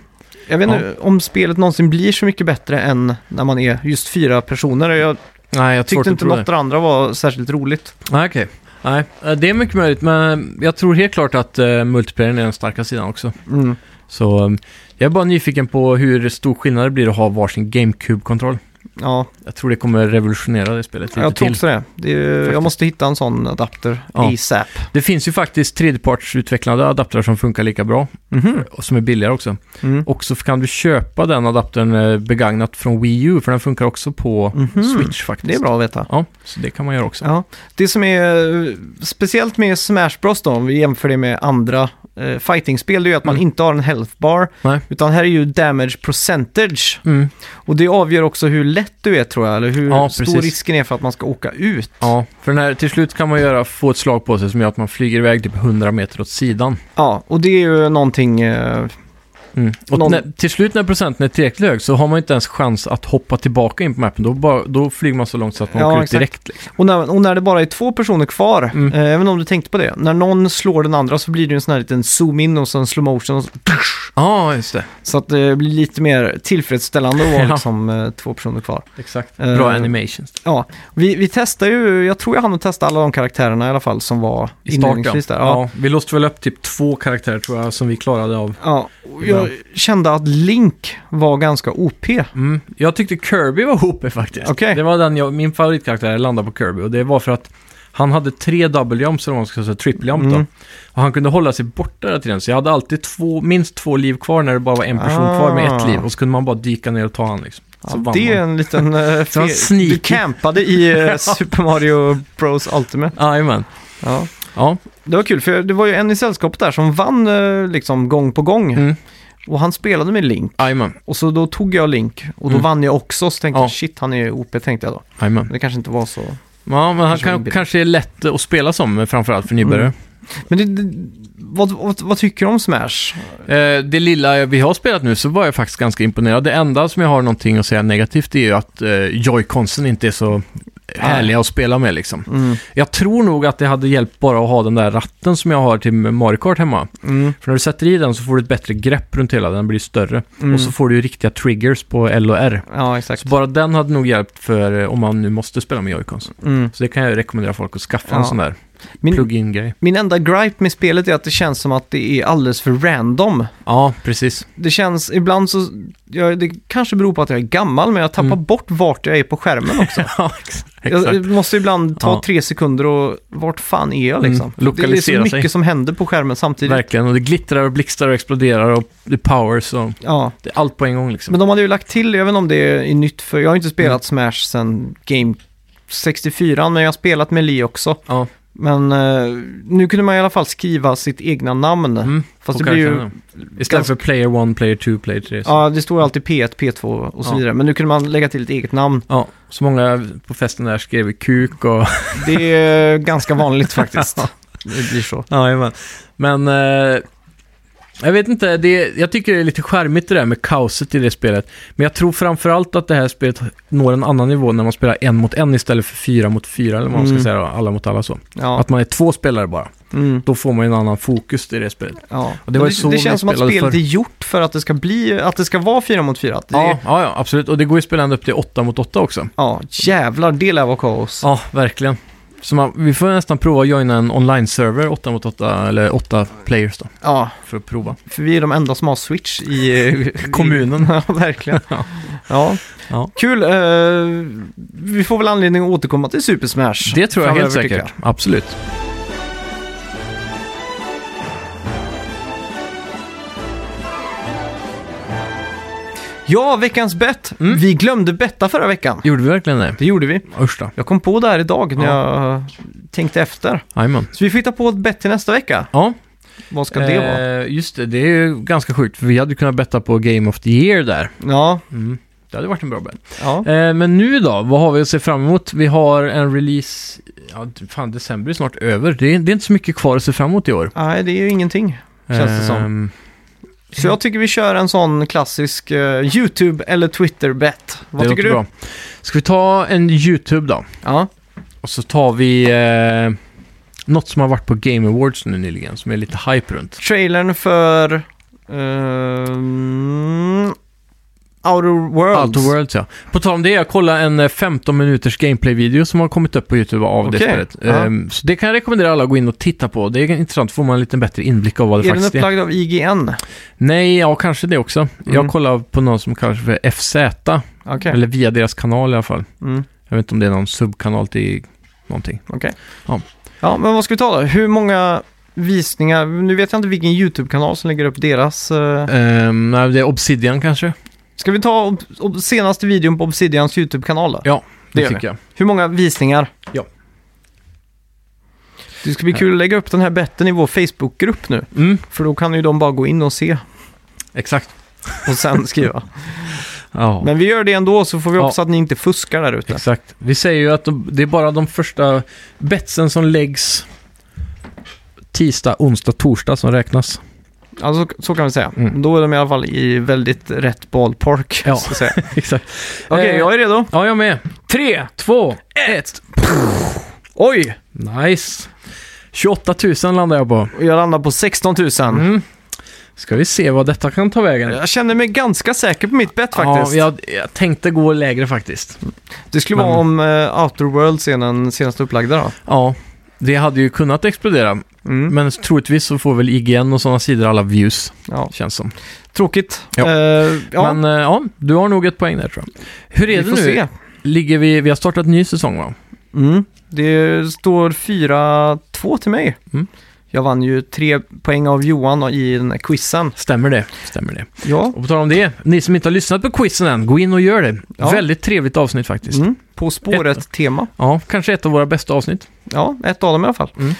[SPEAKER 1] Jag vet inte om spelet någonsin blir så mycket bättre än när man är just fyra personer. Jag
[SPEAKER 2] Nej, jag
[SPEAKER 1] tyckte inte
[SPEAKER 2] tro
[SPEAKER 1] något av det andra var särskilt roligt.
[SPEAKER 2] Nej, okej. Nej, eh, det är mycket möjligt, men jag tror helt klart att uh, multiplayern är den starka sidan också.
[SPEAKER 1] Mm.
[SPEAKER 2] Så eh, jag är bara nyfiken på hur stor skillnad det blir att ha varsin GameCube-kontroll.
[SPEAKER 1] Ja,
[SPEAKER 2] Jag tror det kommer revolutionera det spelet lite
[SPEAKER 1] jag tror
[SPEAKER 2] till.
[SPEAKER 1] också det. det är, jag måste hitta en sån adapter
[SPEAKER 2] Ja.
[SPEAKER 1] ASAP.
[SPEAKER 2] Det finns ju faktiskt tredjepartsutvecklade adaptrar som funkar lika bra och som är billigare också.
[SPEAKER 1] Mm.
[SPEAKER 2] Och så kan du köpa den adaptern eh, begagnat från Wii U, för den funkar också på
[SPEAKER 1] Mhm.
[SPEAKER 2] Switch faktiskt.
[SPEAKER 1] Det är bra att veta.
[SPEAKER 2] Ja, så det kan man göra också.
[SPEAKER 1] Ja. Det som är eh, speciellt med Smash Bros då, om vi jämför det med andra eh, fightingspel, det är ju att man
[SPEAKER 2] Mm.
[SPEAKER 1] inte har en health bar,
[SPEAKER 2] Nej.
[SPEAKER 1] utan här är ju damage percentage.
[SPEAKER 2] Mm.
[SPEAKER 1] Och det avgör också hur lätt du är tror jag, eller hur
[SPEAKER 2] Ja,
[SPEAKER 1] stor
[SPEAKER 2] precis.
[SPEAKER 1] risken är för att man ska åka ut.
[SPEAKER 2] Ja, för den här, till slut kan man göra, få ett slag på sig som gör att man flyger iväg typ 100 meter åt sidan.
[SPEAKER 1] Ja, och det är ju någonting... eh,
[SPEAKER 2] Mm. Och
[SPEAKER 1] Någon-
[SPEAKER 2] när, till slut när procenten är tillräckligt hög så har man inte ens chans att hoppa tillbaka in på mappen. Då, bara, då flyger man så långt så att man
[SPEAKER 1] Ja,
[SPEAKER 2] åker
[SPEAKER 1] exakt.
[SPEAKER 2] ut direkt. Liksom.
[SPEAKER 1] Och, när, och när det bara är två personer kvar,
[SPEAKER 2] Mm.
[SPEAKER 1] eh, även om du tänkte på det, när någon slår den andra så blir det ju en sån här liten zoom in och sen slow motion och så,
[SPEAKER 2] Ja, just det.
[SPEAKER 1] så att det blir lite mer tillfredsställande att vara
[SPEAKER 2] Ja.
[SPEAKER 1] liksom, eh, två personer kvar.
[SPEAKER 2] Exakt.
[SPEAKER 1] Eh,
[SPEAKER 2] Bra animations.
[SPEAKER 1] Ja, vi, vi testar ju, jag tror jag hann att testa alla de karaktärerna i alla fall som var
[SPEAKER 2] I starten.
[SPEAKER 1] inledningsvis där. Ja.
[SPEAKER 2] Ja, vi låste väl upp typ två karaktärer tror jag som vi klarade av.
[SPEAKER 1] Ja. och jag kände att Link var ganska OP.
[SPEAKER 2] Mm. Jag tyckte Kirby var OP faktiskt.
[SPEAKER 1] Okej.
[SPEAKER 2] Det var den jag, min favoritkaraktär landade på Kirby och det var för att han hade tre double jumps eller vad man ska säga, triple jump då.
[SPEAKER 1] Mm.
[SPEAKER 2] Och han kunde hålla sig borta hela tiden. Så jag hade alltid två, minst två liv kvar när det bara var en person
[SPEAKER 1] Ah.
[SPEAKER 2] kvar med ett liv. Och så kunde man bara dyka ner och ta han liksom. Så
[SPEAKER 1] Ja,
[SPEAKER 2] vann
[SPEAKER 1] det är
[SPEAKER 2] man.
[SPEAKER 1] en liten... eh,
[SPEAKER 2] Så han
[SPEAKER 1] fe-
[SPEAKER 2] sneaky.
[SPEAKER 1] Du campade i eh, Super Mario Bros Ultimate.
[SPEAKER 2] Jajamän.
[SPEAKER 1] Ja.
[SPEAKER 2] Ja.
[SPEAKER 1] Det var kul, för det var ju en i sällskapet där som vann eh, liksom gång på gång.
[SPEAKER 2] Mm.
[SPEAKER 1] Och han spelade med Link.
[SPEAKER 2] Jajamän,
[SPEAKER 1] Och så då tog jag Link och då
[SPEAKER 2] Mm.
[SPEAKER 1] vann jag också. Så tänkte
[SPEAKER 2] Ja.
[SPEAKER 1] jag, shit han är ju OP tänkte jag då.
[SPEAKER 2] jajamän.
[SPEAKER 1] Men det kanske inte var så.
[SPEAKER 2] Ja, men han
[SPEAKER 1] Kanske
[SPEAKER 2] kan,
[SPEAKER 1] en bit.
[SPEAKER 2] kanske är lätt att spela som, framförallt för nybörjare.
[SPEAKER 1] Men det, det, vad, vad, vad tycker du om Smash?
[SPEAKER 2] Eh, det lilla vi har spelat nu så var jag faktiskt ganska imponerad. Det enda som jag har någonting att säga negativt är ju att eh, joyconsen inte är så härliga att spela med liksom.
[SPEAKER 1] Mm.
[SPEAKER 2] Jag tror nog att det hade hjälpt bara att ha den där ratten som jag har till Mario Kart hemma.
[SPEAKER 1] Mm.
[SPEAKER 2] För när du sätter i den så får du ett bättre grepp runt hela, den blir större.
[SPEAKER 1] Mm.
[SPEAKER 2] Och så får du ju riktiga triggers på L och R.
[SPEAKER 1] Ja, exakt.
[SPEAKER 2] Så bara den hade nog hjälpt för eh, om man nu måste spela med joycons.
[SPEAKER 1] Mm.
[SPEAKER 2] Så det kan jag rekommendera folk att skaffa en
[SPEAKER 1] Ja.
[SPEAKER 2] sån där
[SPEAKER 1] Min,
[SPEAKER 2] plug-in-grej.
[SPEAKER 1] min enda gripe med spelet är att det känns som att det är alldeles för random.
[SPEAKER 2] Ja, precis.
[SPEAKER 1] Det känns, ibland så, ja, det kanske beror på att jag är gammal, men jag tappar
[SPEAKER 2] Mm.
[SPEAKER 1] bort vart jag är på skärmen också.
[SPEAKER 2] ja, exakt.
[SPEAKER 1] jag måste ibland ta
[SPEAKER 2] Ja.
[SPEAKER 1] tre sekunder och vart fan är jag liksom?
[SPEAKER 2] Mm, lokalisera
[SPEAKER 1] det är så
[SPEAKER 2] sig.
[SPEAKER 1] mycket som händer på skärmen samtidigt.
[SPEAKER 2] Verkligen, och det glittrar och blixtrar och exploderar och det powers och
[SPEAKER 1] Ja,
[SPEAKER 2] det är allt på en gång liksom.
[SPEAKER 1] men de hade ju lagt till, jag vet inte om det är nytt för, jag har inte spelat
[SPEAKER 2] Mm.
[SPEAKER 1] Smash sedan Game 64, men jag har spelat med Lee också.
[SPEAKER 2] Ja.
[SPEAKER 1] Men eh, nu kunde man i alla fall skriva sitt egna namn.
[SPEAKER 2] Mm,
[SPEAKER 1] Fast
[SPEAKER 2] och
[SPEAKER 1] det blir ju
[SPEAKER 2] karaktärerna. Istället för player 1, player 2, player 3. Så.
[SPEAKER 1] Ja, det står alltid P1, P2 och så
[SPEAKER 2] Ja.
[SPEAKER 1] vidare. Men nu kunde man lägga till ett eget namn.
[SPEAKER 2] Ja, så många på festen där skrev kuk och...
[SPEAKER 1] Det är ganska vanligt faktiskt. Det blir så.
[SPEAKER 2] Ja, jajamän. men eh, jag vet inte, det, jag tycker det är lite charmigt det där med kaoset i det spelet. Men jag tror framförallt att det här spelet når en annan nivå när man spelar en mot en istället för fyra mot fyra, eller vad man ska
[SPEAKER 1] Mm.
[SPEAKER 2] säga, då, alla mot alla så.
[SPEAKER 1] Ja,
[SPEAKER 2] Att man är två spelare bara.
[SPEAKER 1] mm,
[SPEAKER 2] Då får man ju en annan fokus i det spelet.
[SPEAKER 1] ja.
[SPEAKER 2] Och det var
[SPEAKER 1] Men
[SPEAKER 2] ju så
[SPEAKER 1] det
[SPEAKER 2] vi
[SPEAKER 1] känns som att
[SPEAKER 2] spelade
[SPEAKER 1] spelet
[SPEAKER 2] förr.
[SPEAKER 1] är gjort för att det ska bli, att det ska vara 4 mot 4. Att det
[SPEAKER 2] Ja,
[SPEAKER 1] är,
[SPEAKER 2] ja, ja, absolut. Och det går ju att spela ända upp till åtta mot åtta också.
[SPEAKER 1] ja, jävlar, det lär vara kaos.
[SPEAKER 2] Ja, verkligen. Så man, vi får nästan prova att joina en online-server åtta mot åtta eller åtta players då,
[SPEAKER 1] Ja,
[SPEAKER 2] för att prova.
[SPEAKER 1] för vi är de enda som har Switch i eh,
[SPEAKER 2] Kommunen.
[SPEAKER 1] ja, verkligen.
[SPEAKER 2] Ja.
[SPEAKER 1] Ja.
[SPEAKER 2] Ja.
[SPEAKER 1] Kul. eh, vi får väl anledning att återkomma till Super Smash.
[SPEAKER 2] Det tror jag helt
[SPEAKER 1] framöver, tycker
[SPEAKER 2] säkert. Absolut.
[SPEAKER 1] jag. Ja, veckans bett.
[SPEAKER 2] Mm.
[SPEAKER 1] Vi glömde betta förra veckan.
[SPEAKER 2] Gjorde vi verkligen det?
[SPEAKER 1] Det gjorde vi.
[SPEAKER 2] Usch då.
[SPEAKER 1] Jag kom på det här idag när jag tänkte efter.
[SPEAKER 2] Jajamän.
[SPEAKER 1] Så vi får hitta på ett bett till nästa vecka.
[SPEAKER 2] Ja,
[SPEAKER 1] Vad ska det vara?
[SPEAKER 2] eh, just det. Det är ju ganska sjukt, för vi hade ju kunnat betta på Game of the Year där.
[SPEAKER 1] Ja,
[SPEAKER 2] Mm. Det hade varit en bra bet.
[SPEAKER 1] ja.
[SPEAKER 2] Eh, men nu då, vad har vi att se fram emot? Vi har en release... Ja, fan, december är snart över. Det är, det är inte så mycket kvar att se fram emot i år.
[SPEAKER 1] Nej, det är ju ingenting. Känns det som.
[SPEAKER 2] Ehm,
[SPEAKER 1] Så jag tycker vi kör en sån klassisk eh, YouTube eller Twitter-bet.
[SPEAKER 2] det
[SPEAKER 1] Vad tycker
[SPEAKER 2] låter
[SPEAKER 1] du?
[SPEAKER 2] Bra. Ska vi ta en YouTube då?
[SPEAKER 1] Ja.
[SPEAKER 2] Och så tar vi eh, något som har varit på Game Awards nu nyligen, som är lite hype runt.
[SPEAKER 1] Trailern för... ehm, Outer Worlds.
[SPEAKER 2] Outer Worlds ja. På tal om det, jag kollade en eh, 15 minuters gameplay-video som har kommit upp på YouTube av det
[SPEAKER 1] Okej,
[SPEAKER 2] spelet.
[SPEAKER 1] ja.
[SPEAKER 2] Ehm, så det kan jag rekommendera alla att gå in och titta på. Det är intressant, får man en liten bättre inblick av vad det
[SPEAKER 1] Är den
[SPEAKER 2] faktiskt är.
[SPEAKER 1] upplagd av IGN?
[SPEAKER 2] Nej, ja kanske det också. Jag
[SPEAKER 1] Mm.
[SPEAKER 2] kollade på någon som kallas för FZ,
[SPEAKER 1] Okej.
[SPEAKER 2] eller via deras kanal i alla fall.
[SPEAKER 1] Mm,
[SPEAKER 2] Jag vet inte om det är någon subkanal till någonting.
[SPEAKER 1] okej.
[SPEAKER 2] Ja.
[SPEAKER 1] ja, men vad ska vi ta då? Hur många visningar? Nu vet jag inte vilken YouTube-kanal som lägger upp deras... eh,
[SPEAKER 2] Ehm, nej, det är Obsidian kanske?
[SPEAKER 1] Ska vi ta ob- ob- senaste videon på Obsidians YouTube-kanal då?
[SPEAKER 2] Ja,
[SPEAKER 1] Det
[SPEAKER 2] Det,
[SPEAKER 1] gör vi.
[SPEAKER 2] tycker jag.
[SPEAKER 1] Hur många visningar?
[SPEAKER 2] Ja.
[SPEAKER 1] Det ska bli kul att lägga upp den här betten i vår Facebook-grupp nu.
[SPEAKER 2] Mm,
[SPEAKER 1] För då kan ju de bara gå in och se
[SPEAKER 2] exakt.
[SPEAKER 1] och sen skriva.
[SPEAKER 2] Ja.
[SPEAKER 1] Men vi gör det ändå så får vi
[SPEAKER 2] Ja.
[SPEAKER 1] hoppas att ni inte fuskar där ute.
[SPEAKER 2] Exakt. Vi säger ju att de, det är bara de första betsen som läggs tisdag, onsdag, torsdag som räknas.
[SPEAKER 1] Alltså, så kan vi säga.
[SPEAKER 2] Mm.
[SPEAKER 1] Då är de i alla fall i väldigt rätt ballpark.
[SPEAKER 2] Ja.
[SPEAKER 1] så att säga.
[SPEAKER 2] Exakt.
[SPEAKER 1] Okej,
[SPEAKER 2] Eh,
[SPEAKER 1] jag är redo.
[SPEAKER 2] Ja, jag med.
[SPEAKER 1] Tre!
[SPEAKER 2] Två, ett.
[SPEAKER 1] Oj!
[SPEAKER 2] Nice. 28 000 landar jag på.
[SPEAKER 1] Och Jag landar på 16 000.
[SPEAKER 2] Mm. Ska vi se vad detta kan ta vägen.
[SPEAKER 1] Jag känner mig ganska säker på mitt bett faktiskt.
[SPEAKER 2] Ja, jag, jag tänkte gå lägre faktiskt.
[SPEAKER 1] Det skulle vara om uh, Outer Worlds är den senaste upplagda då.
[SPEAKER 2] Ja, det hade ju kunnat explodera.
[SPEAKER 1] Mm.
[SPEAKER 2] Men troligtvis så får väl IGN och sådana sidor alla views,
[SPEAKER 1] Ja.
[SPEAKER 2] känns som.
[SPEAKER 1] Tråkigt.
[SPEAKER 2] Ja.
[SPEAKER 1] Eh, ja,
[SPEAKER 2] Men eh, ja, du har nog ett poäng där tror jag. Hur
[SPEAKER 1] vi
[SPEAKER 2] är det
[SPEAKER 1] får
[SPEAKER 2] nu?
[SPEAKER 1] se.
[SPEAKER 2] Ligger vi, vi har startat en ny säsong va?
[SPEAKER 1] Mm. Det står 4-2 till mig.
[SPEAKER 2] Mm.
[SPEAKER 1] Jag vann ju tre poäng av Johan i den här quizen.
[SPEAKER 2] Stämmer det? Stämmer det.
[SPEAKER 1] Ja,
[SPEAKER 2] Och på tal om det, ni som inte har lyssnat på quizen än, gå in och gör det.
[SPEAKER 1] Ja.
[SPEAKER 2] Väldigt trevligt avsnitt faktiskt.
[SPEAKER 1] mm. På spåret-tema.
[SPEAKER 2] Ja, kanske ett av våra bästa avsnitt.
[SPEAKER 1] Ja, ett av dem i alla fall.
[SPEAKER 2] Mm.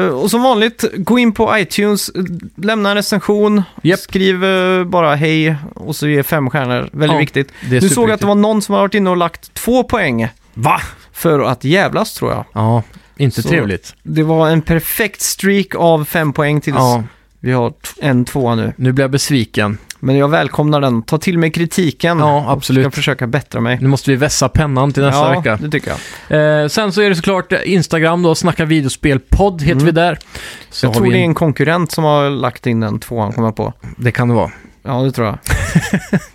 [SPEAKER 1] Eh, och som vanligt, gå in på iTunes, eh, lämna en recension,
[SPEAKER 2] Japp.
[SPEAKER 1] skriv eh, bara hej och så ge fem stjärnor. Väldigt
[SPEAKER 2] Ja,
[SPEAKER 1] viktigt.
[SPEAKER 2] Det
[SPEAKER 1] Du såg att
[SPEAKER 2] är
[SPEAKER 1] det
[SPEAKER 2] superviktigt.
[SPEAKER 1] var någon som har varit inne och lagt två poäng
[SPEAKER 2] Va?
[SPEAKER 1] för att jävlas tror jag.
[SPEAKER 2] Ja, inte
[SPEAKER 1] Så-
[SPEAKER 2] trevligt.
[SPEAKER 1] Det var en perfekt streak av fem poäng tills
[SPEAKER 2] Ja,
[SPEAKER 1] vi har t- en tvåa nu.
[SPEAKER 2] nu blir jag besviken.
[SPEAKER 1] Men jag välkomnar den. Ta till mig kritiken.
[SPEAKER 2] Ja,
[SPEAKER 1] Ska
[SPEAKER 2] absolut.
[SPEAKER 1] försöka bättra mig.
[SPEAKER 2] Nu måste vi vässa pennan till nästa
[SPEAKER 1] ja,
[SPEAKER 2] vecka.
[SPEAKER 1] det tycker jag.
[SPEAKER 2] Eh, sen så är det såklart Instagram då, Snacka videospel-podd heter
[SPEAKER 1] Mm.
[SPEAKER 2] vi där. Så
[SPEAKER 1] jag
[SPEAKER 2] har
[SPEAKER 1] tror
[SPEAKER 2] vi
[SPEAKER 1] det är
[SPEAKER 2] en...
[SPEAKER 1] en konkurrent som har lagt in den tvåan, kommer jag på.
[SPEAKER 2] det kan det vara.
[SPEAKER 1] Ja, det tror jag.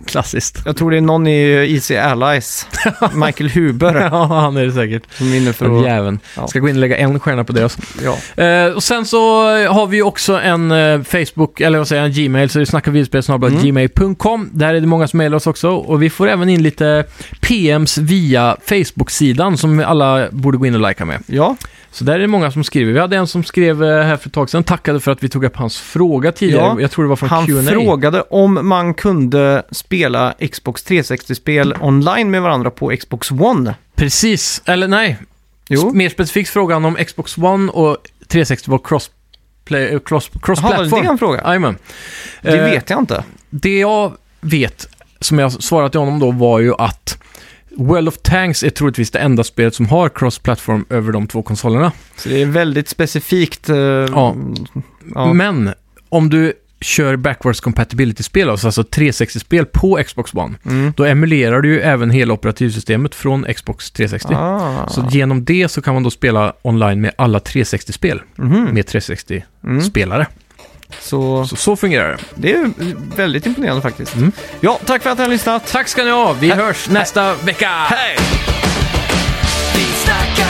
[SPEAKER 2] Klassiskt.
[SPEAKER 1] Jag tror det är någon i EC Allies, Michael Huber,
[SPEAKER 2] ja, han är det säkert.
[SPEAKER 1] som är inne
[SPEAKER 2] Den
[SPEAKER 1] för att...
[SPEAKER 2] jäveln.
[SPEAKER 1] Ja.
[SPEAKER 2] Ska gå in och lägga en stjärna på deras.
[SPEAKER 1] Ja.
[SPEAKER 2] Eh, och sen så eh, har vi ju också en eh, Facebook, eller vad säger jag, en Gmail, så det är
[SPEAKER 1] Mm.
[SPEAKER 2] snackavideospel.gmail.com. Där är det många som mejlar oss också. Och vi får även in lite PMs via Facebook-sidan som alla borde gå in och likea med.
[SPEAKER 1] Ja,
[SPEAKER 2] Så där är det många som skriver. Vi hade en som skrev eh, här för ett tag sedan, tackade för att vi tog upp hans fråga tidigare.
[SPEAKER 1] Ja.
[SPEAKER 2] Jag tror det var från
[SPEAKER 1] han
[SPEAKER 2] Q&A.
[SPEAKER 1] frågade om man kunde spela Xbox 360-spel online med varandra på Xbox One.
[SPEAKER 2] Precis, eller nej. S-
[SPEAKER 1] Jo,
[SPEAKER 2] Mer specifikt frågan om Xbox One och 360 var cross-play, eh, cross,
[SPEAKER 1] Jaha, var det det
[SPEAKER 2] cross-platform.
[SPEAKER 1] han frågade?
[SPEAKER 2] Jajamän.
[SPEAKER 1] Det
[SPEAKER 2] Eh,
[SPEAKER 1] vet jag inte.
[SPEAKER 2] Det jag vet, som jag svarat till honom då, var ju att World of Tanks är troligtvis det enda spelet som har cross-platform över de två konsolerna.
[SPEAKER 1] Så det är väldigt specifikt. eh, ja.
[SPEAKER 2] Men om du kör backwards compatibility-spel, alltså alltså 360-spel på Xbox One,
[SPEAKER 1] Mm.
[SPEAKER 2] då emulerar du ju även hela operativsystemet från Xbox 360.
[SPEAKER 1] Ah.
[SPEAKER 2] Så genom det så kan man då spela online med alla 360-spel,
[SPEAKER 1] Mhm.
[SPEAKER 2] med 360-spelare.
[SPEAKER 1] Mm. Så
[SPEAKER 2] Så, så fungerar det.
[SPEAKER 1] det är väldigt imponerande faktiskt.
[SPEAKER 2] Mm.
[SPEAKER 1] Ja, tack för att ni har lyssnat.
[SPEAKER 2] Tack ska ni ha, vi hörs nästa vecka!
[SPEAKER 3] Vi snackar